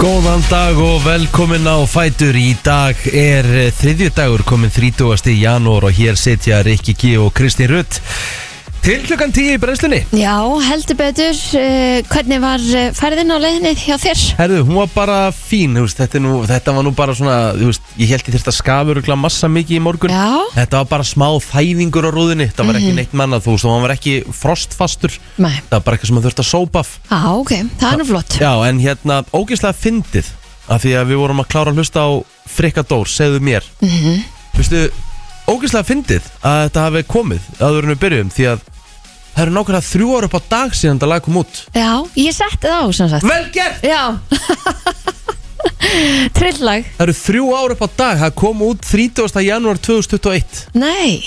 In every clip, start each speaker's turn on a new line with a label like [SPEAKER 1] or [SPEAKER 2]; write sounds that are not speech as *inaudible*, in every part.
[SPEAKER 1] Góðan dag og velkomin á Fætur Í dag er þriðju dagur komin 30. janúar og hér sitja Rikki G og Kristín Rutt til klukkan 10 í brennslunni
[SPEAKER 2] Já, heldur betur. Uh, hvernig var eh, færðin á leiðinni hjá þér?
[SPEAKER 1] Herðu, hún var bara fín, þú veist, þetta, er nú, þetta var nú bara svona, þú veist, ég held ég þurft að skafa örugla massa mikið í morgun
[SPEAKER 2] Já. Mhm.
[SPEAKER 1] Þetta var bara smá þæðingur á rúðinni, þetta var ekki neitt mannað, þú veist, og hann var ekki frostfastur
[SPEAKER 2] Nei.
[SPEAKER 1] Það var bara eitthvað sem þú þurft að sópa af
[SPEAKER 2] Já, ok. Það er nú flott.
[SPEAKER 1] Já, en hérna, ógeðslega fyndið af því að við vorum að klára að hlusta á Frikka Dór, segðu mér mm
[SPEAKER 2] Mhm.
[SPEAKER 1] -hmm. Vistu, ógeðslega fyndið að þetta hafi komið áður en við byrjum því að það eru nákvæmlega þrjú ára upp á dag síðan þetta lag kom út
[SPEAKER 2] Já, ég setti það á, sem sagt.
[SPEAKER 1] Vel gert!
[SPEAKER 2] Já. *laughs* Trillag.
[SPEAKER 1] Það eru þrjú ára upp á dag, það kom út 30. janúar 2021
[SPEAKER 2] Nei.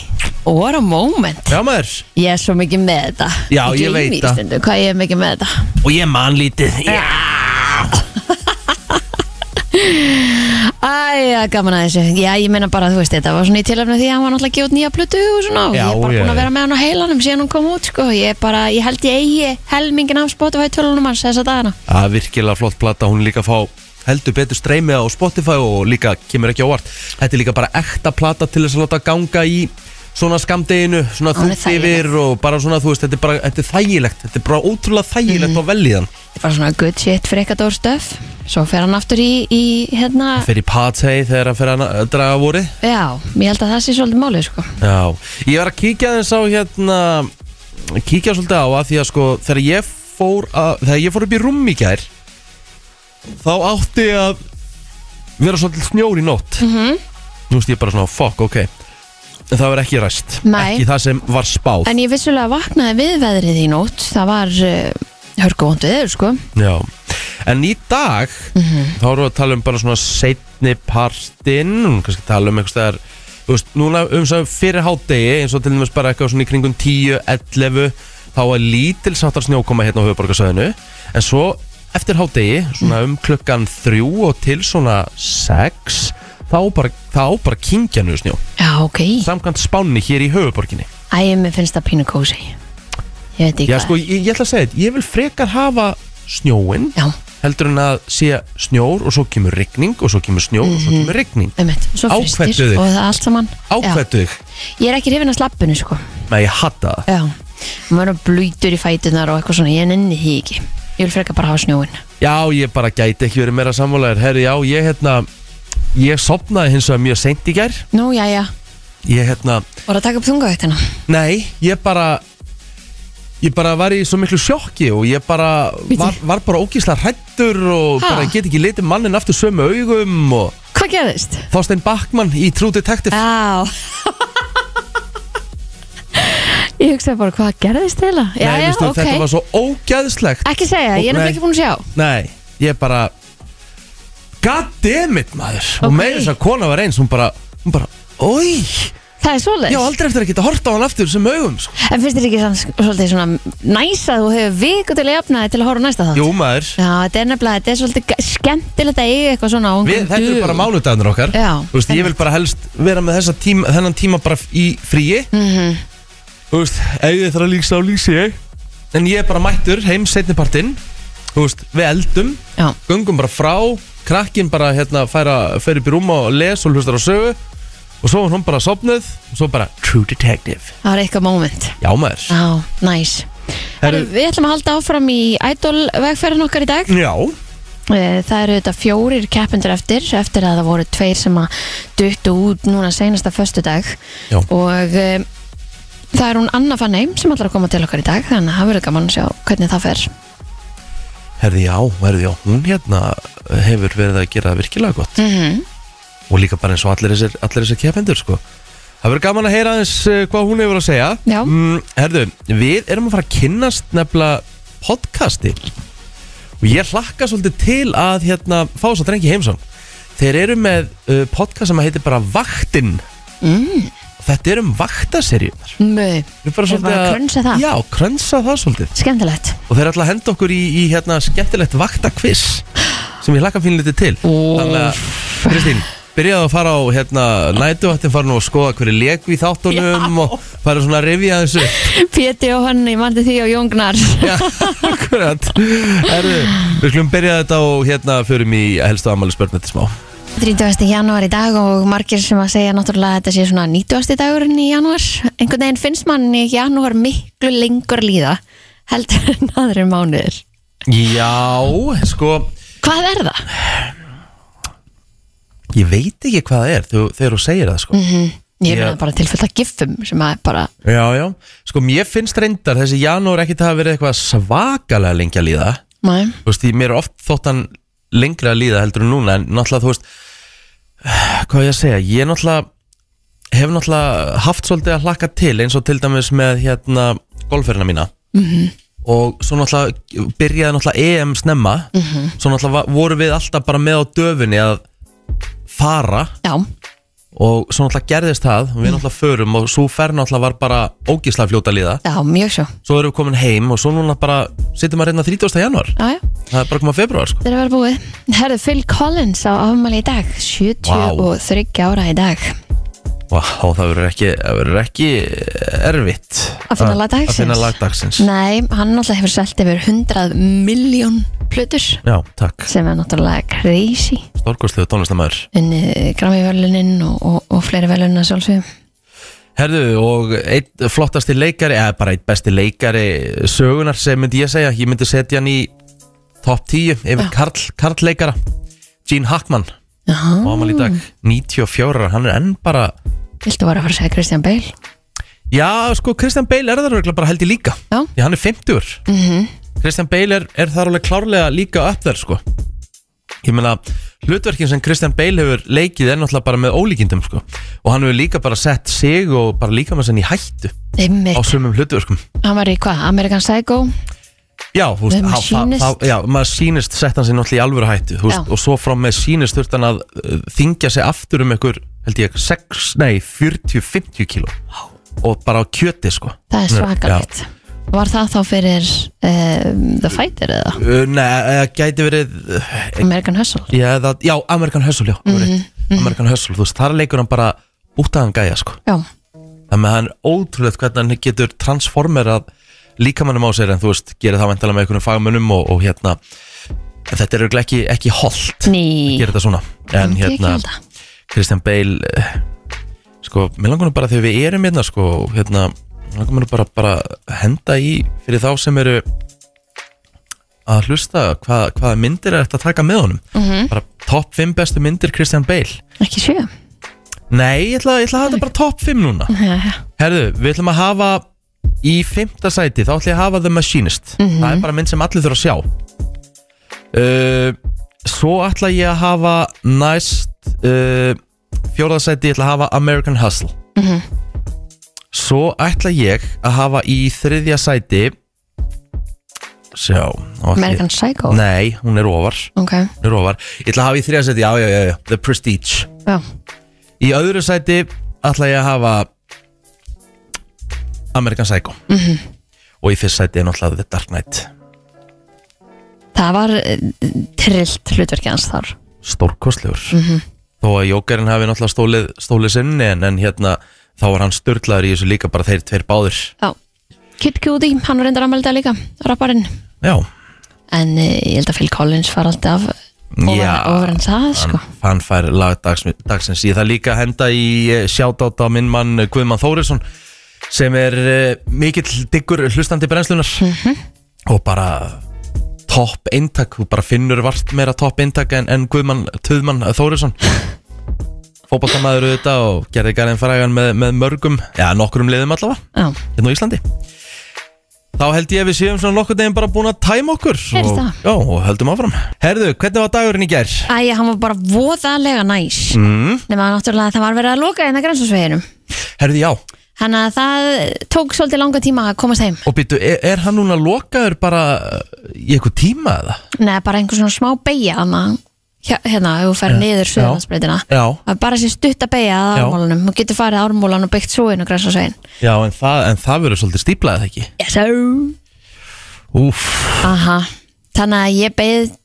[SPEAKER 2] What a moment.
[SPEAKER 1] Já maður,
[SPEAKER 2] Ég er svo mikið með þetta.
[SPEAKER 1] Já, ég veit það.
[SPEAKER 2] það. Hvað ég er mikið með þetta. *laughs*
[SPEAKER 1] og ég man lítið Já,
[SPEAKER 2] Æja, gaman að þessu. Já, ég meina bara, þú veist, þetta var svona í tilöfni því að hann var náttúrulega að gefa út nýja plötu og svona.
[SPEAKER 1] Já,
[SPEAKER 2] og ég er bara
[SPEAKER 1] já,
[SPEAKER 2] búin að
[SPEAKER 1] já.
[SPEAKER 2] vera með hann á heilanum síðan hún kom út, sko. Ég er bara, ég held ég eigi helmingin af Spotify tölunum hans þessa dagana.
[SPEAKER 1] það er virkilega flott plata, hún er líka að fá heldur betur streymið á Spotify og líka kemur ekki ávart Þetta er líka bara ekta plata til þess að láta ganga í svona skamdeginu, svona
[SPEAKER 2] Hún er
[SPEAKER 1] þungt yfir og bara svona, þú veist, þetta er bara þetta er þægilegt, þetta er bara ótrúlega þægilegt
[SPEAKER 2] Mhm.
[SPEAKER 1] mm. á velíðan
[SPEAKER 2] Þetta er bara svona good shit frekadór stöf. Svo fer hann aftur í, í hérna,
[SPEAKER 1] Fyrir partey þegar hann fyrir að draga voru
[SPEAKER 2] já, ég held að það sé svolítið málið, sko.
[SPEAKER 1] Já, ég var að kíkja þess á hérna kíkja svolítið á að því að sko þegar ég fór, að, þegar ég fór upp í rúm í gær þá átti að vera svolítið snjór í nótt -hmm.
[SPEAKER 2] Mhm.
[SPEAKER 1] Nú veist ég bara svona, fuck, ok en það var ekki ræst,
[SPEAKER 2] Nei.
[SPEAKER 1] ekki það sem var spáð
[SPEAKER 2] En ég vissulega vaknaði við veðrið í nótt. Það var uh, hörguvond viður, sko.
[SPEAKER 1] Já, en í dag
[SPEAKER 2] Mhm.
[SPEAKER 1] þá erum við að tala um bara svona setni partinn, kannski tala um einhvers þegar, þú veist, núna um svo fyrir hádegi, eins og til dæmis bara eitthvað svona í kringum 10, 11 þá er lítil sáttar snjókoma hérna á höfuborgarsöðinu en svo eftir hádegi, svona um klukkan 3 og til svona 6 þá bara, þá bara kingja nú snjó,
[SPEAKER 2] Já, ok.
[SPEAKER 1] samkvæmt spánni hér í höfuborginni.
[SPEAKER 2] Æ, mér finnst það pínu kósi. Ég veit ekki
[SPEAKER 1] Já,
[SPEAKER 2] hvað.
[SPEAKER 1] sko, ég, ég ætla að segja þetta, ég vil frekar hafa snjóin
[SPEAKER 2] Já,
[SPEAKER 1] heldur en að sé snjór og svo kemur rigning og svo kemur snjór og svo kemur rigning
[SPEAKER 2] einmitt. Svo frystir
[SPEAKER 1] Ákveddu þig.
[SPEAKER 2] og það allt saman. Mhm. Já.
[SPEAKER 1] ákvættu þig
[SPEAKER 2] Ég er ekki hrifin að slappinu sko
[SPEAKER 1] með ég hata það
[SPEAKER 2] Já Maður er blöytur í fætunar og eitthvað svona Ég nenni því ekki Ég vil freka bara hafa snjóin
[SPEAKER 1] já ég bara gæti ekki verið meira sammálaður herri já ég hérna ég sopnaði hins vegar mjög seint í gær
[SPEAKER 2] Nú, já, já
[SPEAKER 1] ég hérna
[SPEAKER 2] Var að taka upp þungavættina
[SPEAKER 1] nei ég bara ég bara var í svo miklu sjokki og ég bara var, var bara ógísla hrættur og
[SPEAKER 2] Ha?
[SPEAKER 1] bara get ekki litið mannin aftur sömu augum og
[SPEAKER 2] Hvað gerðist?
[SPEAKER 1] Þorstein Backmann í True Detective
[SPEAKER 2] Já Ég hugsaði bara hvað gerðist þeirla Já,
[SPEAKER 1] nei,
[SPEAKER 2] já,
[SPEAKER 1] veistu,
[SPEAKER 2] ok
[SPEAKER 1] þetta var svo ógæðslegt
[SPEAKER 2] Ekki segja, ég er
[SPEAKER 1] Nei.
[SPEAKER 2] nefnilega ekki búin að sjá
[SPEAKER 1] Nei, ég bara God damn it maður Og
[SPEAKER 2] Ok.
[SPEAKER 1] meira þess að kona var eins Hún bara, hún bara, oi
[SPEAKER 2] Það er
[SPEAKER 1] Ég á
[SPEAKER 2] svoleiðis
[SPEAKER 1] aldrei eftir að geta horta á hann aftur sem augum sko.
[SPEAKER 2] En finnst þér ekki sann, svolítið svona næs að þú hefur viku til að jafna þig til að horfa á næsta þátt?
[SPEAKER 1] Jú maður,
[SPEAKER 2] Já, þetta er nefnilega, þetta er svolítið ga- skemmtilegt að eiga eitthvað svona á
[SPEAKER 1] við,
[SPEAKER 2] einhverjum
[SPEAKER 1] þetta eru
[SPEAKER 2] dögum.
[SPEAKER 1] bara mánudagarnir okkar
[SPEAKER 2] Já,
[SPEAKER 1] Þú veist, ég vil bara helst vera með þessa tíma, þennan tíma bara í fríi
[SPEAKER 2] Mhm.
[SPEAKER 1] Þú veist, ef ég þarf að lýsa á lýsi ég En ég er bara mættur heim setnipartinn Þú veist, við eldum
[SPEAKER 2] Já,
[SPEAKER 1] göngum bara frá krakkin bara hérna færa, fer upp í rúm og les og hlustar á sögu og svo er hún bara sopnuð og svo bara True Detective
[SPEAKER 2] það var eitthvað moment
[SPEAKER 1] Já maður
[SPEAKER 2] Já, næs Heru,
[SPEAKER 1] Herru-
[SPEAKER 2] Við ætlum að halda áfram í Idol vegferðin okkar í dag
[SPEAKER 1] Já
[SPEAKER 2] Eh, Það eru þetta fjórir keppendur eftir eftir að það voru tveir sem að duttu út núna seinasta föstudag
[SPEAKER 1] Já.
[SPEAKER 2] og e, það er hún Anna Fannheim sem ætlar að koma til okkar í dag þannig að það verður gaman að sjá hvernig það fer
[SPEAKER 1] Herði já, herði já, hún hérna hefur verið að gera virkilega gott
[SPEAKER 2] mm -hmm.
[SPEAKER 1] og líka bara eins og allir þessir, allir þessir kependur sko Það verður gaman að heyra aðeins eh, hvað hún hefur að segja
[SPEAKER 2] Já.
[SPEAKER 1] mm, Herðu, við erum að fara að kynnast nefnilega podcasti og ég hlakka svolítið til að hérna, fá þess að drengi heimsóng Þeir eru með uh, podcast sem heitir bara Vaktinn
[SPEAKER 2] mm.
[SPEAKER 1] Þetta er um vaktaserjurnar
[SPEAKER 2] Mö,
[SPEAKER 1] Við erum bara
[SPEAKER 2] Þeir bara að krönsa það.
[SPEAKER 1] Já, krönsa það svolítið
[SPEAKER 2] skemmtilegt
[SPEAKER 1] Og þeir er alltaf að henda okkur í, í hérna, skemmtilegt vaktakviss Sem ég hlakka fín litið til
[SPEAKER 2] Úff.
[SPEAKER 1] Þannig að, Kristín, byrjaði að fara á hérna, nætuvattin farin og skoða hverju leku í þáttunum og fara svona að rifja þessu
[SPEAKER 2] *laughs* Péti og hann, ég mandi því og Jóngnar
[SPEAKER 1] Já,
[SPEAKER 2] *laughs*
[SPEAKER 1] akkurat Herru, Við skulum byrja þetta og hérna förum í helstu afmæli spörn smá
[SPEAKER 2] 30. janúar í dag og margir sem að segja náttúrulega að þetta sé svona 90. dagurinn í janúar einhvern veginn finnst manni janúar miklu lengur líða heldur en aðrir mánuðir
[SPEAKER 1] Já, sko
[SPEAKER 2] Hvað er það?
[SPEAKER 1] Ég veit ekki hvað það er þú- þegar þú segir það sko
[SPEAKER 2] Mhm. Ég
[SPEAKER 1] Ég-
[SPEAKER 2] er bara tilfælt að gifum sem að bara
[SPEAKER 1] Já, já, sko mér finnst reyndar þessi janúar ekkert hafa verið eitthvað svakalega lengi að líða
[SPEAKER 2] Nei.
[SPEAKER 1] þú veist, ég mér er oft þótt hann lengra að líða heldur en núna en náttúrulega, þú veist *sighs* hvað á ég að segja, ég náttúrulega hef náttúrulega haft svolítið að hlakka til eins og til dæmis með hérna golferina mína
[SPEAKER 3] Mhm.
[SPEAKER 1] -hmm. og svo náttúrulega byrjaði náttúrulega EM snemma -hmm. svo náttúrulega va- vorum við alltaf bara með á döfunni að fara
[SPEAKER 2] Já,
[SPEAKER 1] og svo náttúrulega gerðist það og við náttúrulega förum og svo fer náttúrulega var bara ógíslega fljóta að líða
[SPEAKER 2] já, mjög svo
[SPEAKER 1] svo erum við komin heim og svo núna bara sittum að reyna 30. januar
[SPEAKER 2] Já, já,
[SPEAKER 1] það er bara koma februar sko
[SPEAKER 2] þetta er að vera búið Herðu Phil Collins á afmæli í dag 73 ára í dag
[SPEAKER 1] Vá, það verður ekki, það verður ekki eh, erfitt
[SPEAKER 2] Að finna lag dagsins.
[SPEAKER 1] Að finna lag dagsins
[SPEAKER 2] Nei, hann náttúrulega hefur selt yfir 100 miljón plötur
[SPEAKER 1] Já, takk,
[SPEAKER 2] sem er náttúrulega crazy
[SPEAKER 1] stórkostlega tónlistamæður
[SPEAKER 2] unni Grammy-völunin og, og, og fleiri völunna sjálfsögum
[SPEAKER 1] Herðu, og einn flottasti leikari eða bara einn besti leikari sögunar sem myndi ég segja, ég myndi setja hann í top 10 yfir
[SPEAKER 2] Já.
[SPEAKER 1] Karl, Karl leikara Gene Hackman,
[SPEAKER 2] Jaha,
[SPEAKER 1] ámal í dag 94, ára, hann er enn bara
[SPEAKER 2] viltu bara fara að segja Christian Bale?
[SPEAKER 1] Já, sko, Christian Bale er það örugglega bara held ég líka
[SPEAKER 2] Já.
[SPEAKER 1] Því hann er 50 mm Christian Bale er, er þar alveg klárlega líka upp þær, sko Ég meina, hlutverkin sem Christian Bale hefur leikið er náttúrulega bara með ólíkindum, sko Og hann hefur líka bara sett sig og bara líka með senn í hættu á
[SPEAKER 2] Einmitt,
[SPEAKER 1] sumum hlutverkum
[SPEAKER 2] hann var í hvað? American Psycho?
[SPEAKER 1] Já, þú veist, á-
[SPEAKER 2] Með Machinist.
[SPEAKER 1] þá- þá- já, maður sýnist sett hann sér náttúrulega í alvöru hættu þú veist,
[SPEAKER 2] Já.
[SPEAKER 1] og svo frá með sýnist þurft hann að uh, þingja sig aftur um einhver, held ég, 6, nei, 40-50 kíló og bara á kjöti, sko
[SPEAKER 2] Það er
[SPEAKER 1] Já.
[SPEAKER 2] svakalegt Var það þá fyrir um, The Fighter eða?
[SPEAKER 1] Uh, Nei, eða gæti verið eh,
[SPEAKER 2] American Hustle? Mhm.
[SPEAKER 1] Já, það, já American Hustle, já mm American Hustle, þú veist, þar leikur hann bara bútaðan gæja, sko
[SPEAKER 2] Já,
[SPEAKER 1] Þannig að hann er ótrúlegt hvernig hann getur transformerað líkamannum á sér en þú veist, gerir það væntalega með einhvernum fagmönnum og, og hérna, en þetta er örugglega ekki, ekki holdt,
[SPEAKER 2] ný
[SPEAKER 1] gerir þetta svona En
[SPEAKER 2] Myndi ég ekki
[SPEAKER 1] hérna,
[SPEAKER 2] halda.
[SPEAKER 1] Christian Bale eh, sko, mér langar nú bara þegar við erum hérna, sko, hérna mér langar mér nú bara, bara að henda í fyrir þá sem eru að hlusta hvað, hvaða myndir er þetta að taka með honum
[SPEAKER 2] Mhm.
[SPEAKER 1] bara topp 5 bestu myndir Christian Bale
[SPEAKER 2] Ekki sjö
[SPEAKER 1] Nei, ég ætla, ég ætla að hafa þetta bara topp 5 núna
[SPEAKER 2] Já, já.
[SPEAKER 1] Herðu, við ætlum að hafa í 5. sæti, þá ætlum ég að hafa The Machinist
[SPEAKER 2] Mhm.
[SPEAKER 1] Það er bara mynd sem allir þurfa að sjá uh, Svo ætla ég að hafa næst uh, Fjóraða sæti, ég ætla að hafa American Hustle
[SPEAKER 2] Mhm.
[SPEAKER 1] Svo ætla ég að hafa í þriðja sæti Sjá þá ætla ég-
[SPEAKER 2] American Psycho?
[SPEAKER 1] Nei, hún er ofar,
[SPEAKER 2] Ok,
[SPEAKER 1] hún er ofar Ég ætla að hafa í þriðja sæti, já, já, já, já The Prestige
[SPEAKER 2] já,
[SPEAKER 1] Í öðru sæti ætla ég að hafa American Psycho
[SPEAKER 2] Mhm.
[SPEAKER 1] Og í fyrst sæti er náttúrulega The Dark Knight
[SPEAKER 2] það var uh, trillt hlutverki hans þar Mhm.
[SPEAKER 1] Stórkostlegur Þó að Jókerinn hafi náttúrulega stólið, stólið sinni en, en hérna þá var hann störtlaður í þessu líka bara þeir tveir báðir
[SPEAKER 2] Já, Kid Cudi, hann var reyndar afmæli í dag líka, rapparinn
[SPEAKER 1] Já,
[SPEAKER 2] En uh, ég held að Phil Collins var alltaf ofar,
[SPEAKER 1] Já.
[SPEAKER 2] ofar en það, sko
[SPEAKER 1] hann, hann fær lag dags, dagsins Ég það líka henda í sjátátt á minn mann eh, Guðmann Þórisson sem er uh, mikill diggur hlustandi brennslunar
[SPEAKER 2] Mhm.
[SPEAKER 1] og bara topp eintak, þú bara finnur vart meira topp eintak en, en Guðmann Töðmann Þórisson fótballtamaður auðvitað og gerði garðin frægan með, með mörgum, já nokkrum liðum allavega
[SPEAKER 2] Já,
[SPEAKER 1] hérna á Íslandi Þá held ég að við séum svona nokkuð deginn bara búin að tæma okkur
[SPEAKER 2] Heyrðu
[SPEAKER 1] og,
[SPEAKER 2] það.
[SPEAKER 1] já, og höldum áfram Herðu, hvernig var dagurinn í gær?
[SPEAKER 2] Æja, hann var bara voðalega næs mm.
[SPEAKER 1] Mhm.
[SPEAKER 2] Nefna náttúrulega að það var verið að loka einna grænsasveginum
[SPEAKER 1] Herðu, já,
[SPEAKER 2] Þannig að það tók svolítið langa tíma að komast heim
[SPEAKER 1] Og býttu, er, er hann núna lokaður bara uh, í eitthvað tíma eða?
[SPEAKER 2] Nei, bara einhver svona smá beigja hérna, ef þú fer niður söðansbreytina
[SPEAKER 1] Já,
[SPEAKER 2] að bara sé stutt að beigja að
[SPEAKER 1] Já.
[SPEAKER 2] ármólanum og getur farið ármólan og byggt svo inn og græsa svein
[SPEAKER 1] já en, það, en það verður svolítið stíplaðið ekki
[SPEAKER 2] yes, oh.
[SPEAKER 1] Úf,
[SPEAKER 2] aha þannig að ég beigð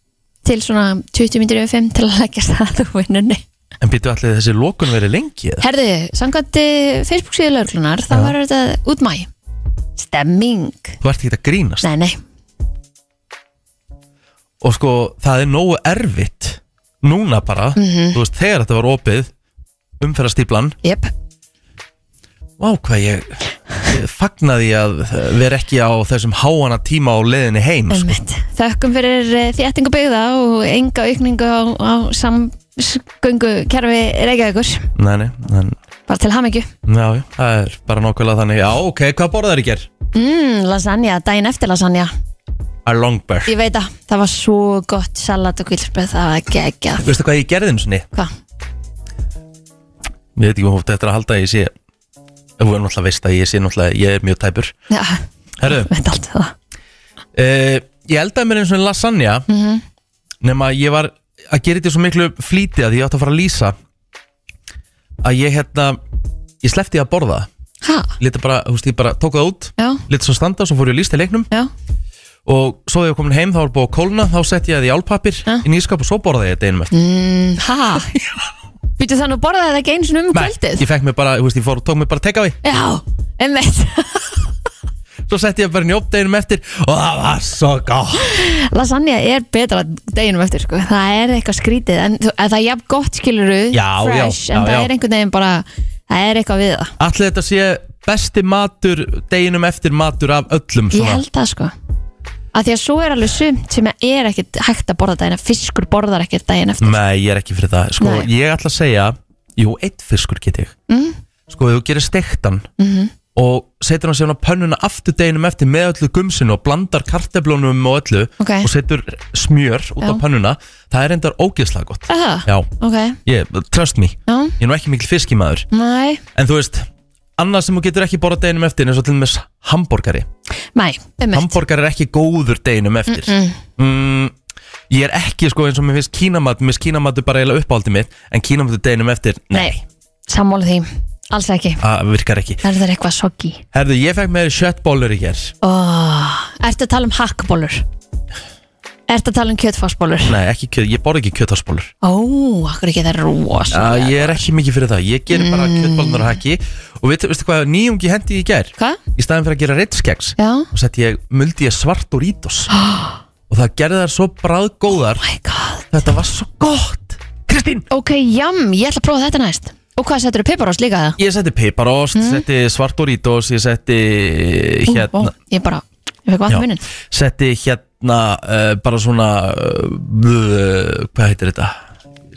[SPEAKER 2] til svona 20 minnir yfir 5 til að leggja stað úr vinnunni
[SPEAKER 1] En býtu allir þessi lókun verið lengi eða?
[SPEAKER 2] Herðu, samkvæmt eh, Facebook síðu lauruglunar þá
[SPEAKER 1] Já.
[SPEAKER 2] var þetta út mæ Stemming
[SPEAKER 1] Þú ert ekki að grínast
[SPEAKER 2] Nei, nei,
[SPEAKER 1] Og sko, það er nógu erfitt Núna bara,
[SPEAKER 2] Mhm.
[SPEAKER 1] þú veist, þegar þetta var opið Umferðastýplan
[SPEAKER 2] jöp
[SPEAKER 1] Vá, hvað ég ég Fagnaði að vera ekki á þessum háana tíma á leiðinni heim sko.
[SPEAKER 2] Einmitt. Þökkum fyrir eh, þéttingu byggða og enga aukningu á, á samgöngu kerfi Reykjavíkur
[SPEAKER 1] Nei, nei, en,
[SPEAKER 2] Bara til hamingju
[SPEAKER 1] já, já, það er bara nákvæmlega þannig Já, ok, hvað borðar ég ger?
[SPEAKER 2] mm, Lasagna, daginn eftir lasagna
[SPEAKER 1] A long bear
[SPEAKER 2] Ég veit að það var svo gott salat og kvílsbröð Það var geggjað
[SPEAKER 1] Veistu hvað ég gerði einu sinni?
[SPEAKER 2] Hvað?
[SPEAKER 1] Ég veit ekki hvort þetta er að halda að ég sé Þú er náttúrulega veist að ég sé náttúrulega Ég er mjög tæpur
[SPEAKER 2] Já,
[SPEAKER 1] Herðu,
[SPEAKER 2] veit allt um það
[SPEAKER 1] uh, ég eldaði mér eins og lasagna
[SPEAKER 2] Mhm.
[SPEAKER 1] Nema ég var að gera þetta í svo miklu flýti að ég átti að fara að lýsa Að ég hérna Ég sleppti að borða
[SPEAKER 2] Ha?
[SPEAKER 1] Lítið bara, þú veist, ég bara tók það út
[SPEAKER 2] Já,
[SPEAKER 1] Lítið svo standa, svo fór ég að lýsa í leiknum
[SPEAKER 2] já,
[SPEAKER 1] Og svo þegar ég var komin heim, þá var búið að kólna Þá sett ég það í álpapir,
[SPEAKER 2] Ja.
[SPEAKER 1] í nýskap og svo borðaði ég þetta einum eftir
[SPEAKER 2] mm, ha? Býtu þannig að borða þetta ekki eins og um kvöldið?
[SPEAKER 1] ég fekk mér bara, þú veist, ég fór, tók mér bara tekaði
[SPEAKER 2] Já, einmitt
[SPEAKER 1] Svo sett ég bara inn í opdeginum eftir Og það var svo gott
[SPEAKER 2] Lasagna er betra deginum eftir sko. það er eitthvað skrítið en þú- að það er jafn gott skiluru
[SPEAKER 1] Já,
[SPEAKER 2] fresh,
[SPEAKER 1] já, já,
[SPEAKER 2] en það
[SPEAKER 1] já.
[SPEAKER 2] er einhvern veginn bara það er eitthvað við það
[SPEAKER 1] Allir þetta sé besti matur deginum eftir matur af öllum
[SPEAKER 2] ég
[SPEAKER 1] svona.
[SPEAKER 2] held það sko að því að svo er alveg sumt sem er ekkert hægt að borða daginn fiskur borðar ekkert daginn eftir
[SPEAKER 1] Nei, ég er ekki fyrir það sko,
[SPEAKER 2] Nei.
[SPEAKER 1] Ég ætla að segja, jú, eitt fiskur get ég
[SPEAKER 2] Mm.
[SPEAKER 1] Sko, ef þú gerir stektan
[SPEAKER 2] Mhm.
[SPEAKER 1] Og setur hann síðan á pönnuna aftur deginum eftir með öllu gumsinu Og blandar karteblónum og öllu
[SPEAKER 2] ok,
[SPEAKER 1] Og setur smjör út
[SPEAKER 2] Já. Ah.
[SPEAKER 1] á pönnuna Það er endar ógeðslega gott
[SPEAKER 2] Aha,
[SPEAKER 1] Já,
[SPEAKER 2] ok,
[SPEAKER 1] ég, trust me
[SPEAKER 2] já,
[SPEAKER 1] Ég er nú ekki mikil fiskimaður
[SPEAKER 2] næ
[SPEAKER 1] En þú veist, annað sem þú getur ekki borða deginum eftir eins og til dæmis hambúrgari
[SPEAKER 2] næ, um
[SPEAKER 1] Hambúrgar er ekki góður deginum eftir
[SPEAKER 2] mm.
[SPEAKER 1] mm, Ég er ekki sko eins og mér finnst kínamat Mér finnst kínamatu bara eiginlega uppáhaldið mitt En kínamatu deginum eftir,
[SPEAKER 2] nei,
[SPEAKER 1] nei,
[SPEAKER 2] sammála því alls ekki,
[SPEAKER 1] það virkar ekki
[SPEAKER 2] það er eitthvað soggi
[SPEAKER 1] Herðu, ég fekk með sjöttbólur í hér
[SPEAKER 2] oh. ertu að tala um hakkbólur ertu að tala um kjötfarsbólur
[SPEAKER 1] Nei, ekki kjöt, ég borð ekki kjötásbólur
[SPEAKER 2] Ó, akkur ekki það er *gasps* rosa
[SPEAKER 1] uh, Ég er ekki mikið fyrir það, ég ger bara
[SPEAKER 2] Mm.
[SPEAKER 1] kjötbólunar og haki Og veit, veistu hvað, nýjungi hendi ég í gær
[SPEAKER 2] Hvað?
[SPEAKER 1] Í staðin fyrir að gera reitskeks
[SPEAKER 2] Já
[SPEAKER 1] Og setti ég, muldi ég svart og rítos Og það gerði þær svo bráðgóðar
[SPEAKER 2] Oh My god
[SPEAKER 1] Þetta var svo gott Kristín!
[SPEAKER 2] Ok, jam, ég ætla að prófa þetta næst Og hvað setur þú piparost líka það?
[SPEAKER 1] Ég setti piparost,
[SPEAKER 2] Mm.
[SPEAKER 1] setti svart og rítos Ég setti hérna
[SPEAKER 2] Ég bara, ég fekk vatn
[SPEAKER 1] Já.
[SPEAKER 2] í munnin
[SPEAKER 1] setti hérna uh, bara svona uh, blö, hvað heitir þetta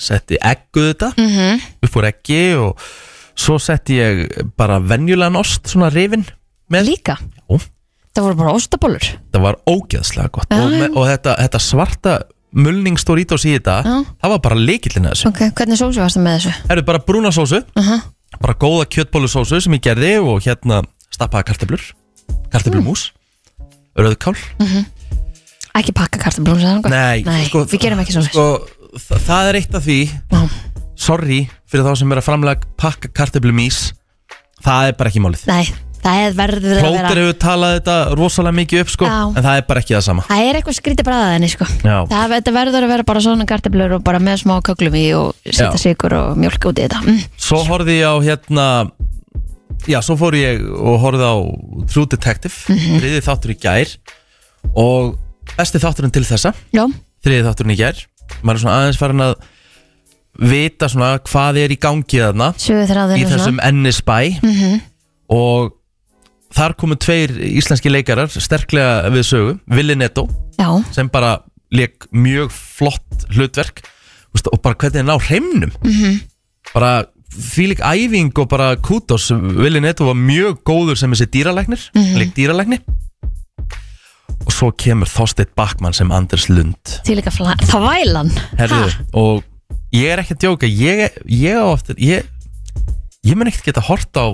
[SPEAKER 1] setti eggu þetta
[SPEAKER 2] mm -hmm.
[SPEAKER 1] upp úr eggi og svo setti ég bara venjulegan ost svona rifin með
[SPEAKER 2] Líka
[SPEAKER 1] Já.
[SPEAKER 2] Það voru bara ostabólur
[SPEAKER 1] þetta var ógeðslega gott
[SPEAKER 2] Já,
[SPEAKER 1] og, með, og þetta, þetta svarta mulningstór ítós í þetta
[SPEAKER 2] Já.
[SPEAKER 1] það var bara leikillin að þessu
[SPEAKER 2] Ok, hvernig sósu varstu með þessu?
[SPEAKER 1] það eru bara brúna sósu
[SPEAKER 2] Uh -huh.
[SPEAKER 1] bara góða kjötbólusósu sem ég gerði og hérna stappaði karteblur karteblumús
[SPEAKER 2] Mm.
[SPEAKER 1] rauðkál
[SPEAKER 2] Ekki pakka kartablum
[SPEAKER 1] Nei,
[SPEAKER 2] Nei,
[SPEAKER 1] sko,
[SPEAKER 2] við gerum ekki sósu
[SPEAKER 1] sko, þa það er eitt af því
[SPEAKER 2] Já.
[SPEAKER 1] sorry fyrir þá sem er að framlega pakka kartöflum ís það er bara ekki málið
[SPEAKER 2] Nei, það er verður að
[SPEAKER 1] Plóter
[SPEAKER 2] vera
[SPEAKER 1] hefur talað þetta rosalega mikið upp sko,
[SPEAKER 2] Já.
[SPEAKER 1] en það er bara ekki það sama
[SPEAKER 2] Það er eitthvað skrítið bræðað henni sko
[SPEAKER 1] Já.
[SPEAKER 2] Það þetta verður að vera bara svona kartablur og bara með smá köglum í og setja
[SPEAKER 1] Já.
[SPEAKER 2] sigur og mjólk út í þetta mm.
[SPEAKER 1] svo horfði ég á hérna já, svo fór ég og horfði á True Detective,
[SPEAKER 2] Mhm.
[SPEAKER 1] þriði þáttur í gær og besti þátturinn til þessa
[SPEAKER 2] Já,
[SPEAKER 1] þriði þátturinn í gær maður er svona aðeins farin að vita svona hvað er í gangi þarna
[SPEAKER 2] sögur
[SPEAKER 1] í
[SPEAKER 2] þráðinu
[SPEAKER 1] þessum ennisbæ
[SPEAKER 2] Mhm.
[SPEAKER 1] og þar komu tveir íslenski leikarar sterklega við sögu, Willi Netto
[SPEAKER 2] Já,
[SPEAKER 1] sem bara leik mjög flott hlutverk þú veist, og bara hvernig hann á hreimnum bara þvílik æfing og bara kútos Willi Netto var mjög góður sem þessi dýralæknir, mm -hmm. leik dýralæknir og svo kemur Þorsteinn Bakmann sem Anders Lund
[SPEAKER 2] því líka þvælan
[SPEAKER 1] Herðu, og ég er ekki að djóka ég, ég á eftir ég, ég mun ekkert geta hort á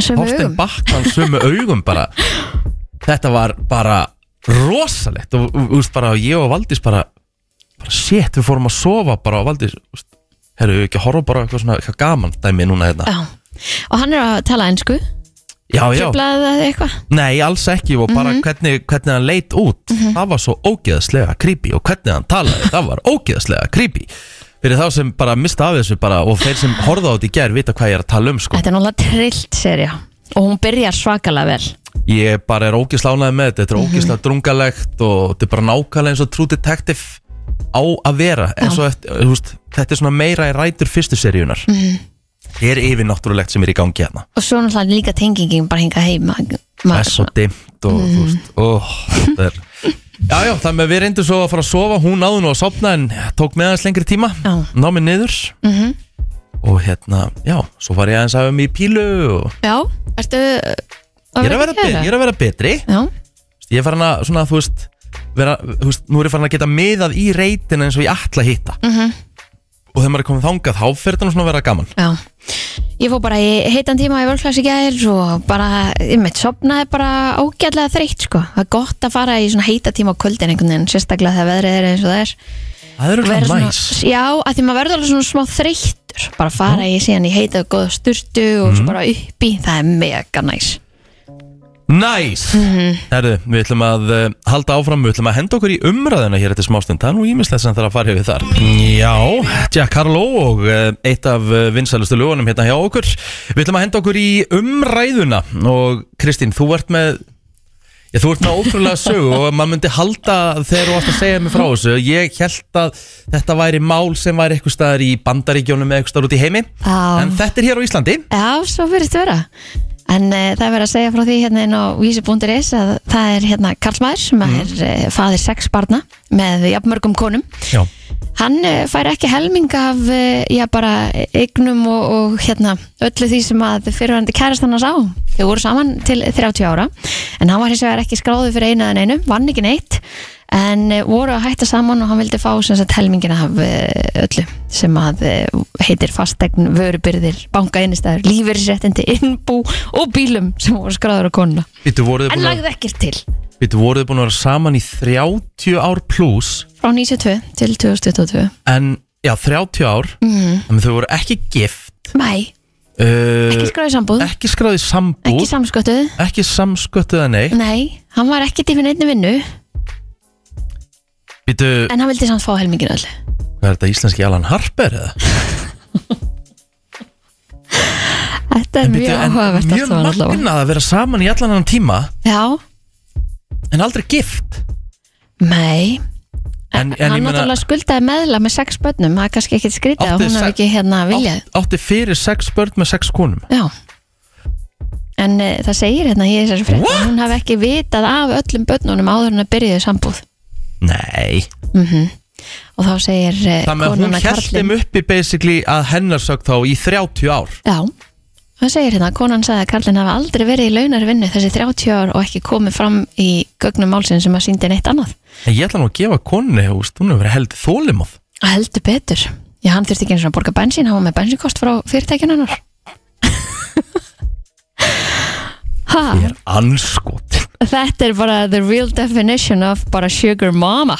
[SPEAKER 2] Svömu
[SPEAKER 1] Horten
[SPEAKER 2] augum
[SPEAKER 1] Bakman sömu augum
[SPEAKER 2] *laughs*
[SPEAKER 1] bara þetta var bara rosalegt og og, úst, bara, ég og Valdís bara, bara shit, við fórum að sofa bara og Valdís úst, herru, ekki að horfa bara á eitthvað svona eitthvað gaman dæmi núna hérna
[SPEAKER 2] Já. Og hann er að tala einsku
[SPEAKER 1] já, já,
[SPEAKER 2] Trublaði það eitthvað
[SPEAKER 1] nei, alls ekki og bara hvernig, hvernig hann leit út það var svo ógeðslega creepy og hvernig hann talaði, það var ógeðslega creepy fyrir þá sem bara mista af þessu bara og þeir sem horfða á þetta í gær vita hvað ég er að tala um sko.
[SPEAKER 2] Þetta er náttúrulega trillt serja og hún byrjar svakalega vel
[SPEAKER 1] Ég bara er ógislánaði með þetta, þetta er ógislega drungalegt og þetta er bara nákvæmlega eins og True Detective á að vera en
[SPEAKER 2] Já.
[SPEAKER 1] svo eftir, þú veist, þetta er svona meira í rætur fyrstu seríunar
[SPEAKER 2] Mhm.
[SPEAKER 1] mm. er yfir náttúrulegt sem er í gangi hérna
[SPEAKER 2] og svo náttúrulega líka tengingin bara hingað heima
[SPEAKER 1] það er svo dimmt og
[SPEAKER 2] Mhm.
[SPEAKER 1] þú veist oh, þetta er Já, já, þannig að við reyndum svo að fara að sofa, hún náði nú að sopna en tók með aðeins lengri tíma,
[SPEAKER 2] Já.
[SPEAKER 1] námið niður
[SPEAKER 2] Mhm.
[SPEAKER 1] og hérna, já, svo var ég aðeins að hafa mig í pílu og
[SPEAKER 2] Já, ertu uh,
[SPEAKER 1] ég er að vera, be- ég er að vera betri,
[SPEAKER 2] Já,
[SPEAKER 1] Ég er farin að, svona, þú veist, vera, þú veist, nú er ég farin að geta miðað í reytina eins og ég ætla að hitta.
[SPEAKER 2] Mhm.
[SPEAKER 1] Og þegar maður er komið þangað, þá fer þetta nú svona að vera gaman.
[SPEAKER 2] já Ég fór bara í heitan tíma í völklass í gær og bara, ég mitt sopnaði bara ágætlega þreytt sko Það er gott að fara í svona heita tíma á kvöldin einhvern veginn sérstaklega þegar veðrið er eins og það er
[SPEAKER 1] Það er
[SPEAKER 2] Verður
[SPEAKER 1] svona
[SPEAKER 2] svona-
[SPEAKER 1] næs.
[SPEAKER 2] Já, að því maður verður alveg svona smá þreyttur bara fara í síðan í heita og góða sturtu og svo bara upp í, það er mega næs
[SPEAKER 1] Næs! Herðu, við ætlum að uh, halda áfram, við ætlum að henda okkur í umræðina hér eftir smástund. Það er nú ímislegt sem það er að fara hefur þar. Já, Jack Harlow og uh, eitt af uh, vinsælustu lögunum hérna hjá okkur. Við ætlum að henda okkur í umræðuna og Kristín, þú ert með Já, þú ert með ótrúlega sögu og maður myndi halda þegar þú varst að segja mig frá þessu Ég held að þetta væri mál sem væri eitthvað staðar í bandaríkjónum eða eitthvað staðar út í heimi
[SPEAKER 2] Já.
[SPEAKER 1] En þetta er hér á Íslandi
[SPEAKER 2] Já, svo verðist vera En uh, það er verið að segja frá því hérna inn á vísi.is að það er hérna Karlsmaður sem er uh, faðir sex barna með jafnmörgum konum
[SPEAKER 1] Já,
[SPEAKER 2] Hann uh, fær ekki helming af uh, já, bara eignum og, og hérna öllu því sem að fyrirverandi kærastan hans á Þau voru saman til 30 ára en hann var hins vegar ekki skráði fyrir einu eða neinu vann ekki neitt en uh, voru að hætta saman og hann vildi fá sem sagt helmingina af uh, öllu sem að uh, heitir fastegn, vörubyrðir, bankainistæður, lífeyrisréttindi, innbú og bílum sem voru skráður á konuna
[SPEAKER 1] býttu voruð búin
[SPEAKER 2] en
[SPEAKER 1] að
[SPEAKER 2] lagði ekkert til
[SPEAKER 1] Býttu voruð búin að vera saman í 30 ár pluss
[SPEAKER 2] frá 92 til 2022
[SPEAKER 1] En, já, 30 ár
[SPEAKER 2] mm.
[SPEAKER 1] En þau voru ekki gift
[SPEAKER 2] Mæ,
[SPEAKER 1] uh,
[SPEAKER 2] ekki skráði sambúð
[SPEAKER 1] Ekki skráði sambúð
[SPEAKER 2] ekki
[SPEAKER 1] Ekki,
[SPEAKER 2] samsköttuð
[SPEAKER 1] ekki samsköttuða nei
[SPEAKER 2] Nei, hann var ekki til fyrir einni vinnu
[SPEAKER 1] Býttu,
[SPEAKER 2] en hann vildi samt fá helmingin öll
[SPEAKER 1] hvað er þetta íslenski Alan Harper eða?
[SPEAKER 2] Þetta er mjög
[SPEAKER 1] Bíddu, en
[SPEAKER 2] áhugavert allt
[SPEAKER 1] mjög
[SPEAKER 2] saman allavega
[SPEAKER 1] magnað að vera saman í allan annan tíma
[SPEAKER 2] Já,
[SPEAKER 1] En aldrei gift
[SPEAKER 2] nei
[SPEAKER 1] En, en
[SPEAKER 2] Hann
[SPEAKER 1] ég meina,
[SPEAKER 2] náttúrulega skuldaði meðla með sex börnum það er kannski ekkit skrítið að
[SPEAKER 1] Átti
[SPEAKER 2] hún
[SPEAKER 1] sex-
[SPEAKER 2] hef ekki hérna viljað
[SPEAKER 1] átt- átti fyrir sex börn með sex konum
[SPEAKER 2] Já En uh, það segir hérna í þessari frétt
[SPEAKER 1] What?
[SPEAKER 2] að hún hafi ekki vitað af öllum börnunum áður en að byrjaði sambúð Mhm.
[SPEAKER 1] Nei
[SPEAKER 2] og þá segir uh,
[SPEAKER 1] Það með að hún
[SPEAKER 2] konuna
[SPEAKER 1] held
[SPEAKER 2] Karlin
[SPEAKER 1] þeim uppi basically að hennar sög þá í 30 ár
[SPEAKER 2] Já, það segir hérna að konan sagði að Karlin hafi aldrei verið í launar vinnu þessi 30 ár og ekki komið fram í gögnum málsinn sem að síndi neitt annað
[SPEAKER 1] En ég ætla nú að gefa konunni, þú veist, hún hefur verið held þólimóð
[SPEAKER 2] Heldur betur. Já, hann þurfti ekki eins og að borga bensín, hann var með bensínkost frá fyrirtækjun hennar. *laughs* ha,
[SPEAKER 1] Ég er anskotin
[SPEAKER 2] þetta er bara the real definition of bara sugar mama.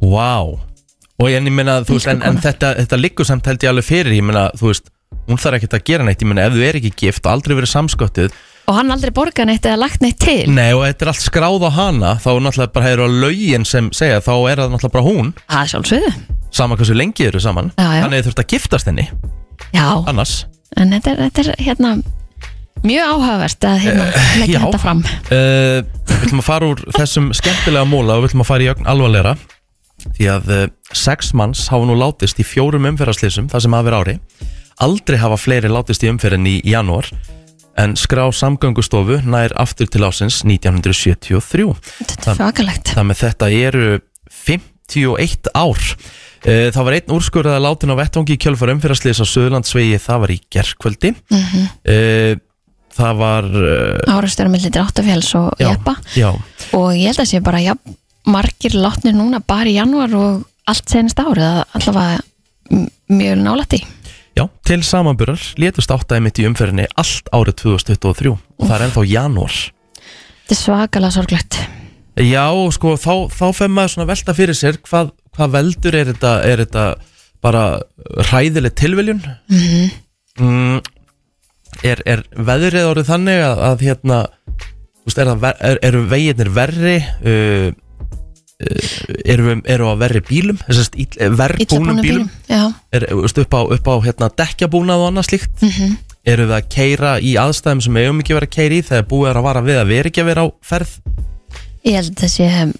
[SPEAKER 1] Vá Og en ég meina, þú veist, en, en þetta, þetta liggur samt held ég alveg fyrir Ég meina, þú veist, hún þarf ekkert að gera neitt Ég meina, ef þú er ekki gift og aldrei verið samskottið
[SPEAKER 2] Og hann aldrei borgað neitt eða lagt neitt til.
[SPEAKER 1] Nei, og þetta er allt skráð á hana Þá náttúrulega bara hefur á lögin sem segja Þá er það náttúrulega bara hún
[SPEAKER 2] Það er sjálfsögðu.
[SPEAKER 1] Sama hversu lengi eru saman
[SPEAKER 2] Já, já.
[SPEAKER 1] Þannig þurft að giftast henni
[SPEAKER 2] Já,
[SPEAKER 1] Annars
[SPEAKER 2] en þetta er, þetta er hérna mjög áhugavert að hérna leggja
[SPEAKER 1] Eh, já.
[SPEAKER 2] þetta fram.
[SPEAKER 1] Uh, við ætlum að fara úr þessum skemmtilega móla og við ætlum að fara í ögn alvarleira því að uh, sex manns hafa nú látist í fjórum umferðarslýsum það sem hafa verið ári aldrei hafa fleiri látist í umferðin í janúar en skrá samgöngustofu nær aftur til ásins 1973
[SPEAKER 2] Þetta er svakalegt.
[SPEAKER 1] þar með þetta eru 51 ár Eh, Það var einn úrskurðað að látin á vettvangi í kjölfar umferðarslis á Suðurlandsvegi, það var í gerkvöldi. Mm
[SPEAKER 2] Mhm.
[SPEAKER 1] Það var... eh,
[SPEAKER 2] Árastöru með litur áttafjáls og
[SPEAKER 1] Já,
[SPEAKER 2] jeppa.
[SPEAKER 1] já,
[SPEAKER 2] og ég held að sé bara ja, margir látnir núna bara í janúar og allt senast árið að allavega m- mjög nálætt í
[SPEAKER 1] Já, til samanburðar létust áttaði mitt í umferðinni allt árið 2023 og það er ennþá janúar.
[SPEAKER 2] þetta er svakalega sorglegt
[SPEAKER 1] Já, sko, þá, þá fer maður svona að velta fyrir sér hvað, hvað veldur er þetta, er þetta bara hræðileg tilviljun? Mm er, er veðrið árið þannig að, að hérna, þú veist, er það ver, er, eru veginir verri, uh, erum við erum á verri bílum þessast verðbúnum
[SPEAKER 2] Illa
[SPEAKER 1] bílum, bílum.
[SPEAKER 2] Já,
[SPEAKER 1] Er, þú veist, upp á, upp á hérna, dekkjabúnað og annað slíkt
[SPEAKER 2] mm -hmm.
[SPEAKER 1] eru við að keira í aðstæðum sem eigum ekki að vera að keira í þegar búið er að vara við að vera ekki að vera á ferð
[SPEAKER 2] ég held að sé um,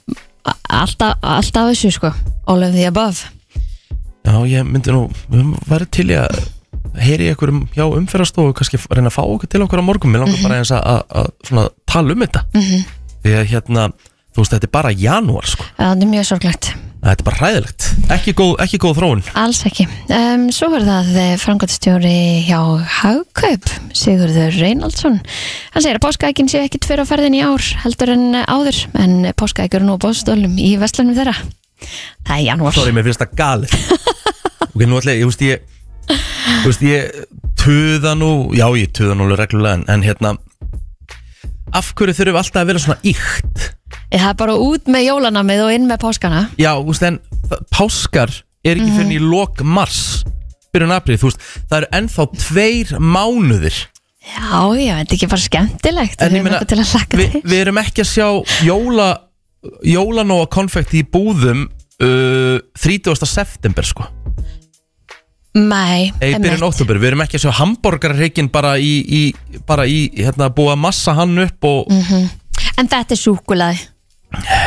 [SPEAKER 2] a- alltaf, alltaf þessu sko All of the above
[SPEAKER 1] Já, ég myndi nú, við höfum verið til í að heyri ykkur um, hjá umferðarstofu kannski f- reyna að fá okkur til okkur á morgun mér langar bara eins að, að, að svona, tala um þetta
[SPEAKER 2] Mhm.
[SPEAKER 1] því að hérna þú veist, þetta er bara janúar sko
[SPEAKER 2] Það er mjög sorglegt
[SPEAKER 1] þetta er bara hræðilegt, ekki góð, ekki góð þróun
[SPEAKER 2] Alls ekki. Um, svo er það frangatstjóri hjá Hagkaup, Sigurður Reynaldsson. Hann segir að páskaækin sé ekki tver á ferðin í ár heldur en áður, en páskaæk eru nú á bóðstólum í vestlunum þeirra. Það er janúar.
[SPEAKER 1] Sorry, mér finnst það galið
[SPEAKER 2] *laughs*
[SPEAKER 1] Ok, nú ætla ég, ég veist ég Þú veist ég tuða nú Já, ég tuða nú alveg reglulega en, en hérna Af hverju þurfum við alltaf að vera svona íkt
[SPEAKER 2] Það er bara út með jólanamið og inn með páskana.
[SPEAKER 1] Já, þú veist, en það- páskar er ekki fyrir í
[SPEAKER 2] Mhm.
[SPEAKER 1] lok mars Byrjun aprið, þú veist, það eru ennþá tveir mánuðir
[SPEAKER 2] Já, já, þetta er ekki bara
[SPEAKER 1] En
[SPEAKER 2] skemmtilegt. Það
[SPEAKER 1] ég
[SPEAKER 2] er
[SPEAKER 1] meina,
[SPEAKER 2] nokkuð til að laka
[SPEAKER 1] Við
[SPEAKER 2] til.
[SPEAKER 1] vi erum ekki að sjá jóla Jólanóa konfekti í búðum uh, 30. september sko
[SPEAKER 2] Nei,
[SPEAKER 1] Nei, í byrjun
[SPEAKER 2] einmitt.
[SPEAKER 1] óttúber, við erum ekki að sjá hambúrgarreikin bara í, í, bara í hérna, búa massa hann upp og
[SPEAKER 2] Mhm. En þetta er súkulaði.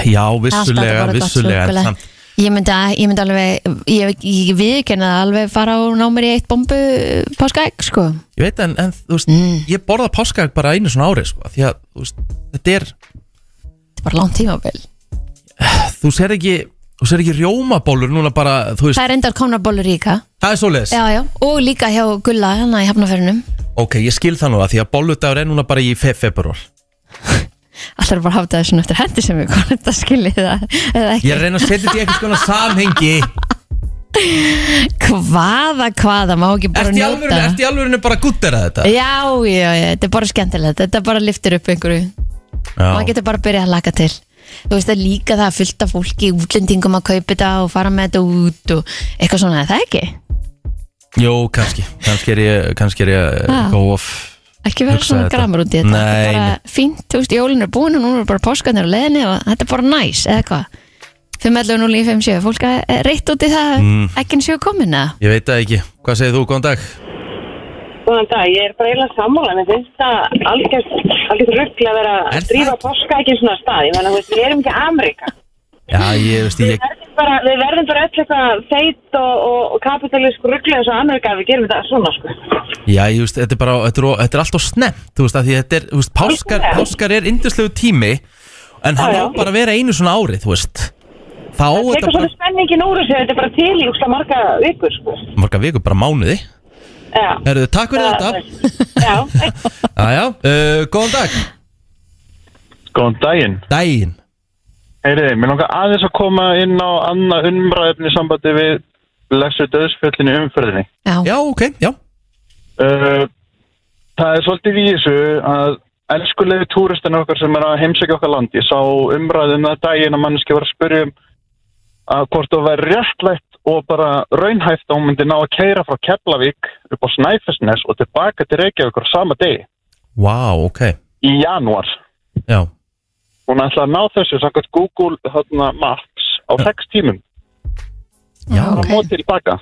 [SPEAKER 1] já,
[SPEAKER 2] Alltaf þetta
[SPEAKER 1] vissulega,
[SPEAKER 2] bara gott
[SPEAKER 1] vissulega en
[SPEAKER 2] súkkulaði.
[SPEAKER 1] samt,
[SPEAKER 2] Ég myndi, að- ég myndi alveg, ég, ég viðkenna það alveg fara og ná mér í eitt bombu páskaegg, sko.
[SPEAKER 1] ég veit en, en þú veist,
[SPEAKER 2] Mm.
[SPEAKER 1] ég borða páskaegg bara einu svona ári, sko, af því að þú veist, þetta er,
[SPEAKER 2] Þetta er bara langt tímabil.
[SPEAKER 1] þú sér ekki þú sér ekki rjómabólur núna bara þú veist,
[SPEAKER 2] Það er endar komna bólur líka.
[SPEAKER 1] það er svoleiðis
[SPEAKER 2] Já, já. Og líka hjá Gulla, hann í hafnaförunum.
[SPEAKER 1] ok, ég skil það nú að því að bóludagur er núna bara í fe februar,
[SPEAKER 2] Alltaf er bara að hafa þetta svona eftir hendi sem við konum þetta skiljið það. Eða ekki.
[SPEAKER 1] ég er að reyna að setja þetta í eitthvað skona samhengi,
[SPEAKER 2] Hvaða, hvaða, má ekki *laughs*
[SPEAKER 1] ertu
[SPEAKER 2] bara
[SPEAKER 1] í
[SPEAKER 2] njóta.
[SPEAKER 1] alvörinu ertu í alvörinu bara að guttera þetta
[SPEAKER 2] Já, já, já, þetta er bara skemmtilegt. Þetta bara liftir upp einhverju. maður getur bara að byrja að laka til þú veist að líka það að fylta fólki útlendingum að kaupa þetta og fara með þetta út og eitthvað svona, er það ekki?
[SPEAKER 1] Jó, kannski, kannski er ég, kannski er ég eh,
[SPEAKER 2] Ha.
[SPEAKER 1] go off
[SPEAKER 2] ekki vera
[SPEAKER 1] Hugsaði
[SPEAKER 2] svona
[SPEAKER 1] þetta.
[SPEAKER 2] gramur út í þetta
[SPEAKER 1] Nei,
[SPEAKER 2] þetta er bara fínt, þú veist, jólin er búin og núna er bara páskarnir á leðinni og þetta er bara næs eða hvað, 5.11.0.57 fólk er reitt út í það
[SPEAKER 1] Mm.
[SPEAKER 2] mm. ekki en séu komin eða?
[SPEAKER 1] Ég veit það ekki, hvað segir þú, góðan dag?
[SPEAKER 4] Góðan dag, ég er bara eiginlega sammála, mér finnst það algjört, algjört ruggla að vera
[SPEAKER 1] Er það
[SPEAKER 4] að drífa
[SPEAKER 1] ekki?
[SPEAKER 4] páska ekki svona stað, ég meina, þú veist, við erum ekki Ameríka.
[SPEAKER 1] Já, ég veist,
[SPEAKER 4] Við
[SPEAKER 1] ég,
[SPEAKER 4] verðum bara, við verðum bara öll eitthvað feit og, og, og kapitalísku ruggla eins og Ameríka ef við gerum þetta svona, sko.
[SPEAKER 1] já, ég veist, þetta er bara, þetta er, þetta er allt og snemmt, þú veist, að því þetta er, þú veist, páskar,
[SPEAKER 4] Algjörlega.
[SPEAKER 1] páskar er indislegu tími, en hann
[SPEAKER 4] Já,
[SPEAKER 1] á
[SPEAKER 4] já.
[SPEAKER 1] bara að vera einu svona ári, þú veist, þá er
[SPEAKER 4] Tekur
[SPEAKER 1] þetta bara,
[SPEAKER 4] svona spenningin úr þessu, þetta er bara til í úksla marga vikur, sko.
[SPEAKER 1] marga viku, bara mánuði.
[SPEAKER 4] Já.
[SPEAKER 1] Herðu, takk fyrir þetta.
[SPEAKER 4] *laughs* Já,
[SPEAKER 1] Já, já, uh, góðan dag,
[SPEAKER 3] Góðan daginn.
[SPEAKER 1] daginn.
[SPEAKER 3] Heyriði, mér langar aðeins að koma inn á annað umræðefni í sambandi við lesur döðsfjöllinu umferðinni.
[SPEAKER 2] Já.
[SPEAKER 1] Já, ok, já.
[SPEAKER 3] Uh, það er svolítið í þessu að elskulegu túristin okkar sem er að heimsækja okkar land, ég sá umræðum það daginn að manneski var að spyrja um að hvort það væri réttlætt og bara raunhæft að hún myndi ná að keira frá Keflavík upp á Snæfellsnes og tilbaka til Reykjavíkur á sama degi
[SPEAKER 1] Vá, ok,
[SPEAKER 3] í janúar.
[SPEAKER 1] já.
[SPEAKER 3] Hún ætlaði að ná þessu samkvæmt Google þarna, Maps á 6 tímum
[SPEAKER 1] Já,
[SPEAKER 2] Já.
[SPEAKER 3] okay. og tilbaka.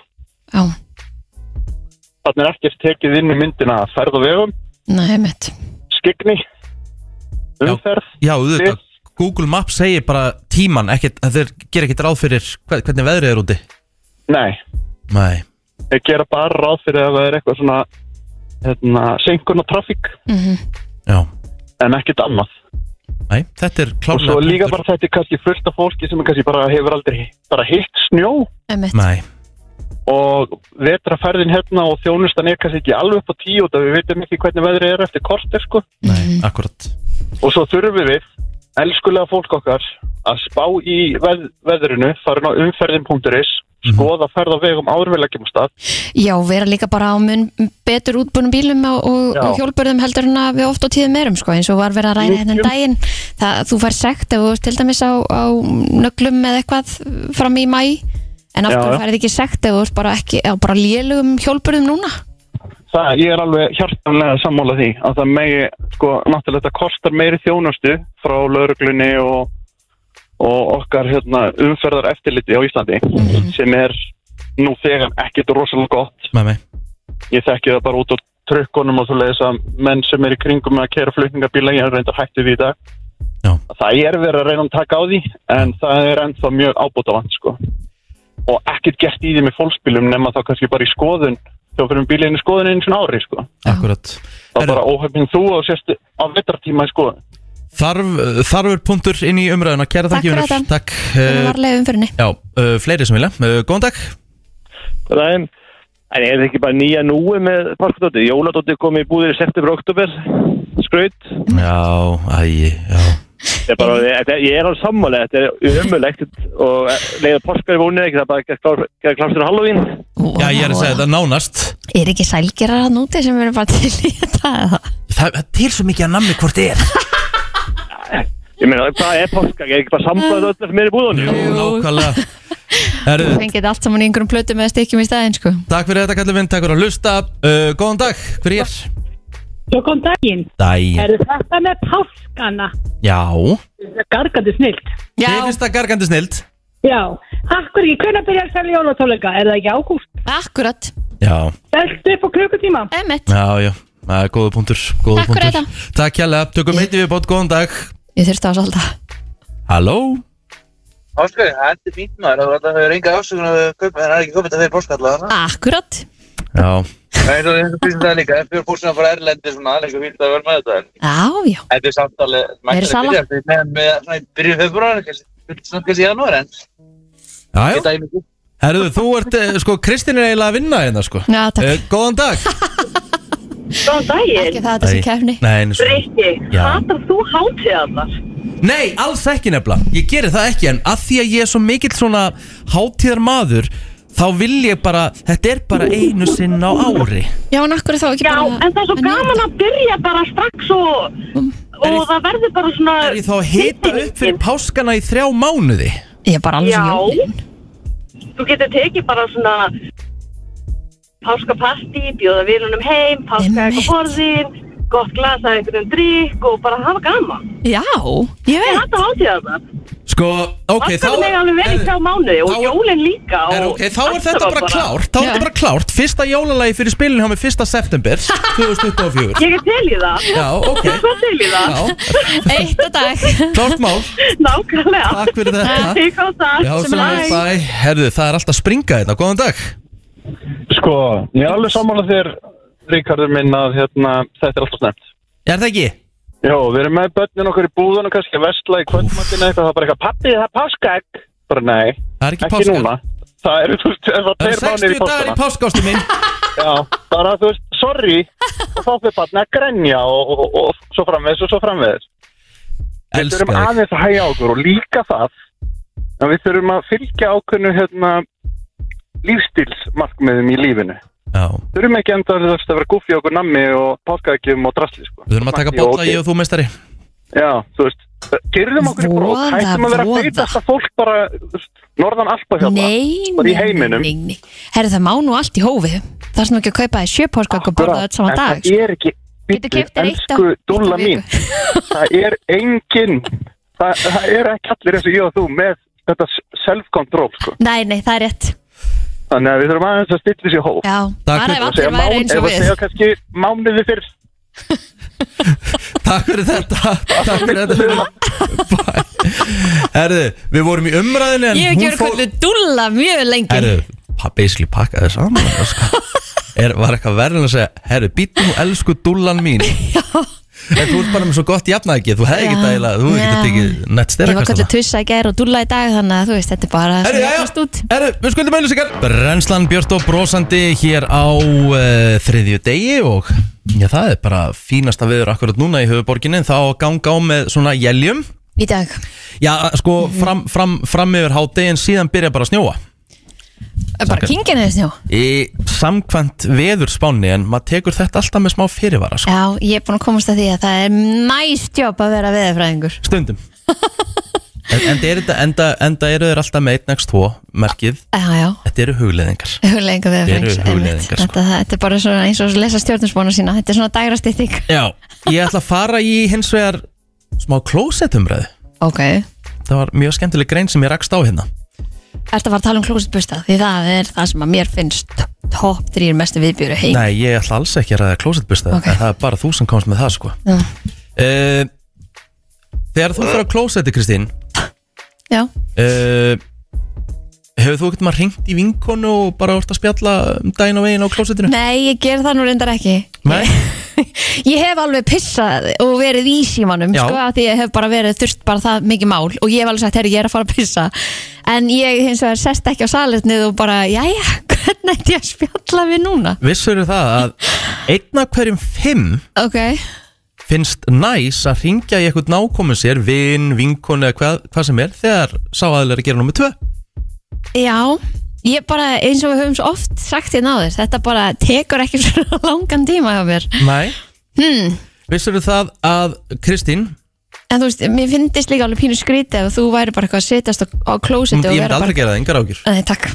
[SPEAKER 2] Já,
[SPEAKER 3] Þannig er ekkert tekið inn í myndina að ferð og vegum,
[SPEAKER 2] nei, mitt
[SPEAKER 3] skikni, umferð,
[SPEAKER 1] já, auðvitað,
[SPEAKER 3] Við-
[SPEAKER 1] Google Maps segir bara tíman, ekkert, þeir gera ekkert ráð fyrir hver- hvernig veðrið er úti.
[SPEAKER 3] nei,
[SPEAKER 1] Nei.
[SPEAKER 3] ég gera bara ráð fyrir að það er eitthvað svona hérna, senkun og trafík
[SPEAKER 2] mm
[SPEAKER 1] Já,
[SPEAKER 3] en ekkert annað.
[SPEAKER 1] nei, þetta er
[SPEAKER 3] Og
[SPEAKER 1] klárlega
[SPEAKER 3] svo líka
[SPEAKER 1] punktur.
[SPEAKER 3] bara þetta er kannski fullt af fólki sem er kannski bara hefur aldrei hitt- bara hitt snjó
[SPEAKER 2] einmitt.
[SPEAKER 1] Nei,
[SPEAKER 3] og vetraferðin hérna og þjónustan er kannski ekki alveg upp á tíu og við veitum ekki hvernig veðrið er eftir kortir sko.
[SPEAKER 1] nei, akkurat
[SPEAKER 3] Og svo þurfum við, elskulega fólk okkar, að spá í veð, veðrinu, farin á umferðin.is,
[SPEAKER 1] Mhm.
[SPEAKER 3] skoða ferð á vegum áður við leggjum á stað.
[SPEAKER 2] Já, vera líka bara á mun betur útbúnum bílum og, og,
[SPEAKER 3] Já.
[SPEAKER 2] og hjólbörðum heldur en að við oft á tíðum erum sko, eins og var verið að ræða hérna um
[SPEAKER 3] Mikið.
[SPEAKER 2] daginn það þú fær sekt ef þú ert til dæmis á, á nöglum eða eitthvað fram í mæ en
[SPEAKER 3] Já,
[SPEAKER 2] aftur
[SPEAKER 3] já.
[SPEAKER 2] færið ekki sekt ef þú ert bara, ekki, á bara lélugum hjólbörðum núna
[SPEAKER 3] Það, ég er alveg hjartanlega sammála því að það megi, sko, náttúrulega þetta kostar meiri þjónustu frá lauruglunni og, og okkar hérna, umferðar eftirliti á Íslandi
[SPEAKER 1] Mhm.
[SPEAKER 3] sem er nú þegar ekkert rosalega gott
[SPEAKER 1] með mig
[SPEAKER 3] ég þekki það bara út á trökkunum og þú leiðis að menn sem er í kringum að kera flutningabíla, ég er reyndar hættu því í dag
[SPEAKER 1] Já.
[SPEAKER 3] það er verið að reyna að taka á því en það er ennþá mjög ábótavant sko. og ekkert gert í því með fólksbílum nema þá kannski bara í skoðun þá fyrir bílinni skoðun einu svona ári sko.
[SPEAKER 1] Akkurat
[SPEAKER 3] þá
[SPEAKER 1] Herru.
[SPEAKER 3] bara óhefning þú á, sérst, á vetartíma í skoðun
[SPEAKER 1] Þarf, uh, þarfur punktur inn í umræðuna Kæra þakki
[SPEAKER 2] Takk fyrir
[SPEAKER 1] Unnur.
[SPEAKER 2] þetta.
[SPEAKER 1] Takk
[SPEAKER 2] Það
[SPEAKER 1] uh,
[SPEAKER 2] var leið umfyrinni.
[SPEAKER 1] Já, uh, fleiri sem vilja uh, Góðan dag
[SPEAKER 5] Ræðin. En er þetta ekki bara nýja núi með parkadótið? Jóladótið kom í búðir í september og oktober, skraut.
[SPEAKER 1] Já, æ, já
[SPEAKER 5] Ég er, bara, ég, ég er alveg sammálega, þetta er umulegt og leiða porskar í vónið ekki, það er bara að gera klár- gera klárst fyrir Halloween.
[SPEAKER 1] Já, ég er að segja þetta nánast
[SPEAKER 2] Er ekki sælgerar að núti sem eru bara til í þetta eða?
[SPEAKER 1] Það það er til svo mikið að nammi hvort er
[SPEAKER 5] Ég meina, hvað er porskar? Er ekki bara sambæðið öllu sem er í búðunum?
[SPEAKER 1] Jú, nákvæmlega Herru,
[SPEAKER 2] *laughs* Þú fengið þetta allt saman í einhverjum plötum eða stikkjum í staðinn, sko.
[SPEAKER 1] takk fyrir þetta kallum við Takk fyrir að hlusta uh, Góðan dag, hver er?
[SPEAKER 6] Svo kom daginn,
[SPEAKER 1] Dæ,
[SPEAKER 6] er þetta með páskana,
[SPEAKER 1] já
[SPEAKER 6] gargandi snilt.
[SPEAKER 2] Já,
[SPEAKER 1] Þið finnst það gargandi snild
[SPEAKER 6] Já, akkur ekki, hvernig byrjar að selja jólatóleika? Er það ekki ágúst?
[SPEAKER 2] akkurat.
[SPEAKER 1] Já,
[SPEAKER 6] Stelst upp á klukkutíma?
[SPEAKER 2] Emmett.
[SPEAKER 1] já, já Það er góða punktur, góða
[SPEAKER 2] Takk fyrir
[SPEAKER 1] punktur. Takk hérlega, tökum eitt við bótt, góðan dag
[SPEAKER 2] Ég þurfti á að salda.
[SPEAKER 1] Halló
[SPEAKER 7] Áskar, það er fínt maður, það er alltaf hefur enga ásökun að kaupa, en það er ekki kaupið þetta fyrir porskalla þarna.
[SPEAKER 2] Akkurat.
[SPEAKER 1] Já,
[SPEAKER 7] Það er eins og eins og fyrir það líka, en fyrir fólk sem er bara erlendi svona, það er eitthvað fínt að vera með þetta. en
[SPEAKER 2] Já, já.
[SPEAKER 7] Þetta er samt alveg,
[SPEAKER 2] Meiri sala.
[SPEAKER 7] byrja, þetta með, með svona í byrju februar, kannski, svona kannski í janúar, en
[SPEAKER 1] já, já
[SPEAKER 7] þetta er mikið.
[SPEAKER 1] Herðu, þú ert, eh, sko, Kristín er eiginlega að vinna hérna, sko
[SPEAKER 2] Já, takk.
[SPEAKER 1] Eh, Góðan dag
[SPEAKER 6] Svo daginn,
[SPEAKER 2] Ekki það þetta
[SPEAKER 1] Æ.
[SPEAKER 2] sem kefni.
[SPEAKER 1] Nei, eins og-
[SPEAKER 6] Rikki,
[SPEAKER 1] Já.
[SPEAKER 6] hatar þú hátíðarnar?
[SPEAKER 1] Nei, alls ekki nefnilega Ég geri það ekki en að því að ég er svo mikill svona hátíðar maður Þá vil ég bara, þetta er bara einu sinn á ári
[SPEAKER 2] Já, en akkur þá ekki
[SPEAKER 6] Já,
[SPEAKER 2] bara...
[SPEAKER 6] en það er svo
[SPEAKER 2] njóta.
[SPEAKER 6] gaman að byrja bara strax og,
[SPEAKER 1] Mm.
[SPEAKER 6] og það verður bara svona...
[SPEAKER 1] Er ég þá að hita upp fyrir páskana í þrjá mánuði?
[SPEAKER 2] Ég er bara alveg sem jólinn.
[SPEAKER 6] Já, þú getur tekið bara svona páskapartí, bjóða vinunum heim, páska
[SPEAKER 2] Einmitt.
[SPEAKER 6] eitthvað borðin, gott glasa einhvern drikk og bara hafa gaman.
[SPEAKER 2] Já, ég
[SPEAKER 6] Ég
[SPEAKER 2] veit.
[SPEAKER 6] hætti að hátíða það.
[SPEAKER 1] Sko, ok,
[SPEAKER 6] Okay,
[SPEAKER 1] þá
[SPEAKER 6] það er alveg vel í þrjá mánuði og
[SPEAKER 1] þá-
[SPEAKER 6] jólinn líka. Og
[SPEAKER 1] Er, ok, þá er
[SPEAKER 6] allt
[SPEAKER 1] þetta
[SPEAKER 6] var
[SPEAKER 1] bara klárt Þá er
[SPEAKER 2] Já.
[SPEAKER 1] þetta bara klárt Fyrsta jólalagi fyrir spilinu hjá mig
[SPEAKER 6] *laughs*
[SPEAKER 1] 1. september 2024
[SPEAKER 6] Ég er til í það.
[SPEAKER 1] Já, ok
[SPEAKER 6] Svo til í það.
[SPEAKER 1] Já,
[SPEAKER 2] Eitt að dag.
[SPEAKER 1] klárt mál
[SPEAKER 6] Nákvæmlega.
[SPEAKER 1] Takk fyrir þetta
[SPEAKER 6] Ég kom það.
[SPEAKER 1] Já, sem að bæ Herðu, það er alltaf að springa þetta Góðan dag
[SPEAKER 3] sko, ég er alveg sammála þér Ríkardur minn að hérna, þetta er alltaf snemt
[SPEAKER 1] Er það ekki?
[SPEAKER 3] já, við erum með börnin okkur í búðunum kannski að vestla í kvöldmattinu eitthvað, það er bara eitthvað pappi, það er páskaegg bara nei,
[SPEAKER 1] Það er ekki
[SPEAKER 3] ekki
[SPEAKER 1] páska
[SPEAKER 3] núna það eru, þú veist, það
[SPEAKER 1] Það
[SPEAKER 3] er
[SPEAKER 1] eru
[SPEAKER 3] tveir mánir
[SPEAKER 1] 60
[SPEAKER 3] í
[SPEAKER 1] dagar í
[SPEAKER 3] páskana
[SPEAKER 1] páskaástu minn
[SPEAKER 3] *laughs* já, bara, þú veist, sorry og þá fyrir barni að grenja og, og, og, og svo framvegis og svo framvegis við
[SPEAKER 1] Elskar
[SPEAKER 3] þurfum
[SPEAKER 1] þig
[SPEAKER 3] aðeins að hægja á okkur og líka það að við þurfum að fylgja ákveðnu hérna, lífstilsmarkmiðum í lífinu
[SPEAKER 1] Já,
[SPEAKER 3] þurfum ekki enda að þetta vera guffi okkur nammi og páskaðgjum og drasli sko.
[SPEAKER 1] við þurfum að taka
[SPEAKER 3] Matti og
[SPEAKER 1] bolla
[SPEAKER 3] Ógeir.
[SPEAKER 1] ég og þú meistari
[SPEAKER 3] Já, þú veist, gerðum okkur í brók
[SPEAKER 2] Voða,
[SPEAKER 3] hættum að vera
[SPEAKER 2] voða.
[SPEAKER 3] að beita þetta fólk bara þú veist, norðan alpa hjá
[SPEAKER 2] Nei,
[SPEAKER 3] Bara í
[SPEAKER 2] nei,
[SPEAKER 3] heiminum.
[SPEAKER 2] nei, nei. Herru, það má nú allt í hófi. Það er svona ekki að kaupa þér sjö páskakk og borða þetta saman dag. sko.
[SPEAKER 3] Það er ekki
[SPEAKER 2] Getur keypt þér eitt á-
[SPEAKER 3] Elsku
[SPEAKER 2] eitt á
[SPEAKER 3] dúlla
[SPEAKER 2] viku. *laughs*
[SPEAKER 3] mín Það er engin það, það er ekki allir eins og ég og þú með þetta self-control sko.
[SPEAKER 2] Nei, nei, það er rétt.
[SPEAKER 3] Þannig að við þurfum aðeins að stilla sér hóf
[SPEAKER 2] Já, bara
[SPEAKER 1] fyrir-
[SPEAKER 2] ef
[SPEAKER 3] og segja,
[SPEAKER 2] allir
[SPEAKER 3] mán,
[SPEAKER 2] væri eins og
[SPEAKER 3] ef að
[SPEAKER 2] við.
[SPEAKER 3] segja kannski mánuði fyrst
[SPEAKER 1] Takk fyrir þetta Takk fyrir þetta Bæ. Herðu, við vorum í umræðinu en
[SPEAKER 2] Ég hef
[SPEAKER 1] hún
[SPEAKER 2] ekki verið
[SPEAKER 1] fór-
[SPEAKER 2] kvöldu dúlla mjög lengi.
[SPEAKER 1] Herðu, pa- basically pakkaði saman sko. er, Var eitthvað verðin að segja Herðu, býttu nú elsku dúllan
[SPEAKER 2] *laughs*
[SPEAKER 1] mín Já En þú ert bara með svo gott jafnægi Þú hefði
[SPEAKER 2] Já.
[SPEAKER 1] ekki dæla, þú hefði
[SPEAKER 2] Já.
[SPEAKER 1] ekki tekið nett
[SPEAKER 2] Ég var kvöldu
[SPEAKER 1] styrakast
[SPEAKER 2] tussa í gær og dúlla í dag þannig að þú veist, þetta er bara
[SPEAKER 1] Herru,
[SPEAKER 2] svona
[SPEAKER 1] jæja.
[SPEAKER 2] jafnast út.
[SPEAKER 1] Herru, við skuldum auðlýsingar Brennslan Björst og brosandi hér á uh, þriðju degi og já, það er bara fínasta viður akkurat núna í höfuborginni en þá á að ganga á með svona jeljum
[SPEAKER 2] Í dag.
[SPEAKER 1] Já, sko, fram, fram, fram yfir hádegin síðan byrja bara að snjóa
[SPEAKER 2] Bara kingin eða snjó.
[SPEAKER 1] í samkvæmt veðurspánni en maður tekur þetta alltaf með smá fyrirvara sko.
[SPEAKER 2] Já, ég er búin að komast að því að það er næst jobb að vera veðurfræðingur. *laughs*
[SPEAKER 1] stundum en, enda, er, þetta- enda, enda eru þeir alltaf með 1x2 merkið,
[SPEAKER 2] Já, já.
[SPEAKER 1] þetta eru hugleðingar
[SPEAKER 2] Hugleðinga veðurfræðings.
[SPEAKER 1] Eru hugleiðingar,
[SPEAKER 2] einmitt.
[SPEAKER 1] sko.
[SPEAKER 2] Þetta, þetta er bara svona eins og að lesa stjórnusbóna sína. Þetta er svona dægrastýtting.
[SPEAKER 1] Já, ég ætla að fara í hins vegar smá klósettumræðu
[SPEAKER 2] Ok.
[SPEAKER 1] það var mjög skemmtileg grein sem ég rakst á hérna
[SPEAKER 2] Ertu að fara að tala um klósitbusta? Því það er það sem að mér finnst topp þrýr mestu viðbjöru heim
[SPEAKER 1] Nei, ég ætla alls ekki að ræða klósettbusta
[SPEAKER 2] Ok.
[SPEAKER 1] okay. Það er bara þú sem komst með það sko
[SPEAKER 2] Já.
[SPEAKER 1] uh, Þegar þú fyrir á klósetti, Kristín
[SPEAKER 2] Já,
[SPEAKER 1] uh, Hefur þú ekkert maður hringt í vinkonu og bara orðið að spjalla um daginn og veginn á klósettinu?
[SPEAKER 2] nei, ég ger það nú reyndar ekki
[SPEAKER 1] Nei.
[SPEAKER 2] *laughs* Ég hef alveg pissað og verið í símanum
[SPEAKER 1] Já.
[SPEAKER 2] sko, af því ég hef bara verið þurft bara það mikið mál og ég hef alveg sagt, herri, ég er að fara að pissa en ég hins vegar sest ekki á salernið og bara, jæja, *laughs* hvernig ætti ég að spjalla við núna?
[SPEAKER 1] Vissur það að einn af hverjum fimm
[SPEAKER 2] Ok,
[SPEAKER 1] finnst næs að hringja í eitthvað nákomin sér, vin, vinkonu eða hvað, hvað sem er þegar sá aðlega er að gera nummer tvö
[SPEAKER 2] já Ég bara, eins og við höfum svo oft sagt hérna áður, þetta bara tekur ekki svona *laughs* langan tíma hjá mér.
[SPEAKER 1] Nei
[SPEAKER 2] Hmm.
[SPEAKER 1] Vissur það að Kristín
[SPEAKER 2] En þú veist, mér finnist líka alveg pínu skrítið og þú væri bara eitthvað að setjast á, á
[SPEAKER 1] Ég
[SPEAKER 2] klósetti og
[SPEAKER 1] myndi
[SPEAKER 2] vera
[SPEAKER 1] aldrei
[SPEAKER 2] bara...
[SPEAKER 1] gera það, engar ágjur
[SPEAKER 2] Nei, takk.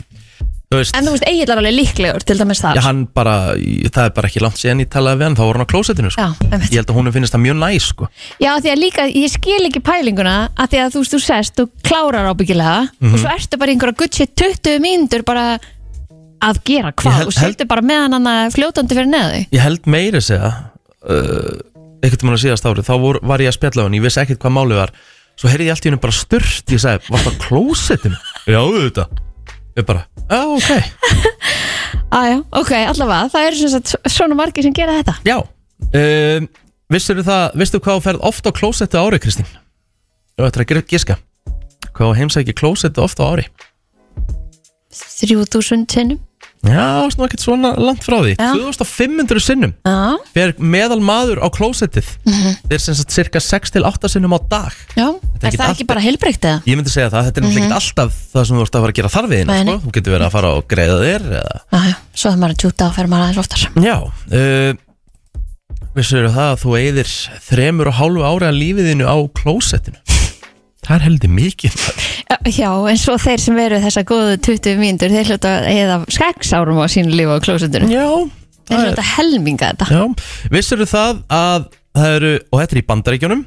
[SPEAKER 1] Þú veist,
[SPEAKER 2] En þú veist, Egil er alveg líklegur til dæmis þar.
[SPEAKER 1] Já, hann bara, það er bara ekki langt síðan ég talaði við hann, þá voru hann á klósettinu sko.
[SPEAKER 2] Já, einmitt.
[SPEAKER 1] Ég held að hún finnist það mjög næs sko.
[SPEAKER 2] Já, því að líka, ég skil ekki pælinguna að því að þú veist, þú sest og klárar ábyggilega og
[SPEAKER 1] Mhm.
[SPEAKER 2] svo ertu bara í einhverja gutt sér 20 mínútur bara að gera
[SPEAKER 1] Ég
[SPEAKER 2] hvað
[SPEAKER 1] hel-
[SPEAKER 2] og seldu bara meðan hann fljótandi fyrir neði.
[SPEAKER 1] Ég held meira segja uh, einhvern tímann á síðast ári þá vor, var ég að spjalla við hann, ég vissi ekkert hvað málið var svo heyrði ég allt í hennu bara styrst ég sagði, var það klósettinu? Já, auðvitað Ég bara, já, ok
[SPEAKER 2] *laughs* Æja, ok, allavega, það eru sem sagt svona margir sem gera þetta.
[SPEAKER 1] Já, um, vissur það vissur hvað þú ferð oft á klósettu á ári, Kristín? Þú ættir að gera giska hvað þú heimsækir klósettu oft á ári
[SPEAKER 2] 3000 sinnum.
[SPEAKER 1] Já, svona ekkert svona langt frá því
[SPEAKER 2] Já.
[SPEAKER 1] 2500 sinnum
[SPEAKER 2] Já,
[SPEAKER 1] fer meðal maður á klósettið þeir sem sagt cirka 6 til 8 sinnum á dag
[SPEAKER 2] Mhm. já.
[SPEAKER 1] er
[SPEAKER 2] Er
[SPEAKER 1] ekki
[SPEAKER 2] það
[SPEAKER 1] allt-
[SPEAKER 2] ekki bara heilbreykt eða?
[SPEAKER 1] ég myndi segja það, þetta er náttúrulega ekkert alltaf það sem þú ert að fara að gera þarfiðina
[SPEAKER 2] Mhm. Nei,
[SPEAKER 1] sko.
[SPEAKER 2] nei.
[SPEAKER 1] þú getur verið að fara og greiða þér eða...
[SPEAKER 2] Æja, svo er maður að tjúta og fer maður aðeins oftar.
[SPEAKER 1] já uh, vissur það að þú eigðir þremur og hálfu ára af lífiðinu á klósettinu það er heldur mikið
[SPEAKER 2] Já, en svo þeir sem veru þessa góðu 20 mínútur, þeir hljóta eða skeggs árum á sínu lífi á klósundunum.
[SPEAKER 1] já,
[SPEAKER 2] Þeir
[SPEAKER 1] það er,
[SPEAKER 2] hljóta helminga þetta.
[SPEAKER 1] já. vissur það að það eru, og þetta er í bandaríkjunum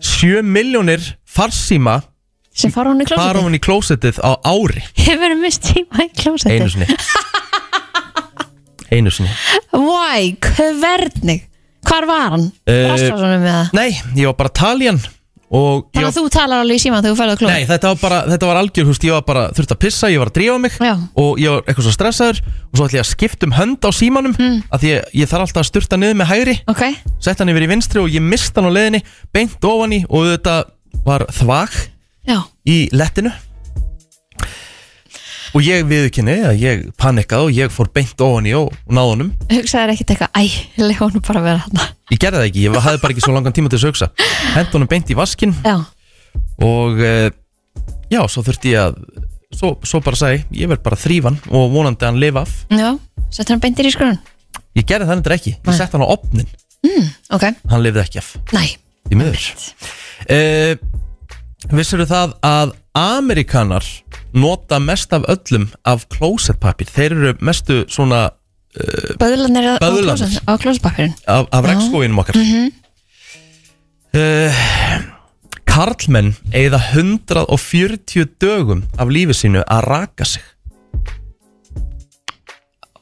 [SPEAKER 1] 7 miljónir farsíma
[SPEAKER 2] Sem *laughs* fara hún í
[SPEAKER 1] fara
[SPEAKER 2] klósundin.
[SPEAKER 1] hún í klósettið á ári
[SPEAKER 2] Hefur hún mist tíma í
[SPEAKER 1] einu
[SPEAKER 2] klósundin?
[SPEAKER 1] sinni einu sinni
[SPEAKER 2] *laughs* Why? Hvernig? Hvar var hann?
[SPEAKER 1] Eh,
[SPEAKER 2] Rassarsonum með það?
[SPEAKER 1] nei, ég var bara taljan og ég
[SPEAKER 2] Þannig
[SPEAKER 1] var,
[SPEAKER 2] að þú talar alveg í síma þegar þú ferði á klósundin?
[SPEAKER 1] nei, þetta var bara þetta var algjör, þú veist, ég var bara þurft að pissa ég var að drífa mig
[SPEAKER 2] Já.
[SPEAKER 1] og ég var eitthvað svo stressaður og svo ætla ég að skipta um hönd á símanum mm. að því ég, ég þarf alltaf að sturta niður með hægri
[SPEAKER 2] Ok,
[SPEAKER 1] sett hann yfir í vinstri og ég mista hann á leiðinni beint ofan í og þetta var þvag
[SPEAKER 2] já.
[SPEAKER 1] í lettinu og ég viðkynni að ég panikkaði og ég fór beint ofan í og náði honum
[SPEAKER 2] Hugsaður ekkert eitthvað, æ, leið honum bara að vera hann.
[SPEAKER 1] Ég gerði það ekki, ég hafði bara ekki svo langan tíma til þess að hugsa Hendi honum beint í vaskinn
[SPEAKER 2] Já,
[SPEAKER 1] og eh, já, svo þurfti ég að Svo, svo bara sagði, ég, ég verð bara þrýfan og vonandi að hann lifa af
[SPEAKER 2] já. Settur hann beintir í skrun?
[SPEAKER 1] Ég gerði það endur ekki, ég
[SPEAKER 2] Nei.
[SPEAKER 1] sett hann á opnin
[SPEAKER 2] Ok,
[SPEAKER 1] Hann lifði ekki af,
[SPEAKER 2] næ.
[SPEAKER 1] því miður uh, Vissirðu það að Amerikanar nota mest af öllum af klósettpapir Þeir eru mestu svona
[SPEAKER 2] Böðlanir á
[SPEAKER 1] Böðlarnir.
[SPEAKER 2] klósundin? Á Mhm. klósundpapirinn?
[SPEAKER 1] af, af regnskóinum okkar mm Eh, Karlmenn eigða 140 dögum af lífi sínu að raka sig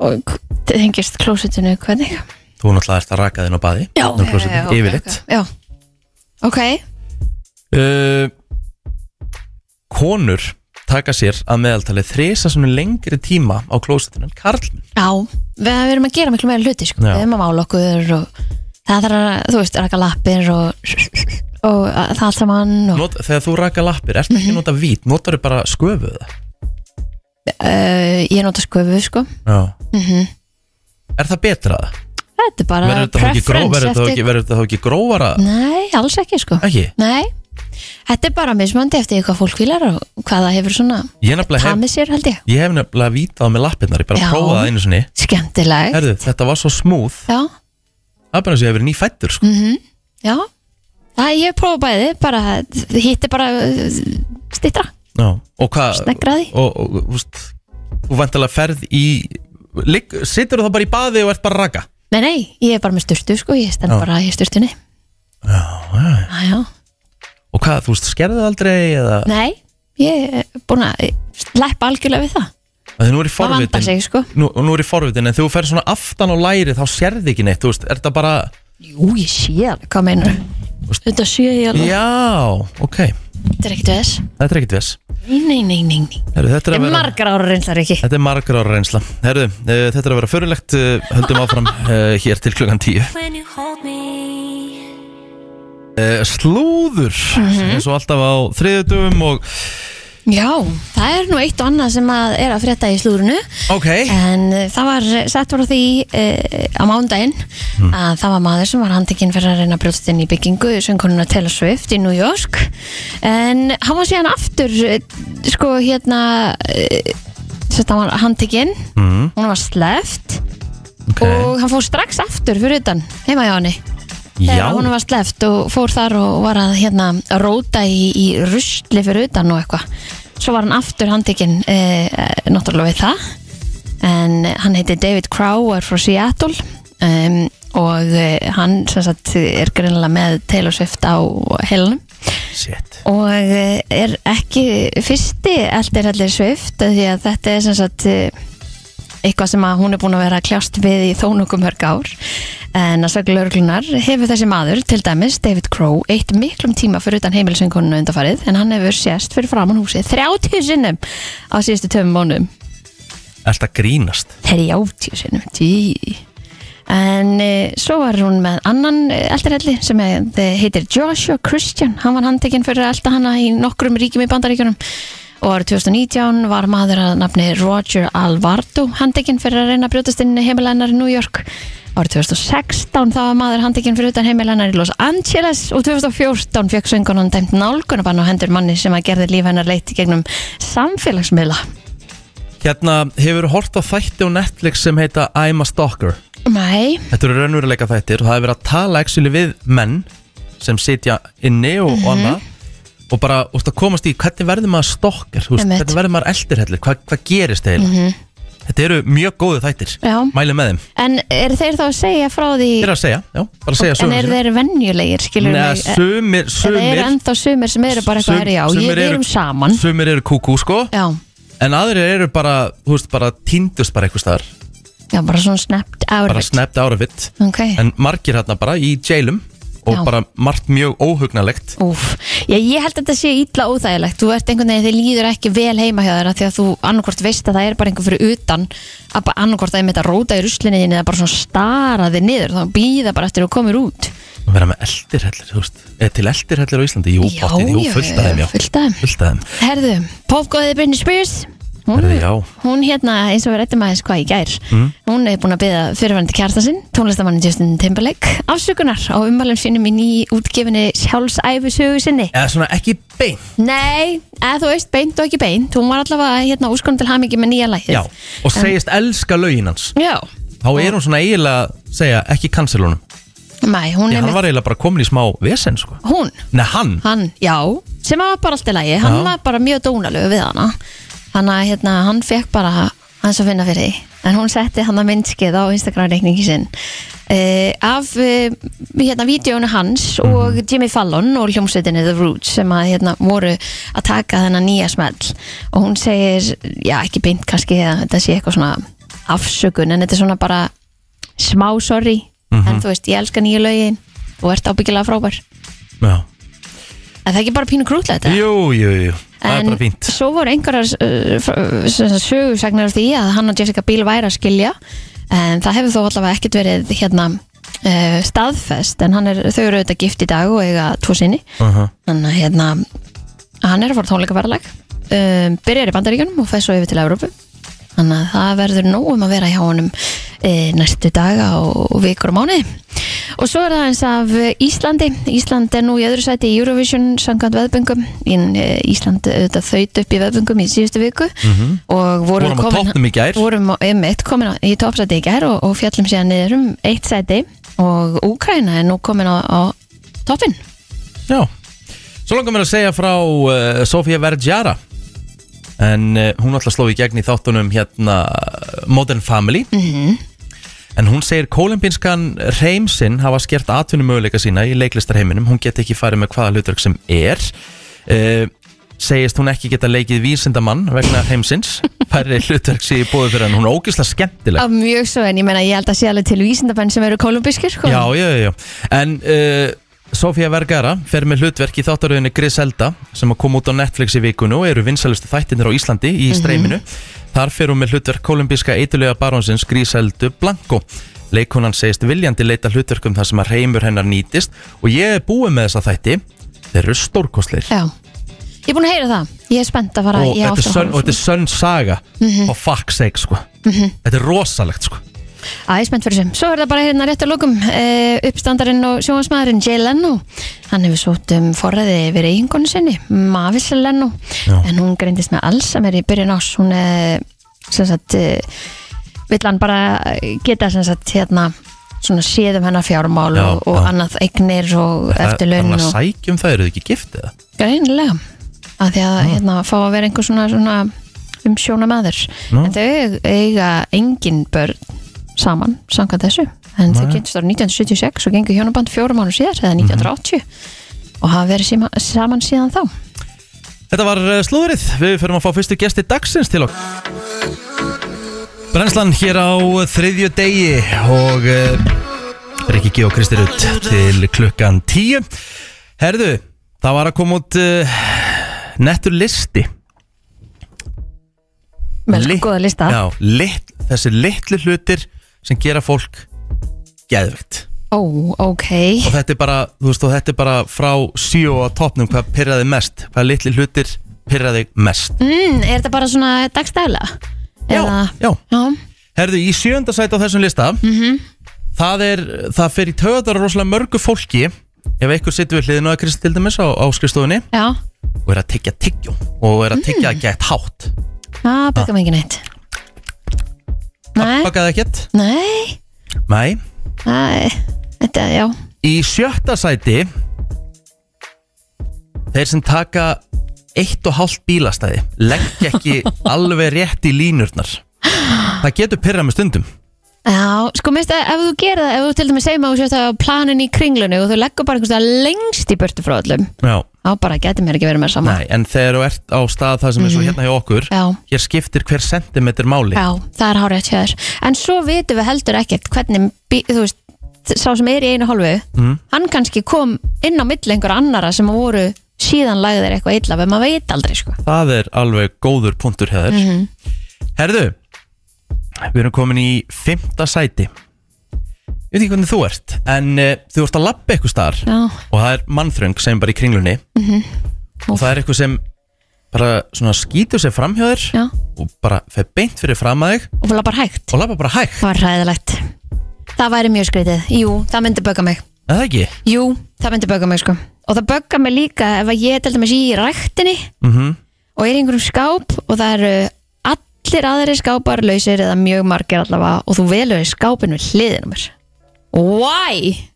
[SPEAKER 2] Og það hengist klósundinu hvernig?
[SPEAKER 1] Þú náttúrulega ert að raka þinn á baði
[SPEAKER 2] Já,
[SPEAKER 1] Nú klósettið,
[SPEAKER 2] já, já, ok,
[SPEAKER 1] yfirleitt.
[SPEAKER 2] ok, Já, ok,
[SPEAKER 1] uh, Konur taka sér að meðaltali þrisa svona lengri tíma á klósettinu en karlmenn
[SPEAKER 2] já, við við erum að gera miklu meira hluti, sko,
[SPEAKER 1] Já.
[SPEAKER 2] við erum að mála okkur og það þarf að, þú veist, raka lappir og, og að- það allt saman og,
[SPEAKER 1] Not, Þegar þú raka lappir, ertu
[SPEAKER 2] Mhm.
[SPEAKER 1] ekki að nota vít notarðu bara sköfuð það
[SPEAKER 2] uh, ég nota sköfu, sko,
[SPEAKER 1] Já Er það betra það?
[SPEAKER 2] þetta er bara
[SPEAKER 1] Verður þetta þá ekki gró- verður þetta þá ekki- verður þetta þá ekki grófara?
[SPEAKER 2] nei, alls ekki, sko,
[SPEAKER 1] Ekki?
[SPEAKER 2] nei, þetta er bara mismandi eftir því hvað fólk vilar og hvað það hefur svona,
[SPEAKER 1] Ég nefnilega hef
[SPEAKER 2] tamið sér, held ég,
[SPEAKER 1] Ég hef nefnilega vítað með lappirnar, ég bara
[SPEAKER 2] Já.
[SPEAKER 1] prófaði það einu sinni
[SPEAKER 2] skemmtileg,
[SPEAKER 1] Herðu, þetta var svo smúð
[SPEAKER 2] já,
[SPEAKER 1] Það er bara eins og ég hef verið nýfættur sko.
[SPEAKER 2] Mhm. já, það ég prófa bæði, bara, hitt er bara uh, stittra,
[SPEAKER 1] Já. Og hvað
[SPEAKER 2] Snegraði.
[SPEAKER 1] Og, og, og úst, þú vantilega ferð í ligg, Sittur þú þá bara í baði og ert bara að raka
[SPEAKER 2] Nei, nei, ég er bara með sturtu sko, ég stend
[SPEAKER 1] Já.
[SPEAKER 2] bara í sturtunni Já, já, já
[SPEAKER 1] Og hvað, þú veist, skerðu það aldrei eða,
[SPEAKER 2] Nei, ég er búin að eh, sleppa algjörlega við það
[SPEAKER 1] að því nú er í
[SPEAKER 2] Það vandar
[SPEAKER 1] forvitin
[SPEAKER 2] sig, sko
[SPEAKER 1] nú, og nú er í forvitin, en þegar þú fer svona aftan á læri þá sérði ekki neitt, þú veist, er það bara
[SPEAKER 2] Jú, ég sé alveg, hvað meinar Þetta sé ég alveg,
[SPEAKER 1] já, ok,
[SPEAKER 2] þetta er ekkert við þess
[SPEAKER 1] þetta er ekkit viss
[SPEAKER 2] Nei, nei, nei, nei, nei
[SPEAKER 1] Heru, þetta, er
[SPEAKER 2] Þetta
[SPEAKER 1] að
[SPEAKER 2] er
[SPEAKER 1] vera,
[SPEAKER 2] margar ára reynslar ekki
[SPEAKER 1] þetta er margar ára reynsla Heru, uh, þetta er að vera förulegt uh, höldum áfram uh, hér til klukkan 10 uh, Eh, slúður
[SPEAKER 2] Mhm.
[SPEAKER 1] eins og alltaf á þriðutum og
[SPEAKER 2] Já, það er nú eitt og annað sem að er að frétta í slúrunu
[SPEAKER 1] ok,
[SPEAKER 2] En eh, það var eh, sett voru því uh, á mándaginn
[SPEAKER 1] Hmm.
[SPEAKER 2] að það var maður sem var handtekinn fyrir að reyna að brjóðst inn í byggingu söngkonuna Taylor Swift í New York en hann var síðan aftur eh, sko hérna uh, sett hann var handtekinn
[SPEAKER 1] mm,
[SPEAKER 2] hún var sleft
[SPEAKER 1] ok
[SPEAKER 2] og hann fór strax aftur fyrir utan heima hjá henni
[SPEAKER 1] já,
[SPEAKER 2] þegar hún var sleft og fór þar og var að hérna róta í, í rusli fyrir utan og eitthvað svo var hann aftur handtekinn e, náttúrulega við það en hann heiti David Crow og er frá Seattle um, og e, hann sem sagt er greinlega með Taylor Swift á heilunum
[SPEAKER 1] shit
[SPEAKER 2] og eh, er ekki fyrsti eldir eldir svift því að þetta er sem sagt eh, eitthvað sem að hún er búin að vera að kljást við í þó nokkuð mörg ár en að sögla örglunar hefur þessi maður til dæmis David Crow eitt miklum tíma fyrir utan heimilisöngununa undarfarið en hann hefur sést fyrir framann húsið 30 sinnum á síðustu töfum mánuðum
[SPEAKER 1] Alltaf grínast
[SPEAKER 2] 30 sinnum, tí En e, svo var hún með annan eldarelli sem eh, heitir Joshua Christian, hann var handtekinn fyrir að elda hana í nokkrum ríkjum í bandaríkjunum og árið 2019 var maður að nafni Roger Alvardo handtekinn fyrir að reyna að brjótast inn í heimilennar í New York árið 2016 þá var maður handtekinn fyrir utan heimilennar í Los Angeles og 2014 fekk söngunan dæmt nálgunabann á hendur manni sem að gerði líf hennar leitt í gegnum samfélagsmiðla
[SPEAKER 1] Hérna, hefur hort á þætti á Netflix sem heita I'm a Stalker
[SPEAKER 2] Nei,
[SPEAKER 1] Þetta eru raunveruleika þættir og það er verið að tala actually við menn sem sitja inni og
[SPEAKER 2] Mhm.
[SPEAKER 1] mm annað og bara úst, að komast í hvernig verður maður stokkar, veist,
[SPEAKER 2] Einmitt.
[SPEAKER 1] hvernig verður maður eldirhellir, hvað, hvað gerist þeir
[SPEAKER 2] Mhm.
[SPEAKER 1] Þetta eru mjög góðu þættir,
[SPEAKER 2] Já.
[SPEAKER 1] mæli með þeim
[SPEAKER 2] En eru þeir þá að segja frá því
[SPEAKER 1] Ég er að segja, já, bara að segja
[SPEAKER 2] En
[SPEAKER 1] sögum
[SPEAKER 2] eru þeir venjulegir, skilur
[SPEAKER 1] Nei, sumir,
[SPEAKER 2] Eða eru
[SPEAKER 1] sumir
[SPEAKER 2] ennþá sumir sem eru bara eitthvað
[SPEAKER 1] sum-
[SPEAKER 2] er já,
[SPEAKER 1] sumir
[SPEAKER 2] ég við
[SPEAKER 1] eru-
[SPEAKER 2] erum saman
[SPEAKER 1] Sumir eru kúkú sko
[SPEAKER 2] Já,
[SPEAKER 1] En aðrir eru bara, þú veist, bara týndust bara eitthvað staðar
[SPEAKER 2] já, bara svona snappt árið
[SPEAKER 1] Bara snæpt árafitt
[SPEAKER 2] Ok,
[SPEAKER 1] En margir hérna bara í jailum Og
[SPEAKER 2] Já.
[SPEAKER 1] bara margt mjög óhugnalegt
[SPEAKER 2] úf Já, ég held að þetta sé illa óþægilegt Þú ert einhvern veginn, þið líður ekki vel heima hjá þeirra Því að þú annarkvort veist að það er bara einhver fyrir utan Að bara annarkvort að ég mitt að róta í ruslinni þín Eða bara svona stara þig niður Þá býða bara eftir að þú komir út
[SPEAKER 1] að vera með eldirhellir, þú veist eða til eldirhellir á Íslandi, jú,
[SPEAKER 2] Já,
[SPEAKER 1] bóttið, jú,
[SPEAKER 2] já,
[SPEAKER 1] fullt af þeim,
[SPEAKER 2] já,
[SPEAKER 1] já
[SPEAKER 2] fullt af þeim.
[SPEAKER 1] fullt af þeim,
[SPEAKER 2] Herðu, popgóðið Britney Spears hún,
[SPEAKER 1] Herðu, já. Mm. Hm?
[SPEAKER 2] hún hérna, eins og við rættum aðeins hvað í gær Hún er búin að byggja fyrirvændi kærta sinn Tónlistamannin Justin Timberlake Afsökunar á ummælum sínum í ný útgefinni Sjálfsæfisögu sinni
[SPEAKER 1] eða svona ekki bein
[SPEAKER 2] Nei, eða þú veist beint og ekki beint Hún var allavega hérna úrskonum til hamingi með nýja lægið
[SPEAKER 1] já, og segist elska lögin hans
[SPEAKER 2] Já,
[SPEAKER 1] þá er hún svona eiginlega, að segja, ekki kanselunum
[SPEAKER 2] mæ, hún
[SPEAKER 1] Nei,
[SPEAKER 2] er
[SPEAKER 1] hann
[SPEAKER 2] með
[SPEAKER 1] var eiginlega bara komin í smá vesen, sko
[SPEAKER 2] Hún,
[SPEAKER 1] Nei, hann,
[SPEAKER 2] hann, já, sem var bara allt í lægi Hann
[SPEAKER 1] Já.
[SPEAKER 2] var bara mjög dónalög við hana Þannig að hérna, hann fekk bara hans að finna fyrir því En hún setti hann að myndskið á Instagram-reikningi sinn uh, Af uh, hérna vídjónu hans og Jimmy Fallon og hljómsveitinni The Roots sem að hérna voru að taka þennan nýja smell og hún segir, já ekki beint kannski að þetta sé eitthvað svona afsökun en þetta er svona bara smá sorry en þú veist, ég elska nýju lögin og ert ábyggilega frábær
[SPEAKER 1] já,
[SPEAKER 2] En það er ekki bara pínu krútlega þetta?
[SPEAKER 1] jú, jú, jú það er bara fínt,
[SPEAKER 2] svo voru einhverjar uh, fr- sem sagt sögursagnar af því að hann og Jessica Biel væri að skilja en það hefur þó allavega ekkert verið hérna uh, staðfest en hann er, þau eru auðvitað gift í dag og eiga tvo sinni
[SPEAKER 1] uh -huh.
[SPEAKER 2] þannig að hérna hann er að fara tónleikaferðalag um, byrjar í Bandaríkjunum og fer svo yfir til Evrópu þannig að það verður nóg um að vera hjá honum e, næstu daga og, og vikur og mánuði og svo er það eins af eh, Íslandi Ísland er nú í öðru sæti í Eurovision samkvæmt veðböngum en e, Ísland auðvitað þaut upp í veðböngum í síðustu viku Mhm, og vorum,
[SPEAKER 1] Vorum á
[SPEAKER 2] komin-
[SPEAKER 1] toppnum í gær.
[SPEAKER 2] vorum á- einmitt komin á- í toppsæti í gær og, og fjallum síðan niður um eitt sæti og Úkraina er nú komin á, á toppin
[SPEAKER 1] já svo langar mér að segja frá uh, Sofía Vergiara en uh, hún alltaf sló í gegn í þáttunum hérna Modern Family Eh,
[SPEAKER 2] mm
[SPEAKER 1] en hún segir kólembinskan reymsinn hafa skert atvinnumöguleika sína í leiklistarheiminum hún get ekki farið með hvaða hlutverk sem er uh, segist hún ekki geta leikið vísindamann vegna heimsins færri hlutverk sé í bóðu fyrir hann hún er ógislega skemmtileg
[SPEAKER 2] Af mjög svo, en ég meina ég held að sé alveg til vísindabenn sem eru kolumbískir, sko.
[SPEAKER 1] Já, já, já, já. En uh, Sofía Vergara fer með hlutverk í þáttaröðinu Griselda sem að koma út á Netflix í vikunu og eru vinsælustu þættinir á Íslandi
[SPEAKER 2] Mhm.
[SPEAKER 1] í streyminu. Þar fer hún með hlutverk kolumbíska eitulega barónsins Griseldu Blanco. Leikonan segist viljandi leita hlutverkum þar sem að reymur hennar nýtist og ég er búið með þessa þætti. Þeir eru stórkostlir.
[SPEAKER 2] Já. Ég er búin að heyra það. Ég er spennt að fara
[SPEAKER 1] Og
[SPEAKER 2] ég á
[SPEAKER 1] þetta,
[SPEAKER 2] aftur
[SPEAKER 1] er
[SPEAKER 2] að
[SPEAKER 1] sönn,
[SPEAKER 2] horfa
[SPEAKER 1] og þetta
[SPEAKER 2] á Mhm.
[SPEAKER 1] er sönn saga og fuck sake sko þetta er rosalegt sko
[SPEAKER 2] Æ, ég er spennt fyrir sem. Svo er það bara hérna rétt að lókum uh, uppstandarinn og sjóhansmaðurinn Jay Leno. Hann hefur sótt um forræði yfir eiginkonu sinni, Mavis Leno.
[SPEAKER 1] Já.
[SPEAKER 2] En hún greindist með Alzheimer í byrjun ás. Hún er, sem sagt, uh, vill hann bara geta, sem sagt, hérna, svona séð um hennar fjármál
[SPEAKER 1] Já,
[SPEAKER 2] og, og
[SPEAKER 1] já.
[SPEAKER 2] annað eignir og eftirlaun
[SPEAKER 1] Það er
[SPEAKER 2] og...
[SPEAKER 1] að sækjum það, eru þið ekki giftið það?
[SPEAKER 2] Greinilega að því að
[SPEAKER 1] Ah.
[SPEAKER 2] hérna, fá að vera einhver svona, svona umsjóna maður
[SPEAKER 1] Nú.
[SPEAKER 2] en þau eiga engin börn saman, samkvæmt þessu en þau kynntist ára 1976 og gengur hjónaband fjórum mánu síðar
[SPEAKER 1] Mhm.
[SPEAKER 2] eða 1980 og hafa verið síma, saman síðan þá
[SPEAKER 1] Þetta var eh, slúðrið, við förum að fá fyrstu gesti dagsins til okkur Brennslan hér á þriðju degi og uh, Rikki G og Kristi Rutt til klukkan tíu Herðu, það var að koma út uh, nettur listi
[SPEAKER 2] með
[SPEAKER 1] Lit-
[SPEAKER 2] Lit. góða lista
[SPEAKER 1] Já, lit, þessi litlu hlutir sem gera fólk geðvegt
[SPEAKER 2] ó, ok,
[SPEAKER 1] og þetta er bara, þú veist, og þetta er bara frá síu á topnum hvað pyrraði mest hvað litlu hlutir pyrraði mest
[SPEAKER 2] mm, er þetta bara svona dagstæla? Eða-
[SPEAKER 1] Já, já
[SPEAKER 2] já,
[SPEAKER 1] Herðu, í sjönda sæti á þessum lista
[SPEAKER 2] Mhm.
[SPEAKER 1] það er, það fer í töðar rosalega mörgu fólki ef einhver sittur við hliðinu að Kristi til dæmis á, á skrifstofunni
[SPEAKER 2] já,
[SPEAKER 1] og er að tyggja tyggjó og er að tyggja mm. gett hátt
[SPEAKER 2] það baka mig ekki neitt nei,
[SPEAKER 1] Bakaði ekkert?
[SPEAKER 2] nei,
[SPEAKER 1] Nei
[SPEAKER 2] nei þetta, já,
[SPEAKER 1] Í sjötta sæti þeir sem taka eitt og hálft bílastæði leggja
[SPEAKER 2] *laughs*
[SPEAKER 1] ekki alveg rétt í línurnar það getur pyrra með stundum
[SPEAKER 2] Já, sko minnst að ef þú gerir það, ef þú til dæmis segir maður sérst að planin í kringlunni og þú leggur bara einhvers veginn lengst í börtu frá öllum,
[SPEAKER 1] Já,
[SPEAKER 2] þá bara getur mér ekki verið með saman.
[SPEAKER 1] nei, en þegar þú ert á stað það sem er svo hérna hjá okkur
[SPEAKER 2] Mhm. Já,
[SPEAKER 1] hér skiptir hver sentimeter máli
[SPEAKER 2] já, það er hárið að tjöður. En svo vitum við heldur ekkert hvernig, bí- þú veist, sá sem er í einu hálfu,
[SPEAKER 1] Mm.
[SPEAKER 2] hann kannski kom inn á milli einhverja annara sem voru síðan lagðir eitthvað illa, en maður veit aldrei, sko.
[SPEAKER 1] það er alveg góður punktur heður
[SPEAKER 2] Mhm.
[SPEAKER 1] herðu við erum komin í fymta sæti ég veit ekki hvernig þú ert en uh, þú ert að labba eitthvað starf
[SPEAKER 2] Já,
[SPEAKER 1] og það er mannþröng sem er bara í kringlunni og
[SPEAKER 2] Mhm. Úff.
[SPEAKER 1] það er eitthvað sem bara svona skýtur sér fram hjá þér
[SPEAKER 2] já,
[SPEAKER 1] og bara fer beint fyrir fram að þig
[SPEAKER 2] og fóla bara hægt.
[SPEAKER 1] og labba bara hægt,
[SPEAKER 2] Það var hræðilegt. Það væri mjög skrítið. Jú, það myndi bögga mig.
[SPEAKER 1] er það ekki?
[SPEAKER 2] Jú, það myndi bögga mig sko Og það bögga mig líka ef að ég er til dæmis í ræktinni
[SPEAKER 1] Mm
[SPEAKER 2] og er í einhverjum skáp og það eru allir aðri skápar lausir eða mjög margir allavega og þú velur skápinu hliðinu mér Why?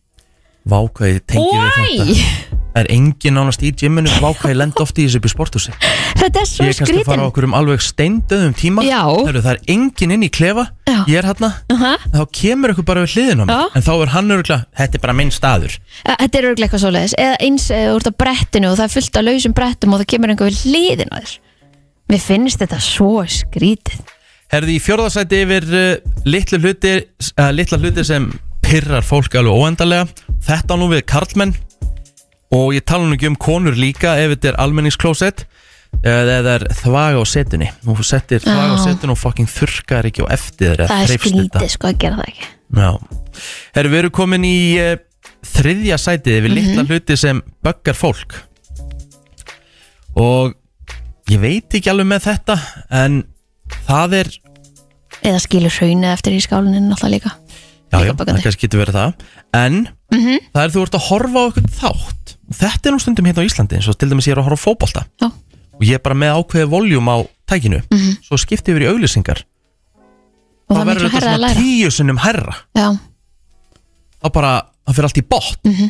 [SPEAKER 1] Vákvæði tengi við þetta
[SPEAKER 2] Why?
[SPEAKER 1] Það er engin nánast í gyminu Vákvæði lenda oft í þessu upp í sporthúsi
[SPEAKER 2] Þetta
[SPEAKER 1] Ég er
[SPEAKER 2] er svo
[SPEAKER 1] kannski að
[SPEAKER 2] skrítin
[SPEAKER 1] fara á okkur um alveg steindöðum tíma
[SPEAKER 2] Já.
[SPEAKER 1] Heru, Það er enginn inn í klefa
[SPEAKER 2] Já.
[SPEAKER 1] Ég er hérna
[SPEAKER 2] Aha.
[SPEAKER 1] Þá kemur ykkur bara við hliðin á mig
[SPEAKER 2] Já.
[SPEAKER 1] En þá er hann örugla Þetta er bara minn staður
[SPEAKER 2] Eh, Þetta er örglega eitthvað svoleiðis eða eins eða úr það brettinu og það er fullt af lausum brettum og það kemur einhver við hliðinu þér Mér finnst þetta svo skrítið
[SPEAKER 1] Herði í fjórðasæti yfir uh, litlu hluti uh, Litla hluti sem pyrrar fólk alveg óendalega Þetta á nú við karlmenn Og ég tala nú ekki um konur líka Ef þetta er almenningsklósett eða það er þvaga á setunni Nú settir þvaga á
[SPEAKER 2] Já.
[SPEAKER 1] setunni og fucking þurkar ekki á eftir þér eða
[SPEAKER 2] Það er
[SPEAKER 1] þreifst þetta.
[SPEAKER 2] skrítið sko að gera það ekki
[SPEAKER 1] Já, herru við erum komin í uh, þriðja sætið
[SPEAKER 2] Mhm.
[SPEAKER 1] við litla hluti sem böggar fólk og ég veit ekki alveg með þetta en það er
[SPEAKER 2] Eða skilur hraunið eftir í skáluninu náttúrulega líka
[SPEAKER 1] já,
[SPEAKER 2] Líka Mhm.
[SPEAKER 1] já,
[SPEAKER 2] böggandi.
[SPEAKER 1] það kannski getur verið það en það er þú ert að horfa á eitthvað þátt og þetta er nú stundum hérna á Íslandi eins og til dæmis ég er að horfa á fótbolta
[SPEAKER 2] Já. Mhm.
[SPEAKER 1] og ég er bara með ákveðið voljum á tækinu svo skipti yfir í auglýsingar
[SPEAKER 2] Og
[SPEAKER 1] þá
[SPEAKER 2] það er
[SPEAKER 1] verður
[SPEAKER 2] miklu
[SPEAKER 1] þetta
[SPEAKER 2] herra að
[SPEAKER 1] svona
[SPEAKER 2] læra
[SPEAKER 1] tíu sinnum herra
[SPEAKER 2] Já
[SPEAKER 1] þá bara, það fyrir allt í bótt
[SPEAKER 2] Mhm.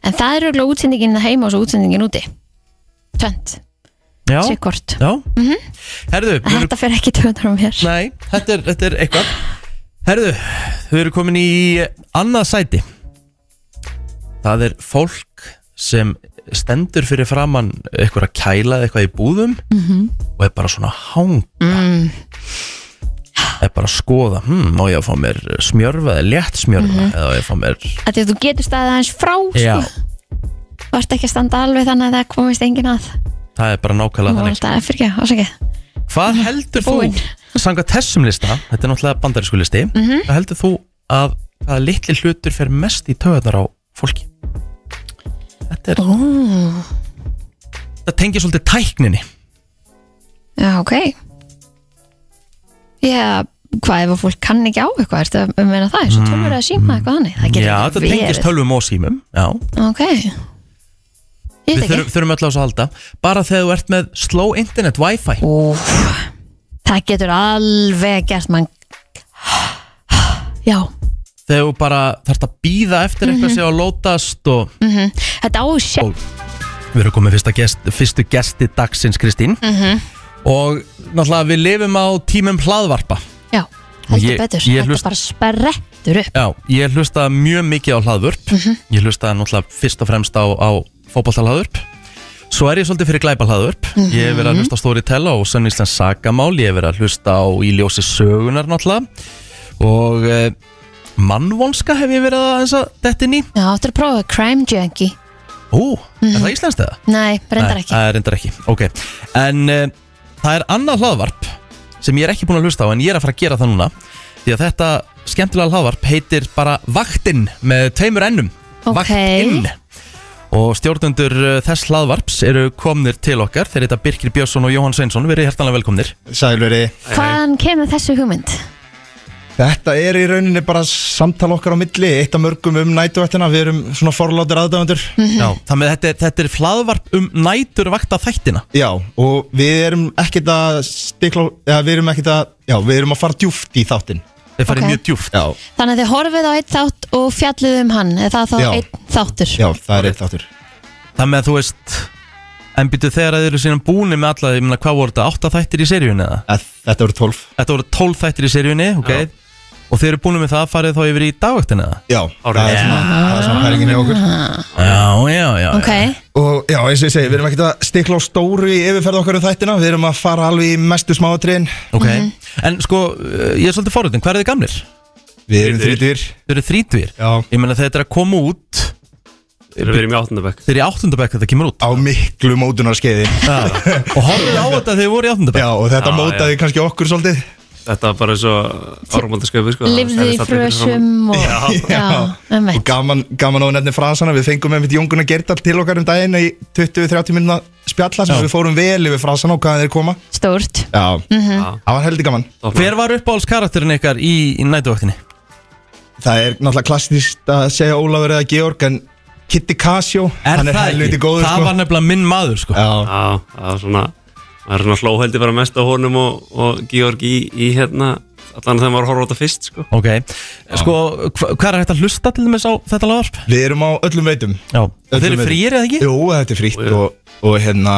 [SPEAKER 2] En það eru auðvitað útsendingin hérna heima og svo útsendingin úti. Tönd,
[SPEAKER 1] já,
[SPEAKER 2] sikkort.
[SPEAKER 1] já. Herðu, við erum
[SPEAKER 2] Þetta fer ekki töndar á mér.
[SPEAKER 1] Nei, þetta er, þetta er eitthvað Herðu, þau eru komin í annað sæti Það er fólk sem stendur fyrir framann eitthvað að kæla eða eitthvað í búðum og er bara svona hang
[SPEAKER 2] mm,
[SPEAKER 1] er bara að skoða, hm, má ég að fá mér smjörfa eða létt smjörfa eða á ég að fá mér
[SPEAKER 2] að því að þú getur staðið aðeins frá
[SPEAKER 1] Já,
[SPEAKER 2] sko. þú ert ekki að standa alveg þannig að það komist engin að
[SPEAKER 1] það er bara nákvæmlega
[SPEAKER 2] Nú var
[SPEAKER 1] þannig
[SPEAKER 2] alltaf fyrir ekki, ásakið
[SPEAKER 1] Hvað heldur
[SPEAKER 2] Búinn.
[SPEAKER 1] þú Sanga þessum lista, þetta er náttúrulega bandarísku listi
[SPEAKER 2] Mhm.
[SPEAKER 1] Hvað heldur þú að hvaða litli hlutur fer mest í töðunar á fólki? Þetta, er,
[SPEAKER 2] Ú,
[SPEAKER 1] þetta tengir svolítið tækninni
[SPEAKER 2] Já, ok Já, hvað ef að fólk kann ekki á eitthvað ertu að meina það, eins og tölur að síma eitthvað þannig það getur
[SPEAKER 1] Mm. Já,
[SPEAKER 2] ekki
[SPEAKER 1] þetta tengist tölvum og símum Já,
[SPEAKER 2] Ok
[SPEAKER 1] við
[SPEAKER 2] Ég veit ekki
[SPEAKER 1] þurfum, þurfum öll á þessu að halda Bara þegar þú ert með slow internet wifi
[SPEAKER 2] Úf, það getur alveg gert mann Já,
[SPEAKER 1] Þegar þú bara þarft að býða eftir
[SPEAKER 2] Mhm.
[SPEAKER 1] eitthvað sem á að lótast og
[SPEAKER 2] þetta á sér
[SPEAKER 1] Og- Við erum komið fyrsta gest, fyrstu gesti dagsins Kristín
[SPEAKER 2] Mhm.
[SPEAKER 1] Og náttúrulega við lifum á tímum hlaðvarpa
[SPEAKER 2] Já, heldur
[SPEAKER 1] Ég-
[SPEAKER 2] betur,
[SPEAKER 1] ég
[SPEAKER 2] þetta
[SPEAKER 1] hlust-
[SPEAKER 2] bara sperrettur upp
[SPEAKER 1] Já, ég hlusta mjög mikið á hlaðvörp
[SPEAKER 2] Mhm.
[SPEAKER 1] Ég hlusta náttúrulega fyrst og fremst á, á fótballtalhlaðvörp Svo er ég svolítið fyrir glæpa hlaðvörp Ég hef
[SPEAKER 2] Mhm.
[SPEAKER 1] verið að hlusta á Storytel og Sönnýslands sagamál Ég hef verið að hlusta á Í ljósi sögunar náttúrulega Og eh, mannvonska hef ég verið að aðeins að detti ný
[SPEAKER 2] Já, þetta er að prófa crime junkie Mhm.
[SPEAKER 1] Ú, er það íslenskt eða?
[SPEAKER 2] Nei, reyndar
[SPEAKER 1] Nei,
[SPEAKER 2] ekki
[SPEAKER 1] það er reyndar ekki, ok En uh, það er annað hlaðvarp sem ég er ekki búin að hlusta á en ég er að fara að gera það núna Því að þetta skemmtilega hlaðvarp heitir bara Vaktinn með tveimur ennum
[SPEAKER 2] Ok.
[SPEAKER 1] Vaktinn Og stjórnundur eh, þess hlaðvarps eru komnir til okkar Þeir heita Birkir Björnsson og Jóhann Sveinsson Verið hjertanlega velkomnir
[SPEAKER 8] Sælveri,
[SPEAKER 2] Hvaðan kemur þessu hugmynd?
[SPEAKER 8] þetta er í rauninni bara samtal okkar á milli, eitt af mörgum um nætuvættina, við erum svona forlátir aðdæfundur.
[SPEAKER 2] Mhm.
[SPEAKER 1] Já, Þannig að þetta er, þetta er hlaðvarp um nætur vakta þættina
[SPEAKER 8] Já, og við erum ekkert að stikla, já, við erum ekkert að, já, við erum að fara djúft í þáttinn.
[SPEAKER 1] Þeir farið
[SPEAKER 2] Ok.
[SPEAKER 1] mjög djúft
[SPEAKER 8] Já,
[SPEAKER 2] Þannig að þið horfið á eitt þátt og fjallið um hann eða það þá
[SPEAKER 8] Já.
[SPEAKER 2] einn þáttur
[SPEAKER 8] já, það er eitt þáttur.
[SPEAKER 1] Þannig að þú veist En býtu þegar að þeir eru síðan búni með alla ég meina, Hvað voru þetta? Átta þættir í seríunni eða?
[SPEAKER 8] Eð- Þetta voru 12.
[SPEAKER 1] Þetta voru 12 þættir í seríunni okay. Og þeir eru búin með það farið þá yfir í dagvaktina
[SPEAKER 8] Já, það er svona, það er svona pælingin í okkur.
[SPEAKER 1] Já, já, já
[SPEAKER 2] Ok,
[SPEAKER 8] Og já, eins og ég segi, við erum ekkert að stikla á stóru í yfirferð okkar um þættina, við erum að fara alveg í mestu smáatriðin.
[SPEAKER 1] okay.
[SPEAKER 2] Mhm.
[SPEAKER 1] En sko, eh, ég er svolítið forröndin Hvað eru þið gamlir?
[SPEAKER 8] Við erum þrítur.
[SPEAKER 1] Þau eru þrítvir
[SPEAKER 8] Já.
[SPEAKER 1] Ég meina þetta er að koma út
[SPEAKER 9] Þegar við erum í áttundabæk
[SPEAKER 1] Þeir eru í áttundabæk þetta kemur út
[SPEAKER 8] Á miklu mótunarskeiði.
[SPEAKER 1] Já. Og horfðu á þetta þegar þið voru í áttundabæk
[SPEAKER 8] Já, og þetta
[SPEAKER 9] Já,
[SPEAKER 8] mótaði kannski okkur svolítið.
[SPEAKER 9] Þetta var bara svo áramaldasköpu sko.
[SPEAKER 2] lifðu í frösum og, já,
[SPEAKER 8] *laughs*
[SPEAKER 2] um
[SPEAKER 8] Og gaman, gaman á að nefni frasana, við fengum einmitt Jónguna Gerdal til okkar um daginn í 20-30 minna spjalla sem
[SPEAKER 1] Já.
[SPEAKER 8] við fórum vel yfir frasana og hvaðan þeir koma.
[SPEAKER 2] stórt
[SPEAKER 8] Já,
[SPEAKER 9] Já.
[SPEAKER 8] það var heldur gaman.
[SPEAKER 1] Hver var uppáhalds karakterin ykkar í, í nætuvaktinni?
[SPEAKER 8] Það er náttúrulega klassist að segja Ólafur eða Georg, en Kitty Casio, hann er helviti góður
[SPEAKER 1] Það
[SPEAKER 8] sko.
[SPEAKER 1] var nefnilega minn maður sko
[SPEAKER 8] Já,
[SPEAKER 9] Já, það var svona Það er svona hlóheldi bara mest á honum og, og Georg í, í hérna allan þegar maður horfði á þetta fyrst sko.
[SPEAKER 1] Ok, sko, hva, hvað er hægt að hlusta til þess á þetta lagarp?
[SPEAKER 8] við erum á öllum veitum.
[SPEAKER 1] Já, þeir
[SPEAKER 8] Öllum
[SPEAKER 1] eru
[SPEAKER 8] veitum.
[SPEAKER 1] frýir eða ekki?
[SPEAKER 8] Jú, þetta er frítt
[SPEAKER 9] Jú, jú.
[SPEAKER 8] og, og hérna,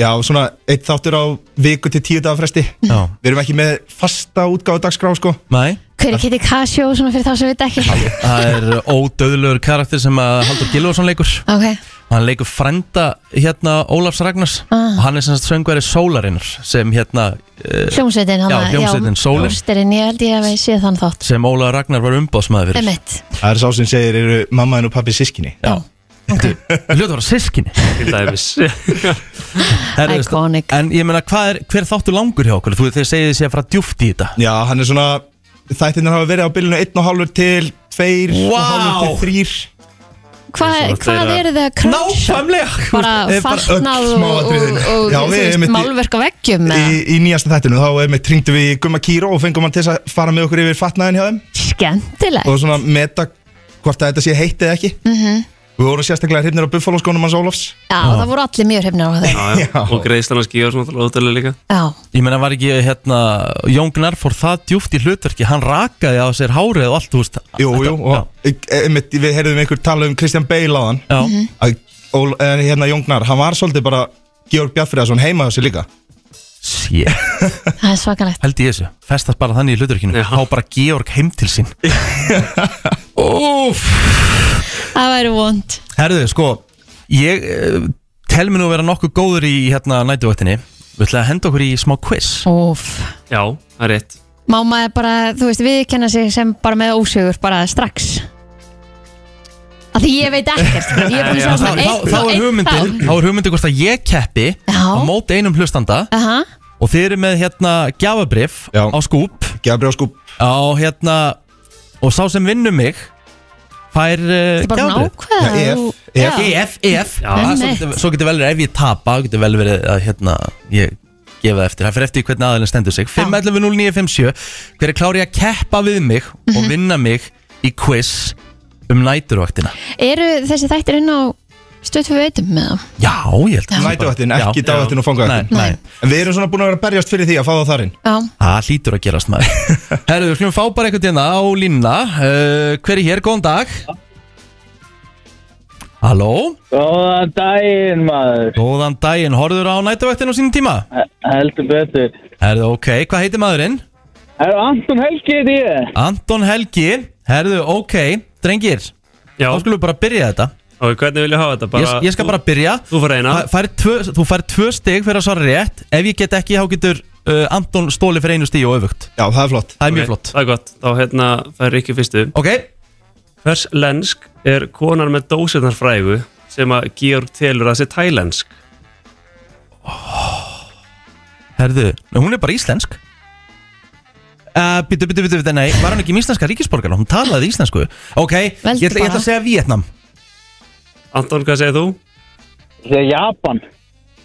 [SPEAKER 8] já, svona eitt þáttur á viku til tíu dagar fresti.
[SPEAKER 1] Já,
[SPEAKER 8] Við erum ekki með fasta útgáðu dagskrá sko.
[SPEAKER 1] næ
[SPEAKER 2] Hver er Kitty Casio svona fyrir þá sem við ekki
[SPEAKER 1] Það er ódöðlegur karakter sem að Haldur Gilvarsson leikur
[SPEAKER 2] Ok,
[SPEAKER 1] Hann leikur frenda hérna Ólafs Ragnars
[SPEAKER 2] Ah.
[SPEAKER 1] og hann er sem sagt söngveri Sólarinnar sem hérna uh,
[SPEAKER 2] hljómsveitin hann
[SPEAKER 1] Já,
[SPEAKER 2] að-
[SPEAKER 1] hljómsveitin Sólir.
[SPEAKER 2] Brústerinn, ég held ég að við séð þann þátt
[SPEAKER 1] sem Ólaf Ragnar var umbóðsmaður fyrir
[SPEAKER 2] Emmett,
[SPEAKER 8] Það er sá sem segir, eru mammaðin og pappi sískinni?
[SPEAKER 1] Já, okay. Hljóta var sískinni
[SPEAKER 9] til dæmis
[SPEAKER 1] *laughs* Herðu, veist,
[SPEAKER 2] Iconic.
[SPEAKER 1] En ég meina, hvað er, hver þáttu langur hjá okkur? Þú veit, þeir segið þessi að fara djúft í þetta
[SPEAKER 8] Já, hann er svona Þættirnir hafa verið á bylunum 1,5 til 2
[SPEAKER 1] Vá!
[SPEAKER 8] og hálfur til 3
[SPEAKER 2] Hvað,
[SPEAKER 9] Svona
[SPEAKER 2] hvað
[SPEAKER 9] þeirra-
[SPEAKER 2] eru þið að krönsa? Bara
[SPEAKER 8] Bara
[SPEAKER 2] farnað
[SPEAKER 8] öll
[SPEAKER 2] og, og,
[SPEAKER 8] smáatriðin.
[SPEAKER 2] og
[SPEAKER 8] Já,
[SPEAKER 2] þú
[SPEAKER 8] við
[SPEAKER 2] veist,
[SPEAKER 8] einmitt í-
[SPEAKER 2] málverk á veggjum
[SPEAKER 8] í,
[SPEAKER 2] með
[SPEAKER 8] í nýjasta þættinu Þá einmitt tringdu við í Gumma Kíró og fengum hann til þess að fara með okkur yfir fatnaðin hjá þeim
[SPEAKER 2] skemmtilegt Mhm.
[SPEAKER 8] og svona meta hvort að þetta sé heitt eða ekki Við vorum sérstaklega hrifnir á Buffalo skónum hans Ólafs
[SPEAKER 2] Já, það voru allir mjög hrifnir á þeim
[SPEAKER 9] já, já.
[SPEAKER 8] Já.
[SPEAKER 9] og greiðslan að skýja svona ótrúlega líka
[SPEAKER 2] Já,
[SPEAKER 1] Ég meina, var ekki, hérna, Jóngnar fór það djúft í hlutverki Hann rakaði á sér hárið og allt, þú veist
[SPEAKER 8] Jú,
[SPEAKER 1] þetta-
[SPEAKER 8] jú,
[SPEAKER 1] já.
[SPEAKER 8] og e- einmitt, við heyrðum einhver tala um Kristján Bale á hann
[SPEAKER 1] Já,
[SPEAKER 8] að Ól- eh, hérna Jóngnar, hann var svolítið bara Georg Bjartfriðarsson heima á sig líka
[SPEAKER 1] Sjétt
[SPEAKER 2] það er svakalegt
[SPEAKER 1] held ég þessu, festast bara þannig í hluturkinu
[SPEAKER 9] Já.
[SPEAKER 1] há bara Georg heim til
[SPEAKER 9] *laughs*
[SPEAKER 1] sín Úf
[SPEAKER 2] það væri vond
[SPEAKER 1] Herðu, sko, ég eh, tel mér nú að vera nokkuð góður í hérna nætuvaktinni Við ætlaði að henda okkur í smá quiz
[SPEAKER 2] Úf.
[SPEAKER 9] Já, það er rétt
[SPEAKER 2] má maður bara, þú veist, viðkenna sig sem bara með ósögur, bara strax af því ég veit ekkert sko, ég er búin að sjá
[SPEAKER 1] Þá, þá,
[SPEAKER 2] svona einn
[SPEAKER 1] þá
[SPEAKER 2] og
[SPEAKER 1] er
[SPEAKER 2] einn
[SPEAKER 1] hugmyndin,
[SPEAKER 2] þátt.
[SPEAKER 1] þá er hugmyndin hvort að ég keppi
[SPEAKER 2] Já.
[SPEAKER 1] á móti einum hlustanda
[SPEAKER 2] Aha.
[SPEAKER 1] og þið eru með hérna gjafabrif
[SPEAKER 8] Já.
[SPEAKER 1] á skúp
[SPEAKER 8] Gabriel Skúp
[SPEAKER 1] á hérna og sá sem vinnur mig fær E, uh,
[SPEAKER 2] Þú bara búin
[SPEAKER 1] gjafabrif
[SPEAKER 2] ákveða
[SPEAKER 8] Já, ef,
[SPEAKER 2] þú-
[SPEAKER 8] ef,
[SPEAKER 2] Já.
[SPEAKER 1] EF, EF
[SPEAKER 9] Já.
[SPEAKER 1] Það er
[SPEAKER 2] Einmitt.
[SPEAKER 1] svolítið- Svo getur vel verið ef ég tapa þá getur vel verið að hérna ég gefa það eftir, það fyrir eftir hvernig aðalinn stendur sig 5.11.09.57 Hver er klárið að keppa við mig
[SPEAKER 2] Mhm.
[SPEAKER 1] og vinna mig í quiz um næturvaktina
[SPEAKER 2] eru þessi þættir inn á stöðt við veitum með það
[SPEAKER 1] Já, ég held að
[SPEAKER 8] Nætuvættin, ekki
[SPEAKER 1] Já.
[SPEAKER 8] dagvættin og
[SPEAKER 1] Nei,
[SPEAKER 8] fangavættin
[SPEAKER 1] nei,
[SPEAKER 8] En við erum svona búin að vera að berjast fyrir því að fá það þarinn
[SPEAKER 2] já,
[SPEAKER 1] það hlýtur að gerast maður
[SPEAKER 8] *laughs*
[SPEAKER 1] Herðu, við skulum fá bara eitthvað hérna á línna uh, Hver er hér, góðan dag Halló,
[SPEAKER 5] Góðan daginn maður,
[SPEAKER 1] góðan daginn, horfður á næturvaktin á sínum tíma?
[SPEAKER 5] heldur betur.
[SPEAKER 1] Herðu, ok, hvað heitir maðurinn?
[SPEAKER 5] Er Anton Helgi þetta ég?
[SPEAKER 1] Anton Helgi, herðu, ok, drengir,
[SPEAKER 9] Já,
[SPEAKER 1] þá skulum við bara byrja þetta
[SPEAKER 9] og hvernig vil ég hafa þetta?
[SPEAKER 1] ég, ég skal bara byrja
[SPEAKER 9] Þú, þú fara eina
[SPEAKER 1] Fa- fær tvö, Þú fær tvö stig fyrir að svara rétt Ef ég get ekki, þá getur uh, Anton stóli fyrir einu stig og öfugt
[SPEAKER 8] Já, það er flott
[SPEAKER 1] Það er
[SPEAKER 9] Ok,
[SPEAKER 1] mjög flott
[SPEAKER 9] Það er gott, þá hérna fær Rikki fyrstu
[SPEAKER 1] Ok,
[SPEAKER 9] Hvers lensk er konan með dósirnar frægu sem að Georg telur að sé tælensk?
[SPEAKER 1] herðu, nei, hún er bara íslensk Uh, bitu, bitu, bitu, bitu, nei, var hann ekki um íslenska ríkisborgar hún talaði íslensku ok, ég, ætla-
[SPEAKER 2] Veldu
[SPEAKER 1] ég ætla
[SPEAKER 2] bara.
[SPEAKER 1] að segja Vietnam
[SPEAKER 9] Anton, hvað segir þú?
[SPEAKER 5] Þetta er Japan.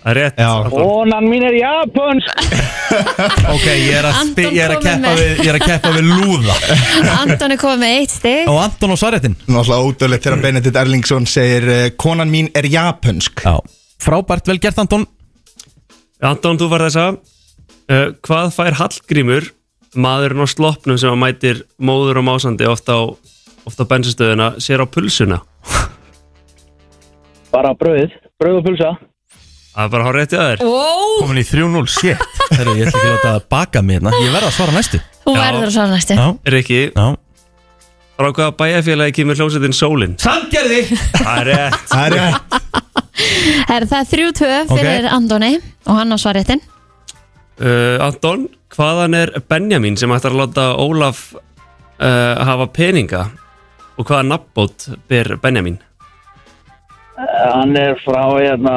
[SPEAKER 9] Það er rétt,
[SPEAKER 8] Já.
[SPEAKER 9] Anton
[SPEAKER 5] Ónan mín er japansk.
[SPEAKER 1] *laughs* ok, ég er að, spi-
[SPEAKER 2] Anton
[SPEAKER 1] ég er að,
[SPEAKER 2] kominn
[SPEAKER 1] keppa,
[SPEAKER 2] með.
[SPEAKER 1] við, ég er að keppa við lúða
[SPEAKER 8] *laughs*
[SPEAKER 2] Anton er komið með eitt stig
[SPEAKER 1] og Anton og svarréttin
[SPEAKER 8] Náttúrulega ódöðlegt
[SPEAKER 1] Mm.
[SPEAKER 8] þegar Benedikt Erlingsson segir eh, Konan mín er japansk
[SPEAKER 1] Já. frábært, vel gert Anton
[SPEAKER 9] Anton, þú fær þessa uh, Hvað fær Hallgrímur maðurinn á sloppnum sem að mætir móður og másandi ofta á, oft á bensinstöðuna sér á pulsuna?
[SPEAKER 5] Bara bröð, bröð og pulsa.
[SPEAKER 9] Það er bara að há rétt í aðeir
[SPEAKER 2] wow,
[SPEAKER 1] komin í 3-0, shit herru, ég ætla ekki að láta það baka mig hérna ég verða að svara næstu
[SPEAKER 2] þú
[SPEAKER 9] Já.
[SPEAKER 2] verður að svara næstu
[SPEAKER 1] Já,
[SPEAKER 9] Rikki,
[SPEAKER 1] já
[SPEAKER 9] frá hvaða bæjarfélagi kemur hljómsveitin Sólin?
[SPEAKER 1] Sandgerði
[SPEAKER 9] Það er
[SPEAKER 1] *laughs*
[SPEAKER 9] rétt
[SPEAKER 8] Það er rétt
[SPEAKER 2] Her, það er 3-2 fyrir
[SPEAKER 1] Ok.
[SPEAKER 2] Andoni og hann á svaréttin
[SPEAKER 9] Uh, Anton, hvaðan er Benjamin sem ætlar að láta Ólaf uh, hafa peninga og hvaða nafnbót ber
[SPEAKER 1] *laughs*
[SPEAKER 9] Benjamin?
[SPEAKER 5] Hann er frá hérna...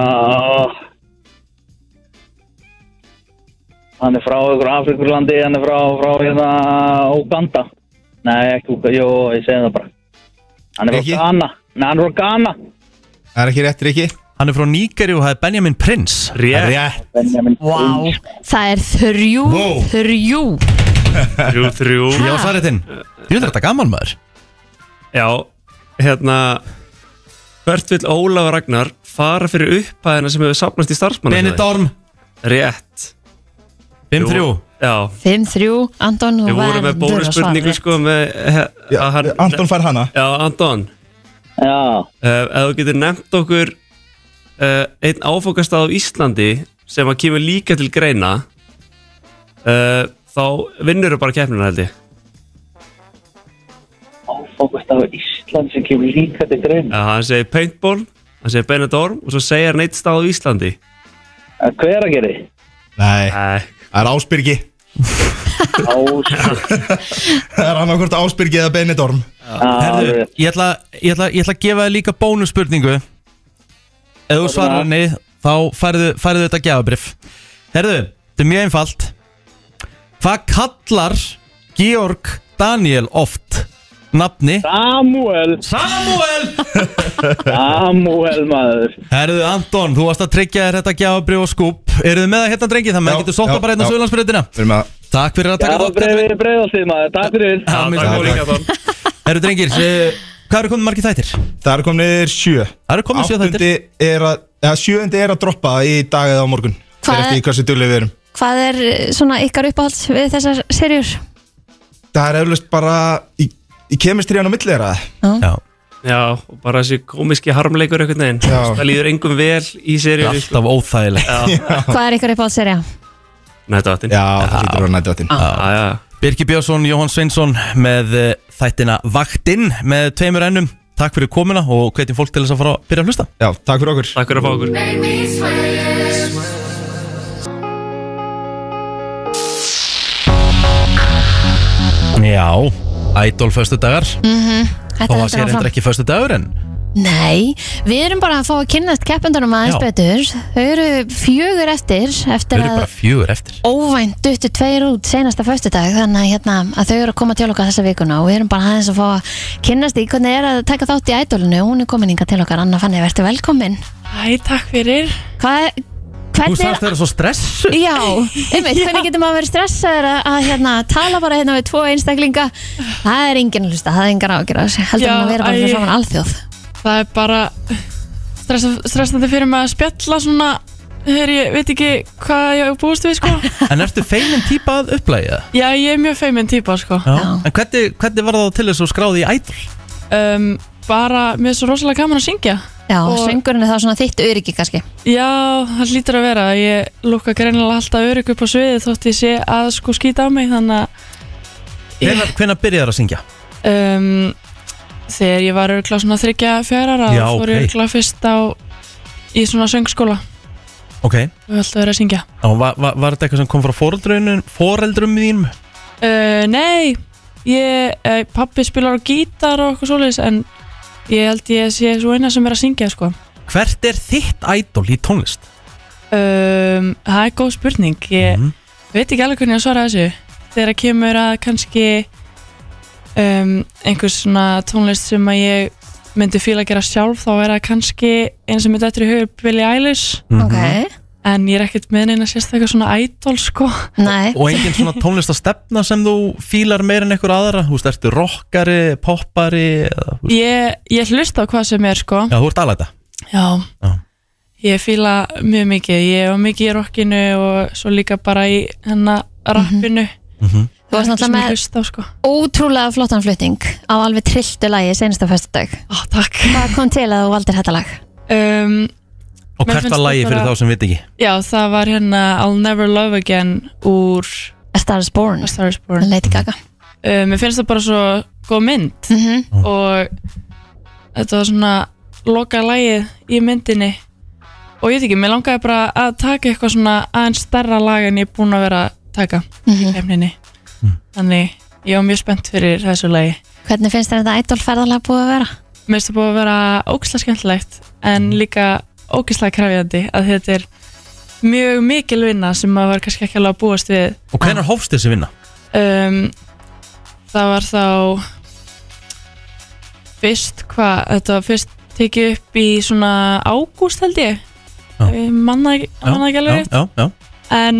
[SPEAKER 5] Hann er frá ykkur Afrikurlandi, hann er frá, frá hérna Uganda. Nei, ekki Uganda, jú, ég segi það bara. Hann er frá
[SPEAKER 8] Ekki?
[SPEAKER 5] Ghana. Nei, hann er frá Ghana.
[SPEAKER 8] Það er ekki rétt, Riki
[SPEAKER 1] Hann er frá Nígeri og það er Benjamin Prince
[SPEAKER 9] Rétt,
[SPEAKER 8] Rétt
[SPEAKER 5] Benjamin.
[SPEAKER 2] wow. það er 3-3
[SPEAKER 8] Wow.
[SPEAKER 9] þrjú, þrjú
[SPEAKER 1] Já, svaretinn Þú veist þetta gaman maður
[SPEAKER 9] Já, hérna Hvert vill Ólaf Ragnar fara fyrir upphæðina sem hefur sapnast í starfsmann
[SPEAKER 1] Benidorm
[SPEAKER 9] Rétt
[SPEAKER 1] 5-3
[SPEAKER 9] Já,
[SPEAKER 2] 5-3 Anton, þú
[SPEAKER 9] við vorum með
[SPEAKER 2] verður að svara
[SPEAKER 9] bónusspurningu
[SPEAKER 2] rétt
[SPEAKER 9] sko með he,
[SPEAKER 8] Já,
[SPEAKER 9] að hann,
[SPEAKER 8] Anton fær hana
[SPEAKER 9] Já, Anton
[SPEAKER 5] Já,
[SPEAKER 9] uh, ef þú getur nefnt okkur uh, einn áfokastað á Íslandi sem að kemur líka til greina uh, þá vinnur þú bara keppnina held ég
[SPEAKER 5] áfangast af Ísland sem kemur líka til greina.
[SPEAKER 9] uh, hann segir paintball, hann segir Benidorm og svo segir hann eitt stað á Íslandi
[SPEAKER 5] Að hver að gera þið?
[SPEAKER 8] Nei,
[SPEAKER 9] uh,
[SPEAKER 8] það er Ásbyrgi
[SPEAKER 5] Ás,
[SPEAKER 8] *laughs* Það er annarkvort Ásbyrgi eða Benidorm
[SPEAKER 5] að,
[SPEAKER 1] Herðu, ég ætla, ég, ætla, ég ætla að gefa þér líka bónusspurningu Ef þú svarar henni þá færðu, færðu þetta gjafabrif Herðu, þetta er mjög einfalt Hvað kallar Georg Daniel oft nafni
[SPEAKER 5] Samuel,
[SPEAKER 1] *laughs* Samuel
[SPEAKER 5] Samuel maður.
[SPEAKER 1] Herðu Anton, þú varst að tryggja þér þetta gjafabrif og skúp Eru þið með það hérna drengi þannig að
[SPEAKER 8] Já,
[SPEAKER 1] getur sótt
[SPEAKER 8] já,
[SPEAKER 1] það bara hérna
[SPEAKER 8] já.
[SPEAKER 1] Söðlandsbreytina
[SPEAKER 8] Við erum að
[SPEAKER 1] Takk fyrir að
[SPEAKER 5] Já,
[SPEAKER 1] taka þátt, Katrín.
[SPEAKER 5] breyðið, breyðið þið maður, takk fyrir.
[SPEAKER 1] Já,
[SPEAKER 9] takk
[SPEAKER 1] mér
[SPEAKER 9] og
[SPEAKER 1] finnst
[SPEAKER 9] líka
[SPEAKER 1] það.
[SPEAKER 9] þá
[SPEAKER 1] Herru drengir, eh, hvað eru komin margir þættir?
[SPEAKER 8] Það er komnir sjö
[SPEAKER 1] Það eru komin sjö þættir
[SPEAKER 8] Áttundi er að eða, Sjöundi er að droppa í dag eða á morgun
[SPEAKER 2] Hvað
[SPEAKER 8] Fyrir
[SPEAKER 2] er-
[SPEAKER 8] eftir hversu dullið við erum
[SPEAKER 2] hvað er eh, svona ykkar uppáhalds við þessar serjur
[SPEAKER 1] *laughs*
[SPEAKER 8] Það er eflaust bara í, í kemistríðan á milli þeirra
[SPEAKER 1] Já,
[SPEAKER 9] *laughs* Já, og bara þessi komiski harmleikur einhvern veginn,
[SPEAKER 8] Já.
[SPEAKER 9] það líður engum vel í
[SPEAKER 1] það er
[SPEAKER 9] seríu
[SPEAKER 1] alltaf óþægilegt
[SPEAKER 9] Já,
[SPEAKER 2] hvað er ykkar uppáhalds serja
[SPEAKER 9] uh, Nættavattin
[SPEAKER 8] Já, það hlýtur að vera nættvættin
[SPEAKER 9] já,
[SPEAKER 1] Birki Björnsson, Jóhann Sveinsson með eh, þættina Vaktinn með tveimur ennum Takk fyrir komuna og hvetjum fólk til þess að fara að byrja að hlusta
[SPEAKER 8] Já, takk fyrir okkur
[SPEAKER 9] Takk fyrir að fá okkur
[SPEAKER 1] Já, Idol föstudagar mm, Þó
[SPEAKER 2] Mhm. Þetta
[SPEAKER 1] að
[SPEAKER 2] heldur
[SPEAKER 1] sé
[SPEAKER 2] áfram.
[SPEAKER 1] reyndir ekki föstudagur en
[SPEAKER 2] Nei, við erum bara að fá að kynnast keppendunum aðeins
[SPEAKER 1] Já.
[SPEAKER 2] betur Þau eru fjögur eftir
[SPEAKER 1] Þau
[SPEAKER 2] eftir
[SPEAKER 1] eru
[SPEAKER 2] að
[SPEAKER 1] bara fjögur eftir
[SPEAKER 2] óvænt duttu tveir út senasta föstudag þannig að, hérna, að þau eru að koma til okkar þessa vikuna og við erum bara aðeins að fá að kynnast í hvernig er að taka þátt í ædolinu hún er komin inga til okkar, Anna Fanny, verður velkomin
[SPEAKER 10] Æ, takk fyrir.
[SPEAKER 2] Hvað,
[SPEAKER 1] Þú
[SPEAKER 2] hvernig
[SPEAKER 1] sagðist
[SPEAKER 2] er
[SPEAKER 1] þeirra svo stressu
[SPEAKER 2] Já, einmitt, hvernig getur maður verið stressaður að, að hérna, tala bara hérna við tvo einstaklinga Það er enginn að hlusta, það er enginn ágjör heldur
[SPEAKER 10] Já,
[SPEAKER 2] maður að vera bara
[SPEAKER 10] æ.
[SPEAKER 2] fyrir saman alþjóð
[SPEAKER 10] Það er bara stressa, stressandi fyrir mig að spjalla svona þegar ég veit ekki hvað ég á að búast við
[SPEAKER 2] *laughs*
[SPEAKER 10] sko.
[SPEAKER 1] En ertu feinin típa að upplægja?
[SPEAKER 10] Já, ég er mjög feimin típa sko.
[SPEAKER 1] Já.
[SPEAKER 2] Já.
[SPEAKER 1] En hvernig, hvernig var það til þess að skráði í Idol?
[SPEAKER 10] Um, bara, mér er svo rosalega gaman að syngja.
[SPEAKER 2] Já,
[SPEAKER 10] Og-
[SPEAKER 2] söngurinn er þá svona þitt öryggi kannski
[SPEAKER 10] Já, það hlýtur að vera. Ég lúka greinilega alltaf örygg upp á sviði þótt ég sé að sko skýta á mig þannig að
[SPEAKER 1] Hvenær, hvenær byrjaði að syngja?
[SPEAKER 10] um, þegar ég var örgla svona þryggja fjárara
[SPEAKER 1] Já,
[SPEAKER 10] fór
[SPEAKER 1] ok.
[SPEAKER 10] ég örgla fyrst á í svona söngskóla
[SPEAKER 1] Ok,
[SPEAKER 10] og alltaf verið að syngja.
[SPEAKER 1] Ná, var, var, var þetta eitthvað sem kom frá foreldrunum, foreldrum þínum?
[SPEAKER 10] Uh, nei, ég, uh, pappi spilar á gítar og eitthvað svoleiðis en ég held ég sé svo eina sem er að syngja sko.
[SPEAKER 1] Hvert er þitt idol í tónlist?
[SPEAKER 10] Um, það er góð spurning, ég
[SPEAKER 1] Mhm.
[SPEAKER 10] veit ekki alveg hvernig ég á að svara þessu. Þegar kemur að kannski um, einhvers svona tónlist sem að ég myndi fíla að gera sjálf þá er það kannski eina sem myndi eftir í hugur Billie Eilish
[SPEAKER 1] Mhm.
[SPEAKER 2] Ok,
[SPEAKER 10] en ég er ekkert með neina sérstaklega svona idol sko.
[SPEAKER 2] nei
[SPEAKER 1] Og engin
[SPEAKER 10] *laughs*
[SPEAKER 1] svona tónlistastefna sem þú fílar meir en einhver aðra? Þú veist, ertu rockari, poppari? Eða, þú veist-
[SPEAKER 10] Ég, ég hlusta á hvað sem er sko.
[SPEAKER 1] já, þú ert aðlæta
[SPEAKER 10] Já.
[SPEAKER 1] Já.
[SPEAKER 10] Ég fíla mjög mikið, ég var mikið í rockinu og svo líka bara í hennar rappinu.
[SPEAKER 2] Þú varst náttúrulega með
[SPEAKER 10] Hlusta, á, sko.
[SPEAKER 2] ótrúlega flottan flutning á alveg trilltu lagi senasta föstudag
[SPEAKER 10] Á, takk.
[SPEAKER 2] Hvað kom til að þú valdir þetta lag?
[SPEAKER 10] Um,
[SPEAKER 1] Og
[SPEAKER 10] Mér
[SPEAKER 1] hvert
[SPEAKER 10] finnst
[SPEAKER 1] var
[SPEAKER 10] það
[SPEAKER 1] lagi fyrir
[SPEAKER 10] bara-
[SPEAKER 1] þá sem við ekki?
[SPEAKER 10] já, það var hérna I'll Never Love Again úr
[SPEAKER 2] A Star is Born,
[SPEAKER 10] A Star Is Born.
[SPEAKER 2] Lady Gaga
[SPEAKER 10] Um, mér finnst það bara svo góð mynd
[SPEAKER 2] mm -hmm.
[SPEAKER 10] og þetta var svona loka lagið í myndinni og ég veit ekki, mér langaði bara að taka eitthvað svona aðeins starra lag en ég er búin að vera að taka.
[SPEAKER 2] Mhm.
[SPEAKER 10] kemninni þannig ég var mjög spennt fyrir þessu lagi
[SPEAKER 2] Hvernig finnst þér þetta idol ferðalag búið að vera?
[SPEAKER 10] mér finnst það búið að vera ógislega skemmtilegt
[SPEAKER 1] Mm.
[SPEAKER 10] en líka ógislega krefjandi að þetta er mjög mikil vinna sem maður var kannski ekki alveg að búast við
[SPEAKER 1] Og hvernig hófst þessi vinna?
[SPEAKER 10] um, það var þá fyrst hvað þetta var fyrst tekið upp í svona ágúst held ég
[SPEAKER 1] Já.
[SPEAKER 10] Ég manna ekki
[SPEAKER 1] Já,
[SPEAKER 10] manna ekki alveg
[SPEAKER 1] já,
[SPEAKER 10] rétt
[SPEAKER 1] já, já.
[SPEAKER 10] en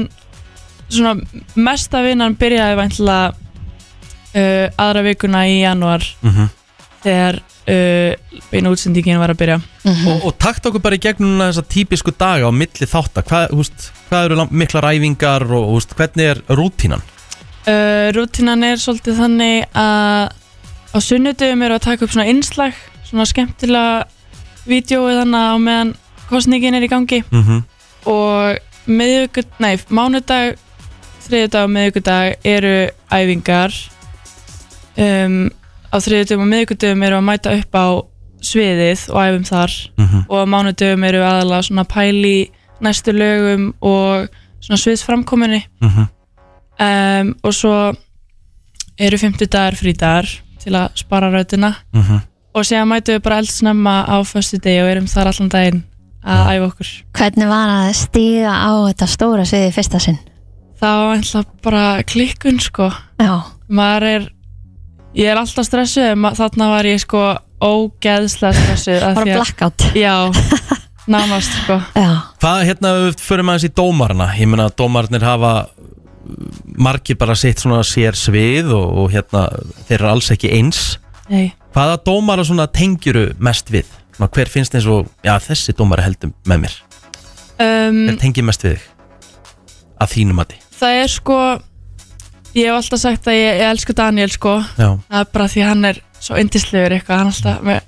[SPEAKER 10] svona mesta vinnan byrjaði væntilega uh, aðra vikuna í janúar
[SPEAKER 1] Mhm.
[SPEAKER 10] þegar uh, beina útsendingin var að byrja
[SPEAKER 1] Og, og takt okkur bara í gegnum núna þessa típisku daga á milli þáttar Hvað, húst, hvað eru lang- miklar æfingar og húst, hvernig er rútínan?
[SPEAKER 10] uh, rútinan er svolítið þannig að á sunnudum eru að taka upp svona innslag svona skemmtilega vídjóið þannig að á meðan kostningin er í gangi
[SPEAKER 1] Mm -hmm.
[SPEAKER 10] og miðvíkud, nei, mánudag þriðjudag og miðvíkudag eru æfingar um, á þriðjudum og miðvíkudum eru að mæta upp á sviðið og æfum þar og á mánudum eru aðalega svona pæli næstu lögum og svona sviðsframkominni um, og svo eru 50 dagar frídagar til að spara rautina og séðan mætu við bara eldsnemma á föstu degi og erum þar allan daginn að æfa okkur
[SPEAKER 2] Hvernig var að stíga á þetta stóra sviði fyrsta sinn?
[SPEAKER 10] Það var alltaf bara klikkun sko
[SPEAKER 2] Já,
[SPEAKER 10] maður er ég er alltaf stressuð en ma- þarna var ég sko ógeðslega stressuð af
[SPEAKER 2] bara
[SPEAKER 10] því að-
[SPEAKER 2] blackout
[SPEAKER 10] já, nánast sko
[SPEAKER 2] Já,
[SPEAKER 1] Hvað hérna, ef við förum aðeins í dómarna Ég meina, dómarnir hafa uh, margir bara sitt svona sér svið og, og hérna, þeir eru alls ekki eins
[SPEAKER 10] Nei.
[SPEAKER 1] Hvaða dómara svona tengjuru mest við? Ná, hver finnst eins og, já, þessi dómara heldur með mér Hver
[SPEAKER 10] um,
[SPEAKER 1] tengir mest við þig? Að þínum að
[SPEAKER 10] það er sko ég hef alltaf sagt að ég, ég elsku Daniel sko
[SPEAKER 1] Já
[SPEAKER 10] það er bara því hann er svo yndislegur eitthvað, hann er alltaf með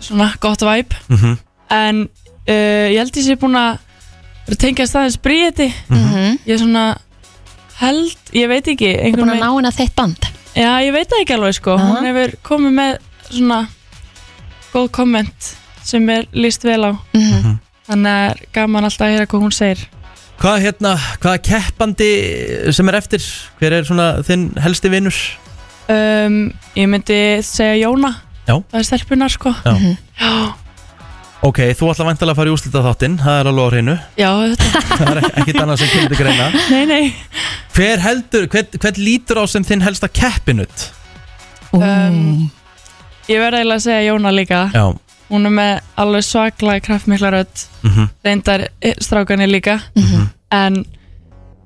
[SPEAKER 10] svona gott væp
[SPEAKER 1] mm
[SPEAKER 10] en uh, ég held ég sé búin að vera að tengja staðins bríði
[SPEAKER 1] Mhm.
[SPEAKER 2] mm -hmm.
[SPEAKER 10] ég er svona held, ég veit ekki Þú er
[SPEAKER 2] búin að ná henni að þitt band
[SPEAKER 10] Já, ég veit það ekki alveg sko Hún hefur komið með svona góð komment sem er líst vel á
[SPEAKER 2] Mhm.
[SPEAKER 10] Þannig að er gaman alltaf að heyra hvað hún segir
[SPEAKER 1] Hvað hérna, hvaða keppandi sem er eftir? Hver er svona þinn helsti vinnur?
[SPEAKER 10] um, Ég myndi segja Jóna
[SPEAKER 1] Já.
[SPEAKER 10] Það er stelpunar sko
[SPEAKER 1] Já.
[SPEAKER 10] Já,
[SPEAKER 1] Mhm. Ok, þú ætla vantilega að fara í úslita þáttinn, það er alveg á hreinu
[SPEAKER 10] Já þetta
[SPEAKER 1] Það er ekkit annað sem kemur til
[SPEAKER 10] *laughs*
[SPEAKER 1] greina
[SPEAKER 10] Nei, nei
[SPEAKER 1] Hver heldur, hvern hver lítur á sem þinn helsta keppinut?
[SPEAKER 10] um, Ég verði eiginlega að segja Jóna líka
[SPEAKER 1] Já,
[SPEAKER 10] Hún er með alveg svaklega kraftmikla rödd
[SPEAKER 1] Mhm.
[SPEAKER 10] Reyndar eh, strákarnir líka En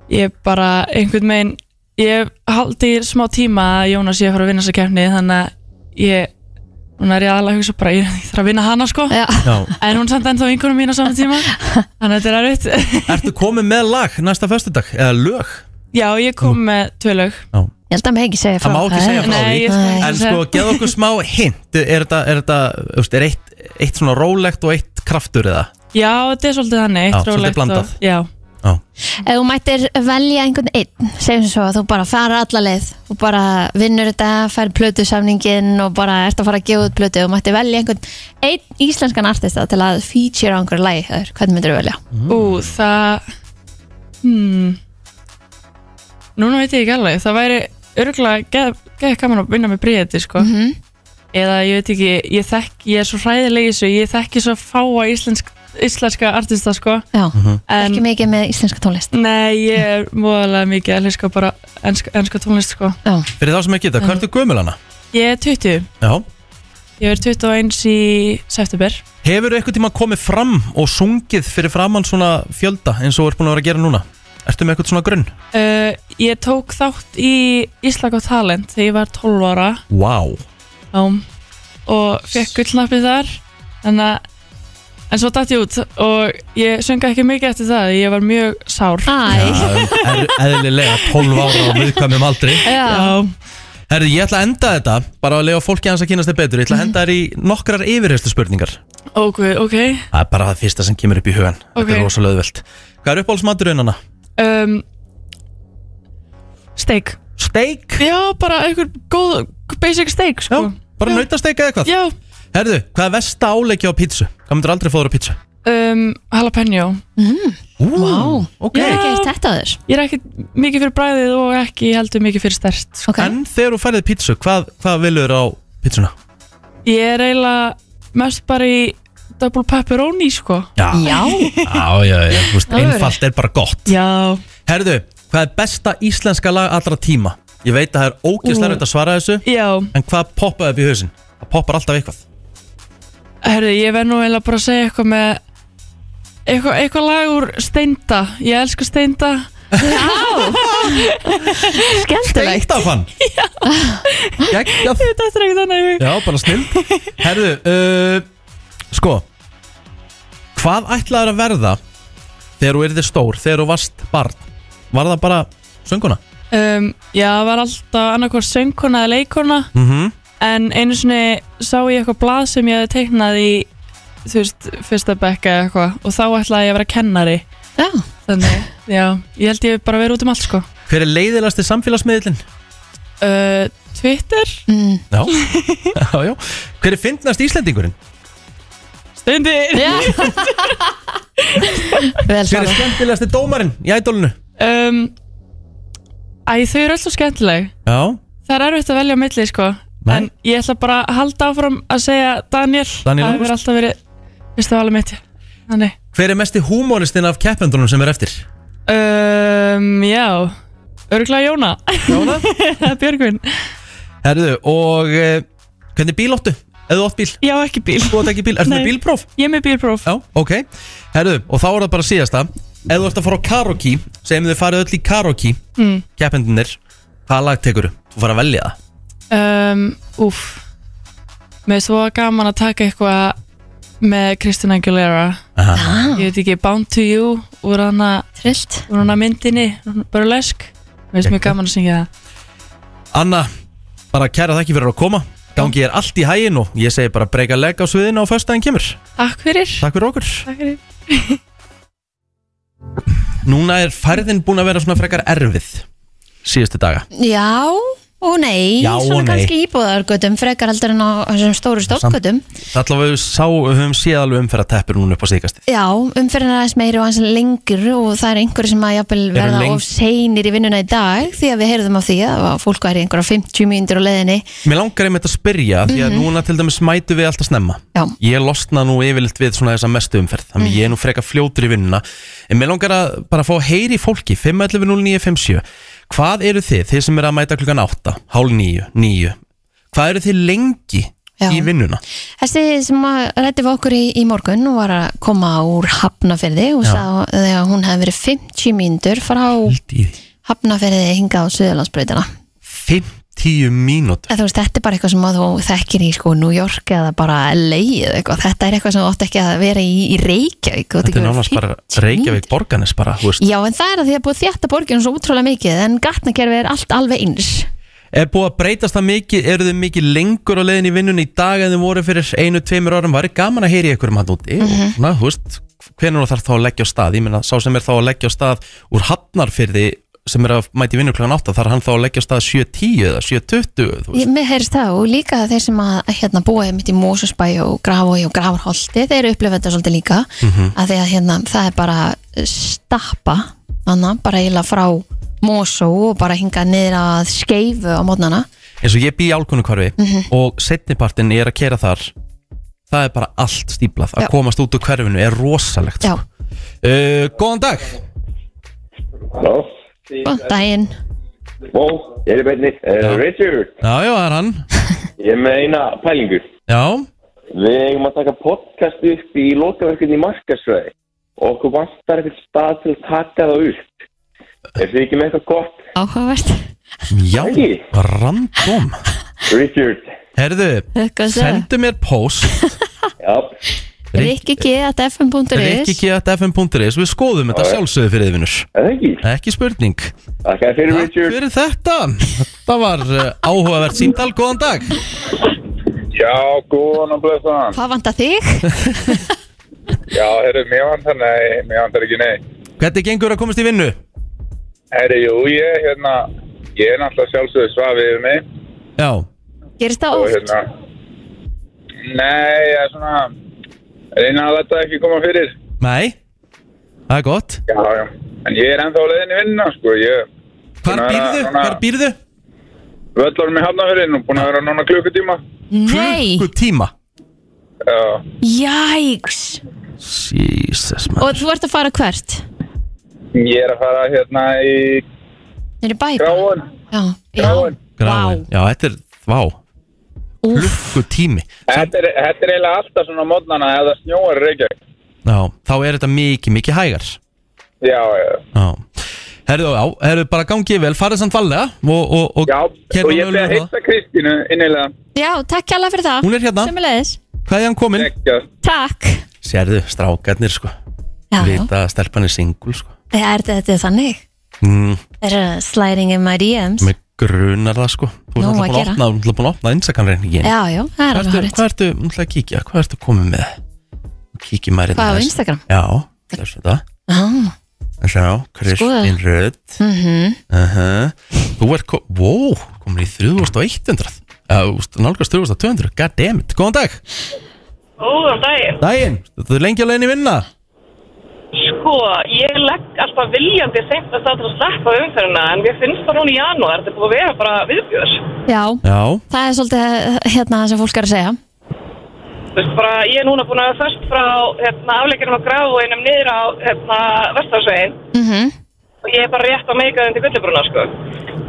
[SPEAKER 10] ég bara einhvern veginn Ég haldi í smá tíma að Jónas ég að fara að vinna þessa keppni Þannig að ég Núna er ég aðalega að hugsa bara Ég ég þarf að vinna hana sko Já.
[SPEAKER 1] Já.
[SPEAKER 10] En hún er samt ennþá vinkunum mín á saman tíma Þannig að þetta er erfitt *laughs*
[SPEAKER 1] Ertu komið með lag næsta föstudag? Eða lög?
[SPEAKER 10] Já, ég kom með tvö lög
[SPEAKER 1] Mm. Já.
[SPEAKER 2] Ég held að maður ekki segja frá
[SPEAKER 1] Það má ekki segja frá
[SPEAKER 10] Nei, ég skal
[SPEAKER 1] því
[SPEAKER 10] ekki
[SPEAKER 1] En
[SPEAKER 10] segja.
[SPEAKER 1] sko, geð okkur smá hint Er þetta, er þetta, þú veist, er eitt, eitt svona rólegt og eitt kraftur eða?
[SPEAKER 10] Já, þetta er svolítið þannig
[SPEAKER 1] Já,
[SPEAKER 10] eitt
[SPEAKER 1] svolítið
[SPEAKER 10] rólegt
[SPEAKER 1] blandað.
[SPEAKER 10] og, Já,
[SPEAKER 2] Ef þú mættir velja einhvern einn segjum sem svo að þú bara fara alla leið og bara vinnur þetta, fær plötu samningin og bara ert að fara að gefa út plötu og mættir velja einhvern einn íslenskan artista til að feature á einhverju lagi hjá þér, hvern myndir þú velja?
[SPEAKER 1] Mm.
[SPEAKER 10] Ú, það hmm. Núna veit ég ekki alveg Það væri örgulega geð, geð gaman að vinna með bríðið sko.
[SPEAKER 2] Mhm.
[SPEAKER 10] Eða ég veit ekki Ég, þekk, ég er svo hræðileg í þessu Ég þekki svo fáa íslensk, íslenska artista sko.
[SPEAKER 2] Já,
[SPEAKER 10] Mhm. En-
[SPEAKER 2] ekki mikið með íslenska tónlist
[SPEAKER 10] Nei, ég er móðalega mikið að hluska bara enska, enska tónlist sko.
[SPEAKER 1] Fyrir þá sem ekki
[SPEAKER 10] Mm.
[SPEAKER 1] þetta, hvað ertu gömul hana?
[SPEAKER 10] Ég er 20
[SPEAKER 1] Já
[SPEAKER 10] Ég er 21 í september
[SPEAKER 1] Hefur eitthvað tíma komið fram og sungið fyrir framann svona fjölda eins og er búin að vera að gera núna? Ertu með eitthvað svona grunn?
[SPEAKER 10] uh, Ég tók þátt í Íslag og Talent þegar ég var 12 ára
[SPEAKER 1] Vá
[SPEAKER 10] Já, og fekk gullnappið þar en, að, en svo datt ég út og ég sönga ekki mikið eftir það ég var mjög sár
[SPEAKER 2] Æ.
[SPEAKER 1] Það er eðlilega 12 ára og viðkvæmum aldrei
[SPEAKER 10] Já.
[SPEAKER 1] Herðu, ég ætla að enda þetta bara að lega fólki hans að kynast þið betur Ég
[SPEAKER 10] Mhm.
[SPEAKER 1] ætla að henda þér í nokkrar yfirheyrslu
[SPEAKER 10] ok, ok
[SPEAKER 1] Það er bara það fyrsta sem kemur upp í hugan Þetta
[SPEAKER 10] Ok.
[SPEAKER 1] er rosalega auðvelt Hvað er uppáhaldsmaturinn hérna? hana?
[SPEAKER 10] um, steik
[SPEAKER 1] steik?
[SPEAKER 10] já, bara einhver góð basic steik sko. já,
[SPEAKER 1] Bara nautasteik eða hvað?
[SPEAKER 10] já,
[SPEAKER 1] Herðu, hvað er vest áleikja á pítsu? Hvað myndir aldrei fóður á pítsu?
[SPEAKER 10] um, jalapeno
[SPEAKER 2] mm.
[SPEAKER 1] Vá, ok.
[SPEAKER 2] Ég hef ekki heyrt þetta áður.
[SPEAKER 10] ég er ekki mikið fyrir bræðið og ekki heldur mikið fyrir stert sko.
[SPEAKER 1] En þegar þú færið pítsu, hvað, hvað vilur á pítsuna?
[SPEAKER 10] ég er eiginlega mest bara í double pepperoni sko.
[SPEAKER 1] Já, *laughs* já, já, já þú veist,
[SPEAKER 10] Það verður.
[SPEAKER 1] einfalt er bara gott
[SPEAKER 10] Já
[SPEAKER 1] Herðu, hvað er besta íslenska lag allra tíma? Ég veit að það er ógeðslega
[SPEAKER 10] Ú.
[SPEAKER 1] raut að svara þessu
[SPEAKER 10] Já.
[SPEAKER 1] En hvað poppaði upp í hausinn? Það poppar alltaf eitthvað
[SPEAKER 10] Herðu, ég verð nú eiginlega bara að segja eitthvað með eitthvað, eitthvað lag úr Steinda Ég elska Steinda *laughs*
[SPEAKER 2] Skemmtilegt
[SPEAKER 1] Steindafann Geggjaf
[SPEAKER 10] Þetta er ekki þannig
[SPEAKER 1] Já, bara snill Herðu, uh, sko Hvað ætlaður að verða Þegar þú yrðir stór, þegar þú varst barn Var það bara sönguna?
[SPEAKER 10] um, Já, það var alltaf annarkvort söngkona eða leikona
[SPEAKER 1] Mm -hmm.
[SPEAKER 10] En einu sinni sá ég eitthvað blað sem ég hefði teiknað í þú veist, fyrsta bekka eða eitthvað og þá ætlaði ég að vera kennari
[SPEAKER 2] Já
[SPEAKER 10] Þannig, já, ég held ég bara verið út um allt sko
[SPEAKER 1] Hver er leiðilegasti samfélagsmiðlinn?
[SPEAKER 10] uh, Twitter
[SPEAKER 2] mm.
[SPEAKER 10] *laughs*
[SPEAKER 1] Já, já, já Hver er fyndnast Íslendingurinn?
[SPEAKER 10] Steindir *laughs*
[SPEAKER 2] Vel
[SPEAKER 1] Hver er skemmtilegasti dómarinn í ædólinu?
[SPEAKER 10] um, Æ, þau eru alltaf skemmtileg
[SPEAKER 1] Já,
[SPEAKER 10] Það er erfitt að velja á milli sko
[SPEAKER 1] Nei.
[SPEAKER 10] En ég ætla bara að halda áfram að segja Daniel
[SPEAKER 1] Daniel
[SPEAKER 10] Það hefur
[SPEAKER 1] Ágúst.
[SPEAKER 10] alltaf verið Vistu valið mitt Þannig
[SPEAKER 1] hver er mesti húmóristinn af keppendunum sem er eftir?
[SPEAKER 10] um, Já Örgulega Jóna
[SPEAKER 1] Jóna?
[SPEAKER 10] *laughs* Björgvin
[SPEAKER 1] Herðu, og uh, hvernig bíl áttu? Eða átt bíl?
[SPEAKER 10] Já, ekki bíl
[SPEAKER 1] Þú átt ekki bíl, ertu með
[SPEAKER 10] Nei.
[SPEAKER 1] bílpróf?
[SPEAKER 10] Ég er með bílpróf
[SPEAKER 1] Já, ok Herðu, og þá er það bara síðasta Ef þú ert að fara á karaoke, segjum þið farið öll í karaoke
[SPEAKER 10] mm.
[SPEAKER 1] Keppendunir, hvaða lag tekur þú? Þú fara að velja það
[SPEAKER 10] um, Úf Mér er svo gaman að taka eitthvað Með Kristina Aguilera
[SPEAKER 1] Aha.
[SPEAKER 10] Ég veit ekki, Bound to You Úr hana
[SPEAKER 2] Trillt
[SPEAKER 10] Úr hana myndinni Burlesk Mér er mjög gaman að syngja það
[SPEAKER 1] Anna, bara kæra þakki fyrir að koma Gangi er allt í hægin og ég segi bara breyka legg á sviðinu á föstudaginn kemur
[SPEAKER 10] Takk fyrir
[SPEAKER 1] Takk fyrir okkur
[SPEAKER 10] Takk fyrir
[SPEAKER 1] Núna er færðin búin að vera svona frekar erfið síðustu daga
[SPEAKER 2] Já og nei,
[SPEAKER 1] Já og
[SPEAKER 2] svona
[SPEAKER 1] nei.
[SPEAKER 2] kannski íbúðargötum frekar heldur en á þessum stóru stóttgötum
[SPEAKER 1] Það allavega við sá, við höfum séð alveg umferða teppur núna upp á síkast
[SPEAKER 2] Já, umferðin er aðeins meiri og aðeins lengur og það er einhverju sem að jafnvel
[SPEAKER 1] Eru
[SPEAKER 2] verða
[SPEAKER 1] leng-
[SPEAKER 2] of seinir í vinnuna í dag því að við heyrðum af því að það var fólk væri einhverja 50 mínútur á leiðinni
[SPEAKER 1] Mér langar einmitt að spyrja því að
[SPEAKER 2] Mhm.
[SPEAKER 1] núna til dæmis mætu við alltaf snemma
[SPEAKER 2] Já. Mhm.
[SPEAKER 1] Ég losna nú yfirleitt við svona þessa mestu umferð Þannig ég er nú frekar fljótur í vinnuna En mér langar að bara fá að heyri fólki 5.11.09.57 Hvað eru þið, þið sem eru að mæta klukkan 8 Hálf 9, 9 Hvað eru þið lengi
[SPEAKER 2] Já.
[SPEAKER 1] í vinnuna?
[SPEAKER 2] Þessi sem að rætti við okkur í, í morgun og var að koma úr Hafnafyrði og
[SPEAKER 1] Já.
[SPEAKER 2] sagði að hún hefði verið 50 mínútur frá Hafnafyrði hingað á Suðurlandsbreytina
[SPEAKER 1] 50 mínútur
[SPEAKER 2] Eða, þú veist, þetta er bara eitthvað sem að þú þekkir í sko New York eða bara LA eða eitthvað. Þetta er eitthvað sem þú átt ekki að vera í, í Reykjavík. Þú átt
[SPEAKER 1] Þetta er
[SPEAKER 2] ekki að vera
[SPEAKER 1] nánast bara Reykjavík borganis bara, þú veist
[SPEAKER 2] Já, en það er að því að búið þjætta borginu svo útrúlega mikið en gatnakerfi er allt alveg eins
[SPEAKER 1] Er búið að breytast það mikið, eru þið mikið lengur á leiðin í vinnunni í dag en þið voru fyrir einu, tveimur árum, var gaman að heyri ykkur um hann úti
[SPEAKER 2] Mhm.
[SPEAKER 1] og svona, þú veist, hvenær þarf þá að leggja á stað, ég meina sá sem er þá að leggja á stað úr hafnarfyrði sem er að mæti vinnu klokkan 8, þarf hann þá að leggja á stað 7.10 eða 7.20 þú veist.
[SPEAKER 2] Ég- Mér heyrst það og líka þeir sem að hérna, búa mitt í Mósusbæ og Grafói og Grafarholti þeir upplifa þetta svolítið líka
[SPEAKER 11] Mhm.
[SPEAKER 2] að því að hérna, það er bara stappa anna, bara eiginlega frá Mósó og bara hinga niður að skeifu á mótnana
[SPEAKER 1] eins og ég bý í álkunukvarfi
[SPEAKER 2] Mhm.
[SPEAKER 1] og setnipartin ég er að kera þar það er bara allt stíplað, að
[SPEAKER 2] Já.
[SPEAKER 1] komast út úr hverfinu er rosalegt
[SPEAKER 2] Já.
[SPEAKER 1] uh, Góðan dag
[SPEAKER 12] Halló,
[SPEAKER 2] Góðan daginn
[SPEAKER 12] Vó, ég er beinni, uh, Richard
[SPEAKER 1] Já, já, það er hann
[SPEAKER 12] *laughs* Ég er með eina pælingu
[SPEAKER 1] Já
[SPEAKER 12] Við eigum að taka podcast upp í lokaverkefni í markasvæði og okkur vantar eitthvað stað til að taka það upp Er þið ekki með eitthvað gott?
[SPEAKER 2] Áhugavert
[SPEAKER 1] Já, random
[SPEAKER 12] Richard
[SPEAKER 1] Herðu,
[SPEAKER 2] Eitthvað að segja.
[SPEAKER 1] sendu mér post
[SPEAKER 12] Já
[SPEAKER 2] rikkig.fm.is
[SPEAKER 1] rikkiki.fm.is Við skoðum þetta sjálfsögðu fyrir þið vinnur
[SPEAKER 12] Ekki
[SPEAKER 1] Ekki spurning
[SPEAKER 12] Takk fyrir Richard
[SPEAKER 1] fyrir þetta Þetta var uh, áhugavert síndal, góðan dag
[SPEAKER 13] Já, góðan og blessaðan.
[SPEAKER 2] Hvað vantar þig?
[SPEAKER 13] Já, herru, mér vantar, nei, mér vantar ekki nei.
[SPEAKER 1] Hvernig gengur að komast í vinnu?
[SPEAKER 13] Herru, jú, ég, hérna, ég er náttúrulega sjálfsögðu svafið yfir mig.
[SPEAKER 1] Já.
[SPEAKER 2] Gerist það
[SPEAKER 13] Og,
[SPEAKER 2] oft?
[SPEAKER 13] hérna, nei, ég er svona, reyna að þetta ekki koma fyrir.
[SPEAKER 1] Nei, það er gott
[SPEAKER 13] Já, já. En ég er ennþá á leiðinni vinnuna, sko, ég...
[SPEAKER 1] Hvar býrðu? Hvar býrðu?
[SPEAKER 13] Völlarum í Hafnafjörðin og búin að vera núna klukkutíma.
[SPEAKER 2] Nei,
[SPEAKER 1] Tíma
[SPEAKER 13] Já.
[SPEAKER 2] jæks
[SPEAKER 1] Jesus man
[SPEAKER 2] Og þú ert að fara hvert?
[SPEAKER 13] Ég er að fara hérna í...
[SPEAKER 2] Niður í bæ? Gráin
[SPEAKER 13] Já,
[SPEAKER 2] Gráin
[SPEAKER 1] Gráin, já, þetta er, vá Klukku tími
[SPEAKER 13] Þetta er, þetta er eiginlega alltaf svona mótnana ef það snjóar í Reykjavík.
[SPEAKER 1] Já, þá er þetta mikið, mikið hægar
[SPEAKER 13] Já, já.
[SPEAKER 1] Já Herðu, já, herðu bara gangið vel, farið samt valega og, og, og um Já,
[SPEAKER 13] og ég byrja að heita Kristínu innilega.
[SPEAKER 2] Já, takk kjalla fyrir það
[SPEAKER 1] Hún er hérna.
[SPEAKER 2] Sömulegis
[SPEAKER 1] Hvað er hann komin?
[SPEAKER 2] Takk
[SPEAKER 1] Sérðu, strákarnir sko
[SPEAKER 2] Já, já.
[SPEAKER 1] Vita að stelpan er singul sko
[SPEAKER 2] Það er þetta er þannig
[SPEAKER 1] mm,
[SPEAKER 2] Það er slæring in my DMs
[SPEAKER 1] Með grunar það sko Þú ert
[SPEAKER 2] Nóg að
[SPEAKER 1] náttúrulega búin
[SPEAKER 2] gera.
[SPEAKER 1] að opna, þú ert náttúrulega búin að opna Instagram-reyningin
[SPEAKER 2] Já, já, það er
[SPEAKER 1] Hvað
[SPEAKER 2] alveg hárið
[SPEAKER 1] ertu, hvað ertu, umtla að kíkja, hvað ertu komið með? Kíkjum maður hérna
[SPEAKER 2] Hvað, á Instagram?
[SPEAKER 1] Já, þessu þetta
[SPEAKER 2] ah,
[SPEAKER 1] Sjá, Kristín Rödd
[SPEAKER 2] mm
[SPEAKER 1] -huh. Þú er kom, wow, komin í 3100 uh, Nálgast 3200, god damn it Góðan dag,
[SPEAKER 14] Góðan daginn.
[SPEAKER 1] daginn, þú er lengi á leiðin í vinna
[SPEAKER 14] Sko, ég legg alltaf viljandi seint að það til að sleppa umferðina en mér finnst það núna í janúar, þetta er búið að vera bara viðbjör.
[SPEAKER 2] Já,
[SPEAKER 1] Já
[SPEAKER 2] það er svolítið hérna það sem fólk er að segja
[SPEAKER 14] Þú veist bara, ég er núna búin að vera först frá hérna, afleikinum á gráinum niður á hérna, vestarsvegin
[SPEAKER 2] mm -hmm.
[SPEAKER 14] og ég er bara rétt á meikaðin til gullibruna, sko.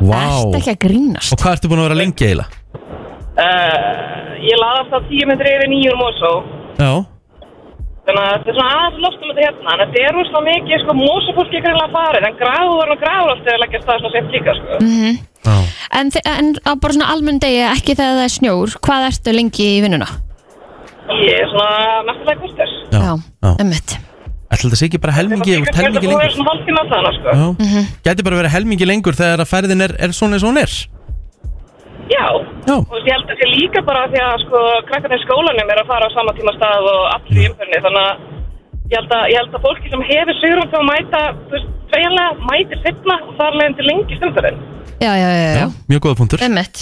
[SPEAKER 1] wow.
[SPEAKER 2] Ertu ekki að grínast
[SPEAKER 1] Og hvað ertu búin að vera lengi eiginlega?
[SPEAKER 14] Uh, ég laði alltaf tíu myndir yfir um nýjur mósó.
[SPEAKER 1] Já,
[SPEAKER 14] Þannig að þetta er svona aðeins loftum þetta hérna, en þetta er rosalega mikið, sko, mósafólki er greinlega farið, en gráður og gráður alltaf er að leggja af stað svona seint líka, sko.
[SPEAKER 2] mm En, þi- en á bara svona almenn degi ekki þegar það er snjór Hvað ertu lengi í vinnuna?
[SPEAKER 14] Ég er svona mestalega kvartir.
[SPEAKER 1] já,
[SPEAKER 2] já. ummitt
[SPEAKER 1] Ætli þetta sé ekki bara helmingi, þú ert helmingi
[SPEAKER 14] Þetta
[SPEAKER 1] lengur
[SPEAKER 14] er svona hálftíma þarna, sko.
[SPEAKER 1] Já, gæti bara að vera helmingi lengur þegar að ferðin er, er svona eins og hún er
[SPEAKER 14] Já. Og þú veist, ég held að sé líka bara því að, sko, krakkarnir í skólanum er að fara á sama tíma
[SPEAKER 1] Mm.
[SPEAKER 14] stað og allir í umfyrni, þannig að ég held að, ég held að fólki sem hefur sigurum til að mæta, þú veist, eiginlega mætir setna og þar leiðin til lengi stundarinn.
[SPEAKER 2] já, já, já, já.
[SPEAKER 1] Mjög góða punktur
[SPEAKER 2] Emmett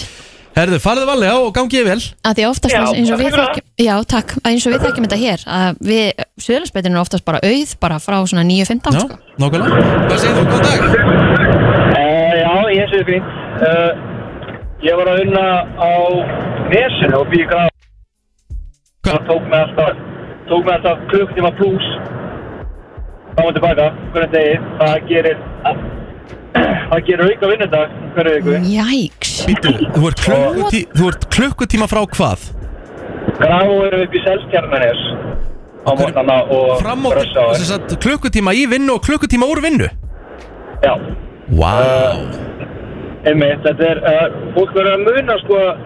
[SPEAKER 1] Herðu, farðu valega og gangi ég vel
[SPEAKER 2] að því að oftast
[SPEAKER 14] Já,
[SPEAKER 2] eins- eins og við
[SPEAKER 14] takk fyrir
[SPEAKER 2] þekkjum já, takk, að eins og við þekkjum þetta hér að við, söðlarsbeitin er oftast bara auð bara frá svona 9.15 sko.
[SPEAKER 1] Nákvæmlega Hvað segir þú? Góðan dag
[SPEAKER 11] Eh, Já, ég sé því uh, Ég var að unna á Vesinu og býði gráð Það tók mig alltaf Tók mig alltaf klukktíma pluss Fram og tilbaka Hvernig degi Það gerir Það gerir auka vinnundag Hverju viku
[SPEAKER 2] Jæks
[SPEAKER 1] Býtu, þú ert, klukkutí, þú ert klukkutíma frá hvað?
[SPEAKER 11] Gráð erum upp í selstjarnanis Á morgnana og
[SPEAKER 1] Fram og
[SPEAKER 11] Brössá
[SPEAKER 1] Sem sagt, klukkutíma í vinnu og klukkutíma úr vinnu
[SPEAKER 11] Já
[SPEAKER 1] Vá wow.
[SPEAKER 11] Eh, Einmitt, þetta er, uh, fólk verður að muna sko að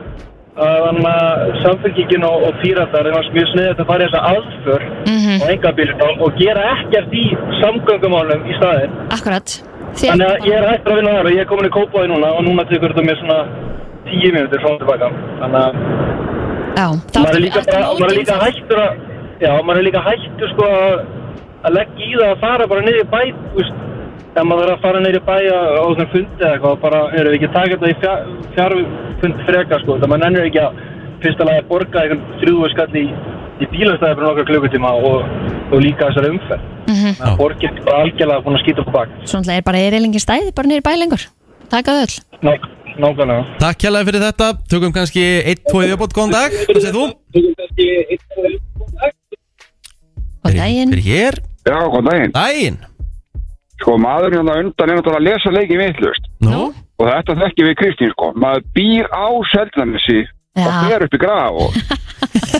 [SPEAKER 11] þannig að samfélkingin og, og píratar, þeim varst mjög sniðið að fara í þessa aðför
[SPEAKER 2] Mhm.
[SPEAKER 11] og engabílunum og gera ekkert í samgöngumálum í staðinn.
[SPEAKER 2] akkurat
[SPEAKER 11] Þannig að ég er hættur að vinna þar og ég er komin í kópaði núna og núna tekur þetta mér svona tíu minútur frá og tilbaka. Þannig að
[SPEAKER 2] já, þá
[SPEAKER 11] maður er líka,
[SPEAKER 2] ertu
[SPEAKER 11] bara, maður er líka
[SPEAKER 2] mótin-
[SPEAKER 11] hættur að, já, maður er líka hættur sko að að leggja í það að fara bara niður í bæ, þú veist, ef maður er að fara niður í bæ á á svona fundi eða eitthvað, bara, erum við ekki að taka þetta í fjar- fjarfund frekar sko, þannig að maður nennir ekki að fyrsta lagi að borga einhvern þrjúðu skall í, í bílastæði fyrir nokkra klukkutíma og, og líka þessari umferð.
[SPEAKER 2] Mhm.
[SPEAKER 11] Þannig að borgin er bara algjörlega búin að skýta upp bak.
[SPEAKER 2] svona er bara erilingi stæði bara niður í bæ lengur takk að öll
[SPEAKER 11] Ná, nákvæmlega.
[SPEAKER 1] Takk hérlega fyrir þetta Tökum kannski 1-2 viðbót, góðan dag Hvað segir þú?
[SPEAKER 2] Góðan daginn
[SPEAKER 1] Er hér?
[SPEAKER 15] Já, góðan daginn
[SPEAKER 1] Daginn
[SPEAKER 15] Sko, maðurinn hérna undan er náttúrulega að lesa leikið vittlust
[SPEAKER 1] Nú?
[SPEAKER 15] Og þetta þekkjum við Kristín, sko Maður býr á Seldanessi og
[SPEAKER 2] Já.
[SPEAKER 15] fer upp í graf
[SPEAKER 2] *laughs*
[SPEAKER 15] og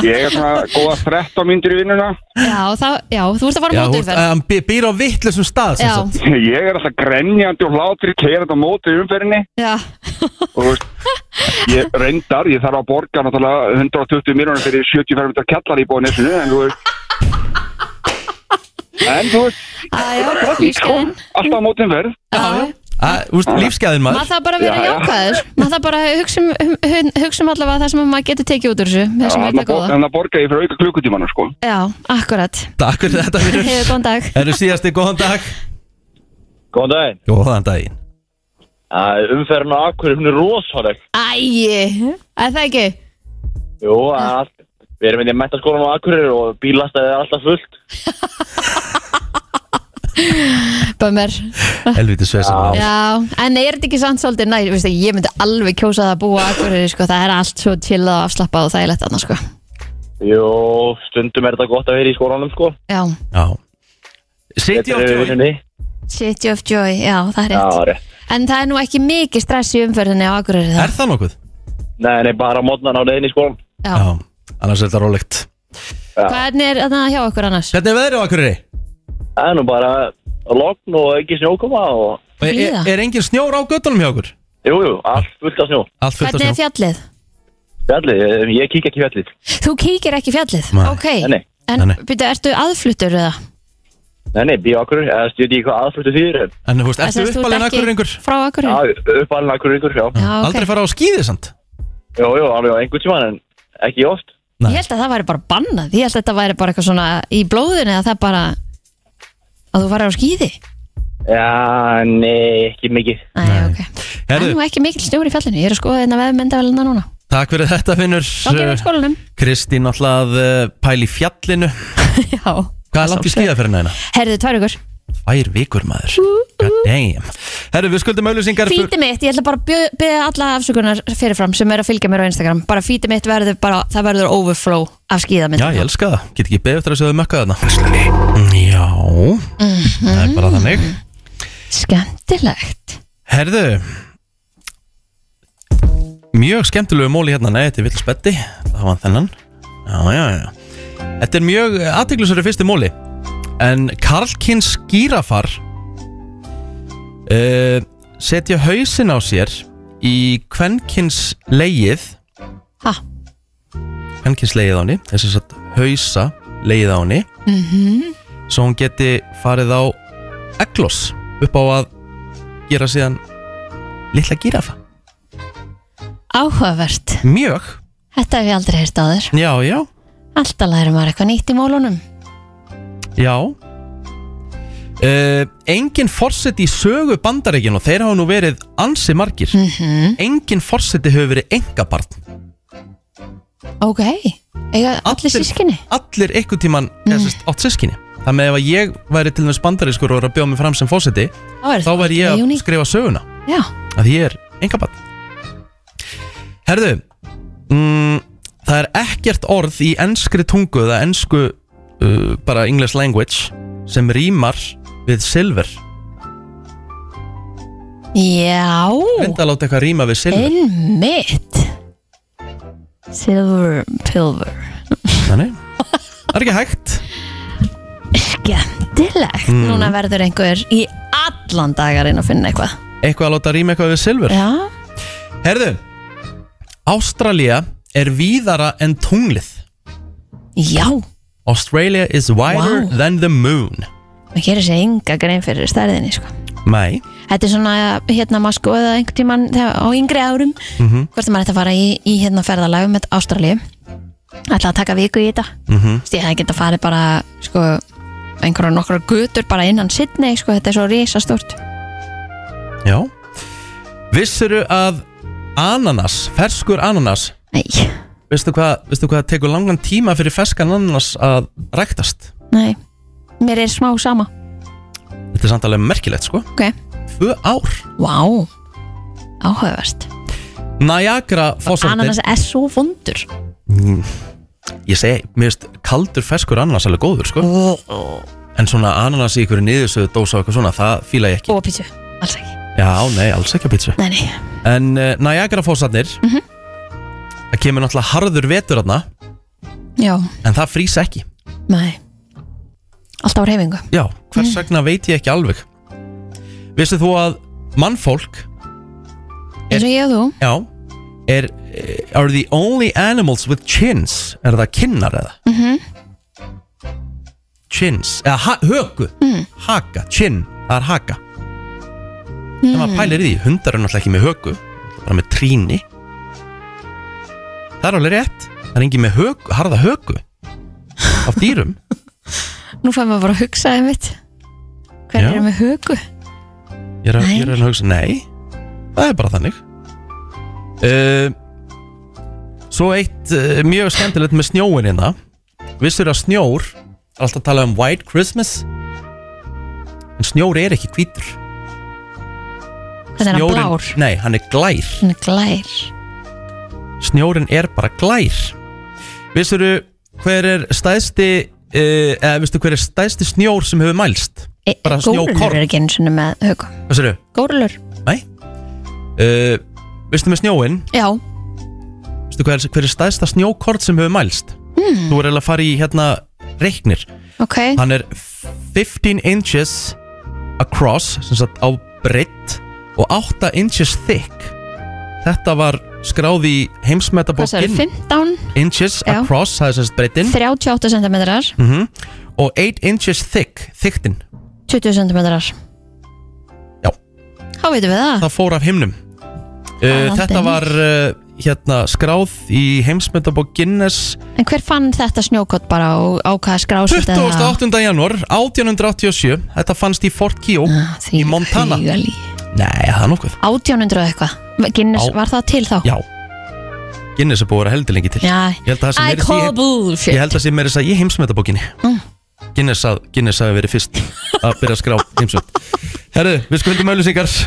[SPEAKER 15] Ég er svona góða 13 myndir í vinnuna
[SPEAKER 2] já, þá, já, þú ert að fara mótið
[SPEAKER 1] að hann by- býr á vittlusum stað sem
[SPEAKER 2] Já.
[SPEAKER 1] sagt.
[SPEAKER 15] Ég er alltaf grenjandi og hlátri keirandi á móti í umferðinni
[SPEAKER 2] já,
[SPEAKER 15] og þú veist Ég reyndar, ég þarf að borga náttúrulega 120 miljonir fyrir 75 minnir kjallar í bóðinesinu En þú veist En þú veist
[SPEAKER 2] Æjá,
[SPEAKER 15] lífskeðin Alltaf á móti um umferð
[SPEAKER 2] já.
[SPEAKER 1] Að, Þú veist, lífsgæðin maður
[SPEAKER 2] maður þarf bara að vera jákvæður maður þarf bara að hugsa um, um- um, hugsa um allavega það sem maður getur tekið út úr þessu það sem er þetta hérna góða
[SPEAKER 15] En það borga ég fyrir auka klukkutímanu, sko
[SPEAKER 2] já, akkurat
[SPEAKER 1] Takk fyrir þetta fyrir
[SPEAKER 2] hefur góðan dag
[SPEAKER 1] Eru síðasti, góðan dag
[SPEAKER 16] Góðan daginn
[SPEAKER 1] Góðan daginn
[SPEAKER 16] Æ, Umferðin á Akureyri, hún er rosaleg
[SPEAKER 2] æji, er það ekki?
[SPEAKER 16] Jú, allt Við erum inn í mentaskólan á Akureyri og bílastæðið er alltaf fullt
[SPEAKER 2] Bömer
[SPEAKER 1] Helviti sveisa
[SPEAKER 2] Já, en er þetta ekki samt svolítið næ, veist ekki, ég myndi alveg kjósa það að búa á Akureyri, sko, það er allt svo chillað og afslappað og þægilegt þarna, sko
[SPEAKER 16] Jú, stundum er þetta gott að vera í skólanum, sko
[SPEAKER 2] Já,
[SPEAKER 1] Já City
[SPEAKER 16] of Joy
[SPEAKER 2] City of Joy, já, það er rétt
[SPEAKER 16] Já, rétt
[SPEAKER 2] En það er nú ekki mikið stress í umferðinni á Akureyri það
[SPEAKER 1] Er það nokkuð?
[SPEAKER 16] Nei, nei, bara mótnan á leiðin í skólan
[SPEAKER 2] Já.
[SPEAKER 1] Annars er þetta rólegt
[SPEAKER 2] Hvernig er þarna hjá okkur annars?
[SPEAKER 1] Hvernig er veðrið á Akureyri?
[SPEAKER 16] Það er nú bara logn og ekki snjókoma og...
[SPEAKER 1] Og Er, er, er engin snjór á göttunum hjá okkur?
[SPEAKER 16] Jú, jú, allt fullt af snjó
[SPEAKER 1] Allt
[SPEAKER 2] Hvernig er fjallið?
[SPEAKER 16] Fjallið, eh, ég kík ekki í fjallið
[SPEAKER 2] Þú kíkir ekki í fjallið?
[SPEAKER 16] Nei.
[SPEAKER 2] Ok,
[SPEAKER 16] Nei, nei.
[SPEAKER 2] en
[SPEAKER 16] Nei, nei.
[SPEAKER 2] byrju, ertu aðfluttur eða?
[SPEAKER 16] Nei, nei, býja okkur, eða stjóti ég hvað aðfluttu þýðir en-
[SPEAKER 1] En þú veist,
[SPEAKER 2] Það
[SPEAKER 1] ertu
[SPEAKER 2] sést, þú ert
[SPEAKER 1] uppalinn
[SPEAKER 2] ekki
[SPEAKER 1] Akureyringur?
[SPEAKER 2] Frá Akureyri?
[SPEAKER 16] Já, uppalinn Akureyringur, já
[SPEAKER 2] Já, ok. Aldrei
[SPEAKER 1] fara á skíði samt?
[SPEAKER 16] Jú, jú, alveg á einhvern tímann en ekki oft
[SPEAKER 2] Ég held að það væri bara bannað, ég held að þetta væri bara eitthvað svona í blóðinu eða það bara að þú farir á skýði
[SPEAKER 16] Já, nei, ekki mikið
[SPEAKER 2] Það er nú ekki mikil snjór í fjallinu, ég er að skoða þetta vefmyndavelina núna.
[SPEAKER 1] Takk fyrir þetta, finnur
[SPEAKER 2] Gangi úr skólanum.
[SPEAKER 1] Kristín alltaf uh, pæli í fjallinu
[SPEAKER 2] Já.
[SPEAKER 1] Hvað er langt í skíðaferðina hérna?
[SPEAKER 2] Herðu, tvær ykkur.
[SPEAKER 1] Tvær vikur maður God damn Herru, við skuldum auðlýsingar
[SPEAKER 2] Fítið mitt, ég ætla bara að byggja alla afsökunar fyrirfram sem er að fylgja mér á Instagram. Bara fítið mitt verður bara, það verður overflow af skíðamynd.
[SPEAKER 1] Já, ég elska það Get ekki beðið eftir að sjöðu mökka þarna Já, það er bara þannig
[SPEAKER 2] Mhm. Skemmtilegt.
[SPEAKER 1] Herðu Mjög skemmtilegu móli hérna Nei, þetta er vill spetti Það var þennan Já, já, já Þetta er mjög aðteglisverið fyrsti móli En Karlkins gírafar uh, Setja hausin á sér Í kvenkins leið
[SPEAKER 2] Ha?
[SPEAKER 1] Kvenkins leið á henni Þess að satt hausa leið á henni
[SPEAKER 2] Mhm.
[SPEAKER 1] Svo hún geti farið á Eglos upp á að gera síðan litla gírafa
[SPEAKER 2] Áhugavert.
[SPEAKER 1] Mjög
[SPEAKER 2] Þetta hef ég aldrei heyrt á þér.
[SPEAKER 1] Já, já,
[SPEAKER 2] Alltaf lærum maður eitthvað nýtt í mólunum.
[SPEAKER 1] já uh, engin forseti í sögu bandaríkinu og þeir hafa nú verið ansi margir
[SPEAKER 2] Mhm.
[SPEAKER 1] engin forseti hefur verið engabarn
[SPEAKER 2] Ok, eiga allir sískinni
[SPEAKER 1] allir einhvern tíman mm. sest, átt sískinni þannig að ef að ég væri til þess bandarískur og var að bjóða mig fram sem forseti
[SPEAKER 2] Þá væri
[SPEAKER 1] þá
[SPEAKER 2] það
[SPEAKER 1] væri ég
[SPEAKER 2] algjörlega
[SPEAKER 1] að
[SPEAKER 2] unique.
[SPEAKER 1] skrifa söguna
[SPEAKER 2] Já,
[SPEAKER 1] að því ég er engabarn Herðu mm, það er ekkert orð í enskri tungu eða ensku uh, bara English language sem rýmar við silver
[SPEAKER 2] já
[SPEAKER 1] reynda að láta eitthvað rýma við silver
[SPEAKER 2] Einmitt Silver Pilver
[SPEAKER 1] Þannig, það er ekki hægt
[SPEAKER 2] Skemmtilegt
[SPEAKER 1] Mm.
[SPEAKER 2] Núna verður einhver í allan dagar inn að finna eitthvað
[SPEAKER 1] eitthvað að láta rýma eitthvað við silver
[SPEAKER 2] Já,
[SPEAKER 1] Herðu Ástralía er víðara en tunglið
[SPEAKER 2] já
[SPEAKER 1] Australia is wider
[SPEAKER 2] Vá.
[SPEAKER 1] than the moon
[SPEAKER 2] Mér gerir sér enga grein fyrir stærðinni sko.
[SPEAKER 1] Nei
[SPEAKER 2] Þetta er svona, hérna maður skoða einhvern tímann þegar- á yngri árum
[SPEAKER 1] Mhm.
[SPEAKER 2] hvort að maður ætti að fara í, í hérna ferðalagum með Ástralíu ætla að taka viku í þetta
[SPEAKER 1] Mhm.
[SPEAKER 2] Þú veist, ég hefði getað farið bara sko, einhverja nokkra gutur bara innan sittni sko, þetta er svo risastort
[SPEAKER 1] Já Vissuru að ananas, ferskur ananas
[SPEAKER 2] Nei
[SPEAKER 1] Veistu hvað, veistu hvað tekur langan tíma fyrir ferskan ananas að ræktast?
[SPEAKER 2] Nei, mér er smá sama
[SPEAKER 1] Þetta er samt alveg merkilegt sko
[SPEAKER 2] Ok,
[SPEAKER 1] Tvö ár
[SPEAKER 2] Vá, áhugavert
[SPEAKER 1] Niagara
[SPEAKER 2] Ananas
[SPEAKER 1] fósaldin
[SPEAKER 2] er svo vondur
[SPEAKER 1] Ég segi, mér veist kaldur ferskur ananas alveg góður sko En svona ananas í ykkur niðursöðu dósa og eitthvað svona, það fíla ég ekki
[SPEAKER 2] og pítsu, alls ekki
[SPEAKER 1] Já, nei, alls ekki á pítsu
[SPEAKER 2] Nei, nei, Mhm.
[SPEAKER 1] En uh, Niagara fósatnir Það kemur náttúrulega harður vetur þarna
[SPEAKER 2] já,
[SPEAKER 1] En það frýs ekki
[SPEAKER 2] nei Alltaf á reyfingu
[SPEAKER 1] Já, hvers vegna veit ég ekki alveg Vistu þú að mannfólk
[SPEAKER 2] eins og ég og þú
[SPEAKER 1] Já er, eh, Are the only animals with chins Er það kinnar eða?
[SPEAKER 2] mm -hmm.
[SPEAKER 1] Chins, eða ha höku Haka, chin, það er haka En maður pælir í því, hundar er náttúrulega ekki með höku Bara með tríni Það er alveg rétt Það er engin með höku, harða höku Af dýrum
[SPEAKER 2] Nú fæðum við bara að hugsa einmitt Hver
[SPEAKER 1] Já.
[SPEAKER 2] er með hugu?
[SPEAKER 1] Ég er, að, ég er að hugsa, nei Það er bara þannig uh, Svo eitt uh, mjög skemmtilegt með snjóin hérna Vissur að snjór er Alltaf að tala um white Christmas En snjór er ekki hvítur
[SPEAKER 2] Hvernig er hann
[SPEAKER 1] Snjórinn-
[SPEAKER 2] blár?
[SPEAKER 1] Nei, hann er glær
[SPEAKER 2] Hann er glær
[SPEAKER 1] Snjórin er bara glær Vissur hver er stæðsti uh, eða vissur hver er stæðsti snjór sem hefur mælst
[SPEAKER 2] e,
[SPEAKER 1] Bara
[SPEAKER 2] Górulur
[SPEAKER 1] snjókorn
[SPEAKER 2] er ekki eins og með hugu
[SPEAKER 1] Vissur
[SPEAKER 2] Górulur,
[SPEAKER 1] Nei uh, Vistu með snjóin
[SPEAKER 2] já
[SPEAKER 1] Vistu hver, hver er staðsta snjókort sem hefur mælst?
[SPEAKER 2] Hmm.
[SPEAKER 1] Þú er eiginlega að fara í hérna reiknir
[SPEAKER 2] Ok,
[SPEAKER 1] Hann er 15 inches across, sem sagt á breytt og 8 inches thick Þetta var skráð í
[SPEAKER 2] hvað það er
[SPEAKER 1] heimsmetabókin
[SPEAKER 2] 15
[SPEAKER 1] inches
[SPEAKER 2] Já.
[SPEAKER 1] across, það er sem sagt breyttin
[SPEAKER 2] 38 cm
[SPEAKER 1] mm og 8 inches thick, thicktin
[SPEAKER 2] 20 cm
[SPEAKER 1] Já.
[SPEAKER 2] Há veitum við það
[SPEAKER 1] það fór af himnum uh,
[SPEAKER 2] Aðalbeinir.
[SPEAKER 1] Þetta var uh, hérna skráð í heimsmetabók Guinness
[SPEAKER 2] En hver fann þetta snjókott bara og ákvaða skrásið
[SPEAKER 1] 28. janúar 1887 Þetta fannst í Fort Keogh
[SPEAKER 2] Ah,
[SPEAKER 1] í Montana
[SPEAKER 2] hugalí.
[SPEAKER 1] Nei, það er nokkuð
[SPEAKER 2] 1800 og eitthvað Guinness,
[SPEAKER 1] Á-
[SPEAKER 2] var það til þá?
[SPEAKER 1] Já Guinness er búið að vera heldur lengi til
[SPEAKER 2] Já.
[SPEAKER 1] Ég held að það sé
[SPEAKER 2] I
[SPEAKER 1] meira
[SPEAKER 2] call
[SPEAKER 1] sig-
[SPEAKER 2] bullshit.
[SPEAKER 1] Ég held að sé meira þess að ég heimsmeta bókinni
[SPEAKER 2] Mm.
[SPEAKER 1] Guinness, að, Guinness hafi verið fyrst að byrja að skrá heimsmet Herru, við skuldum auðlýsingar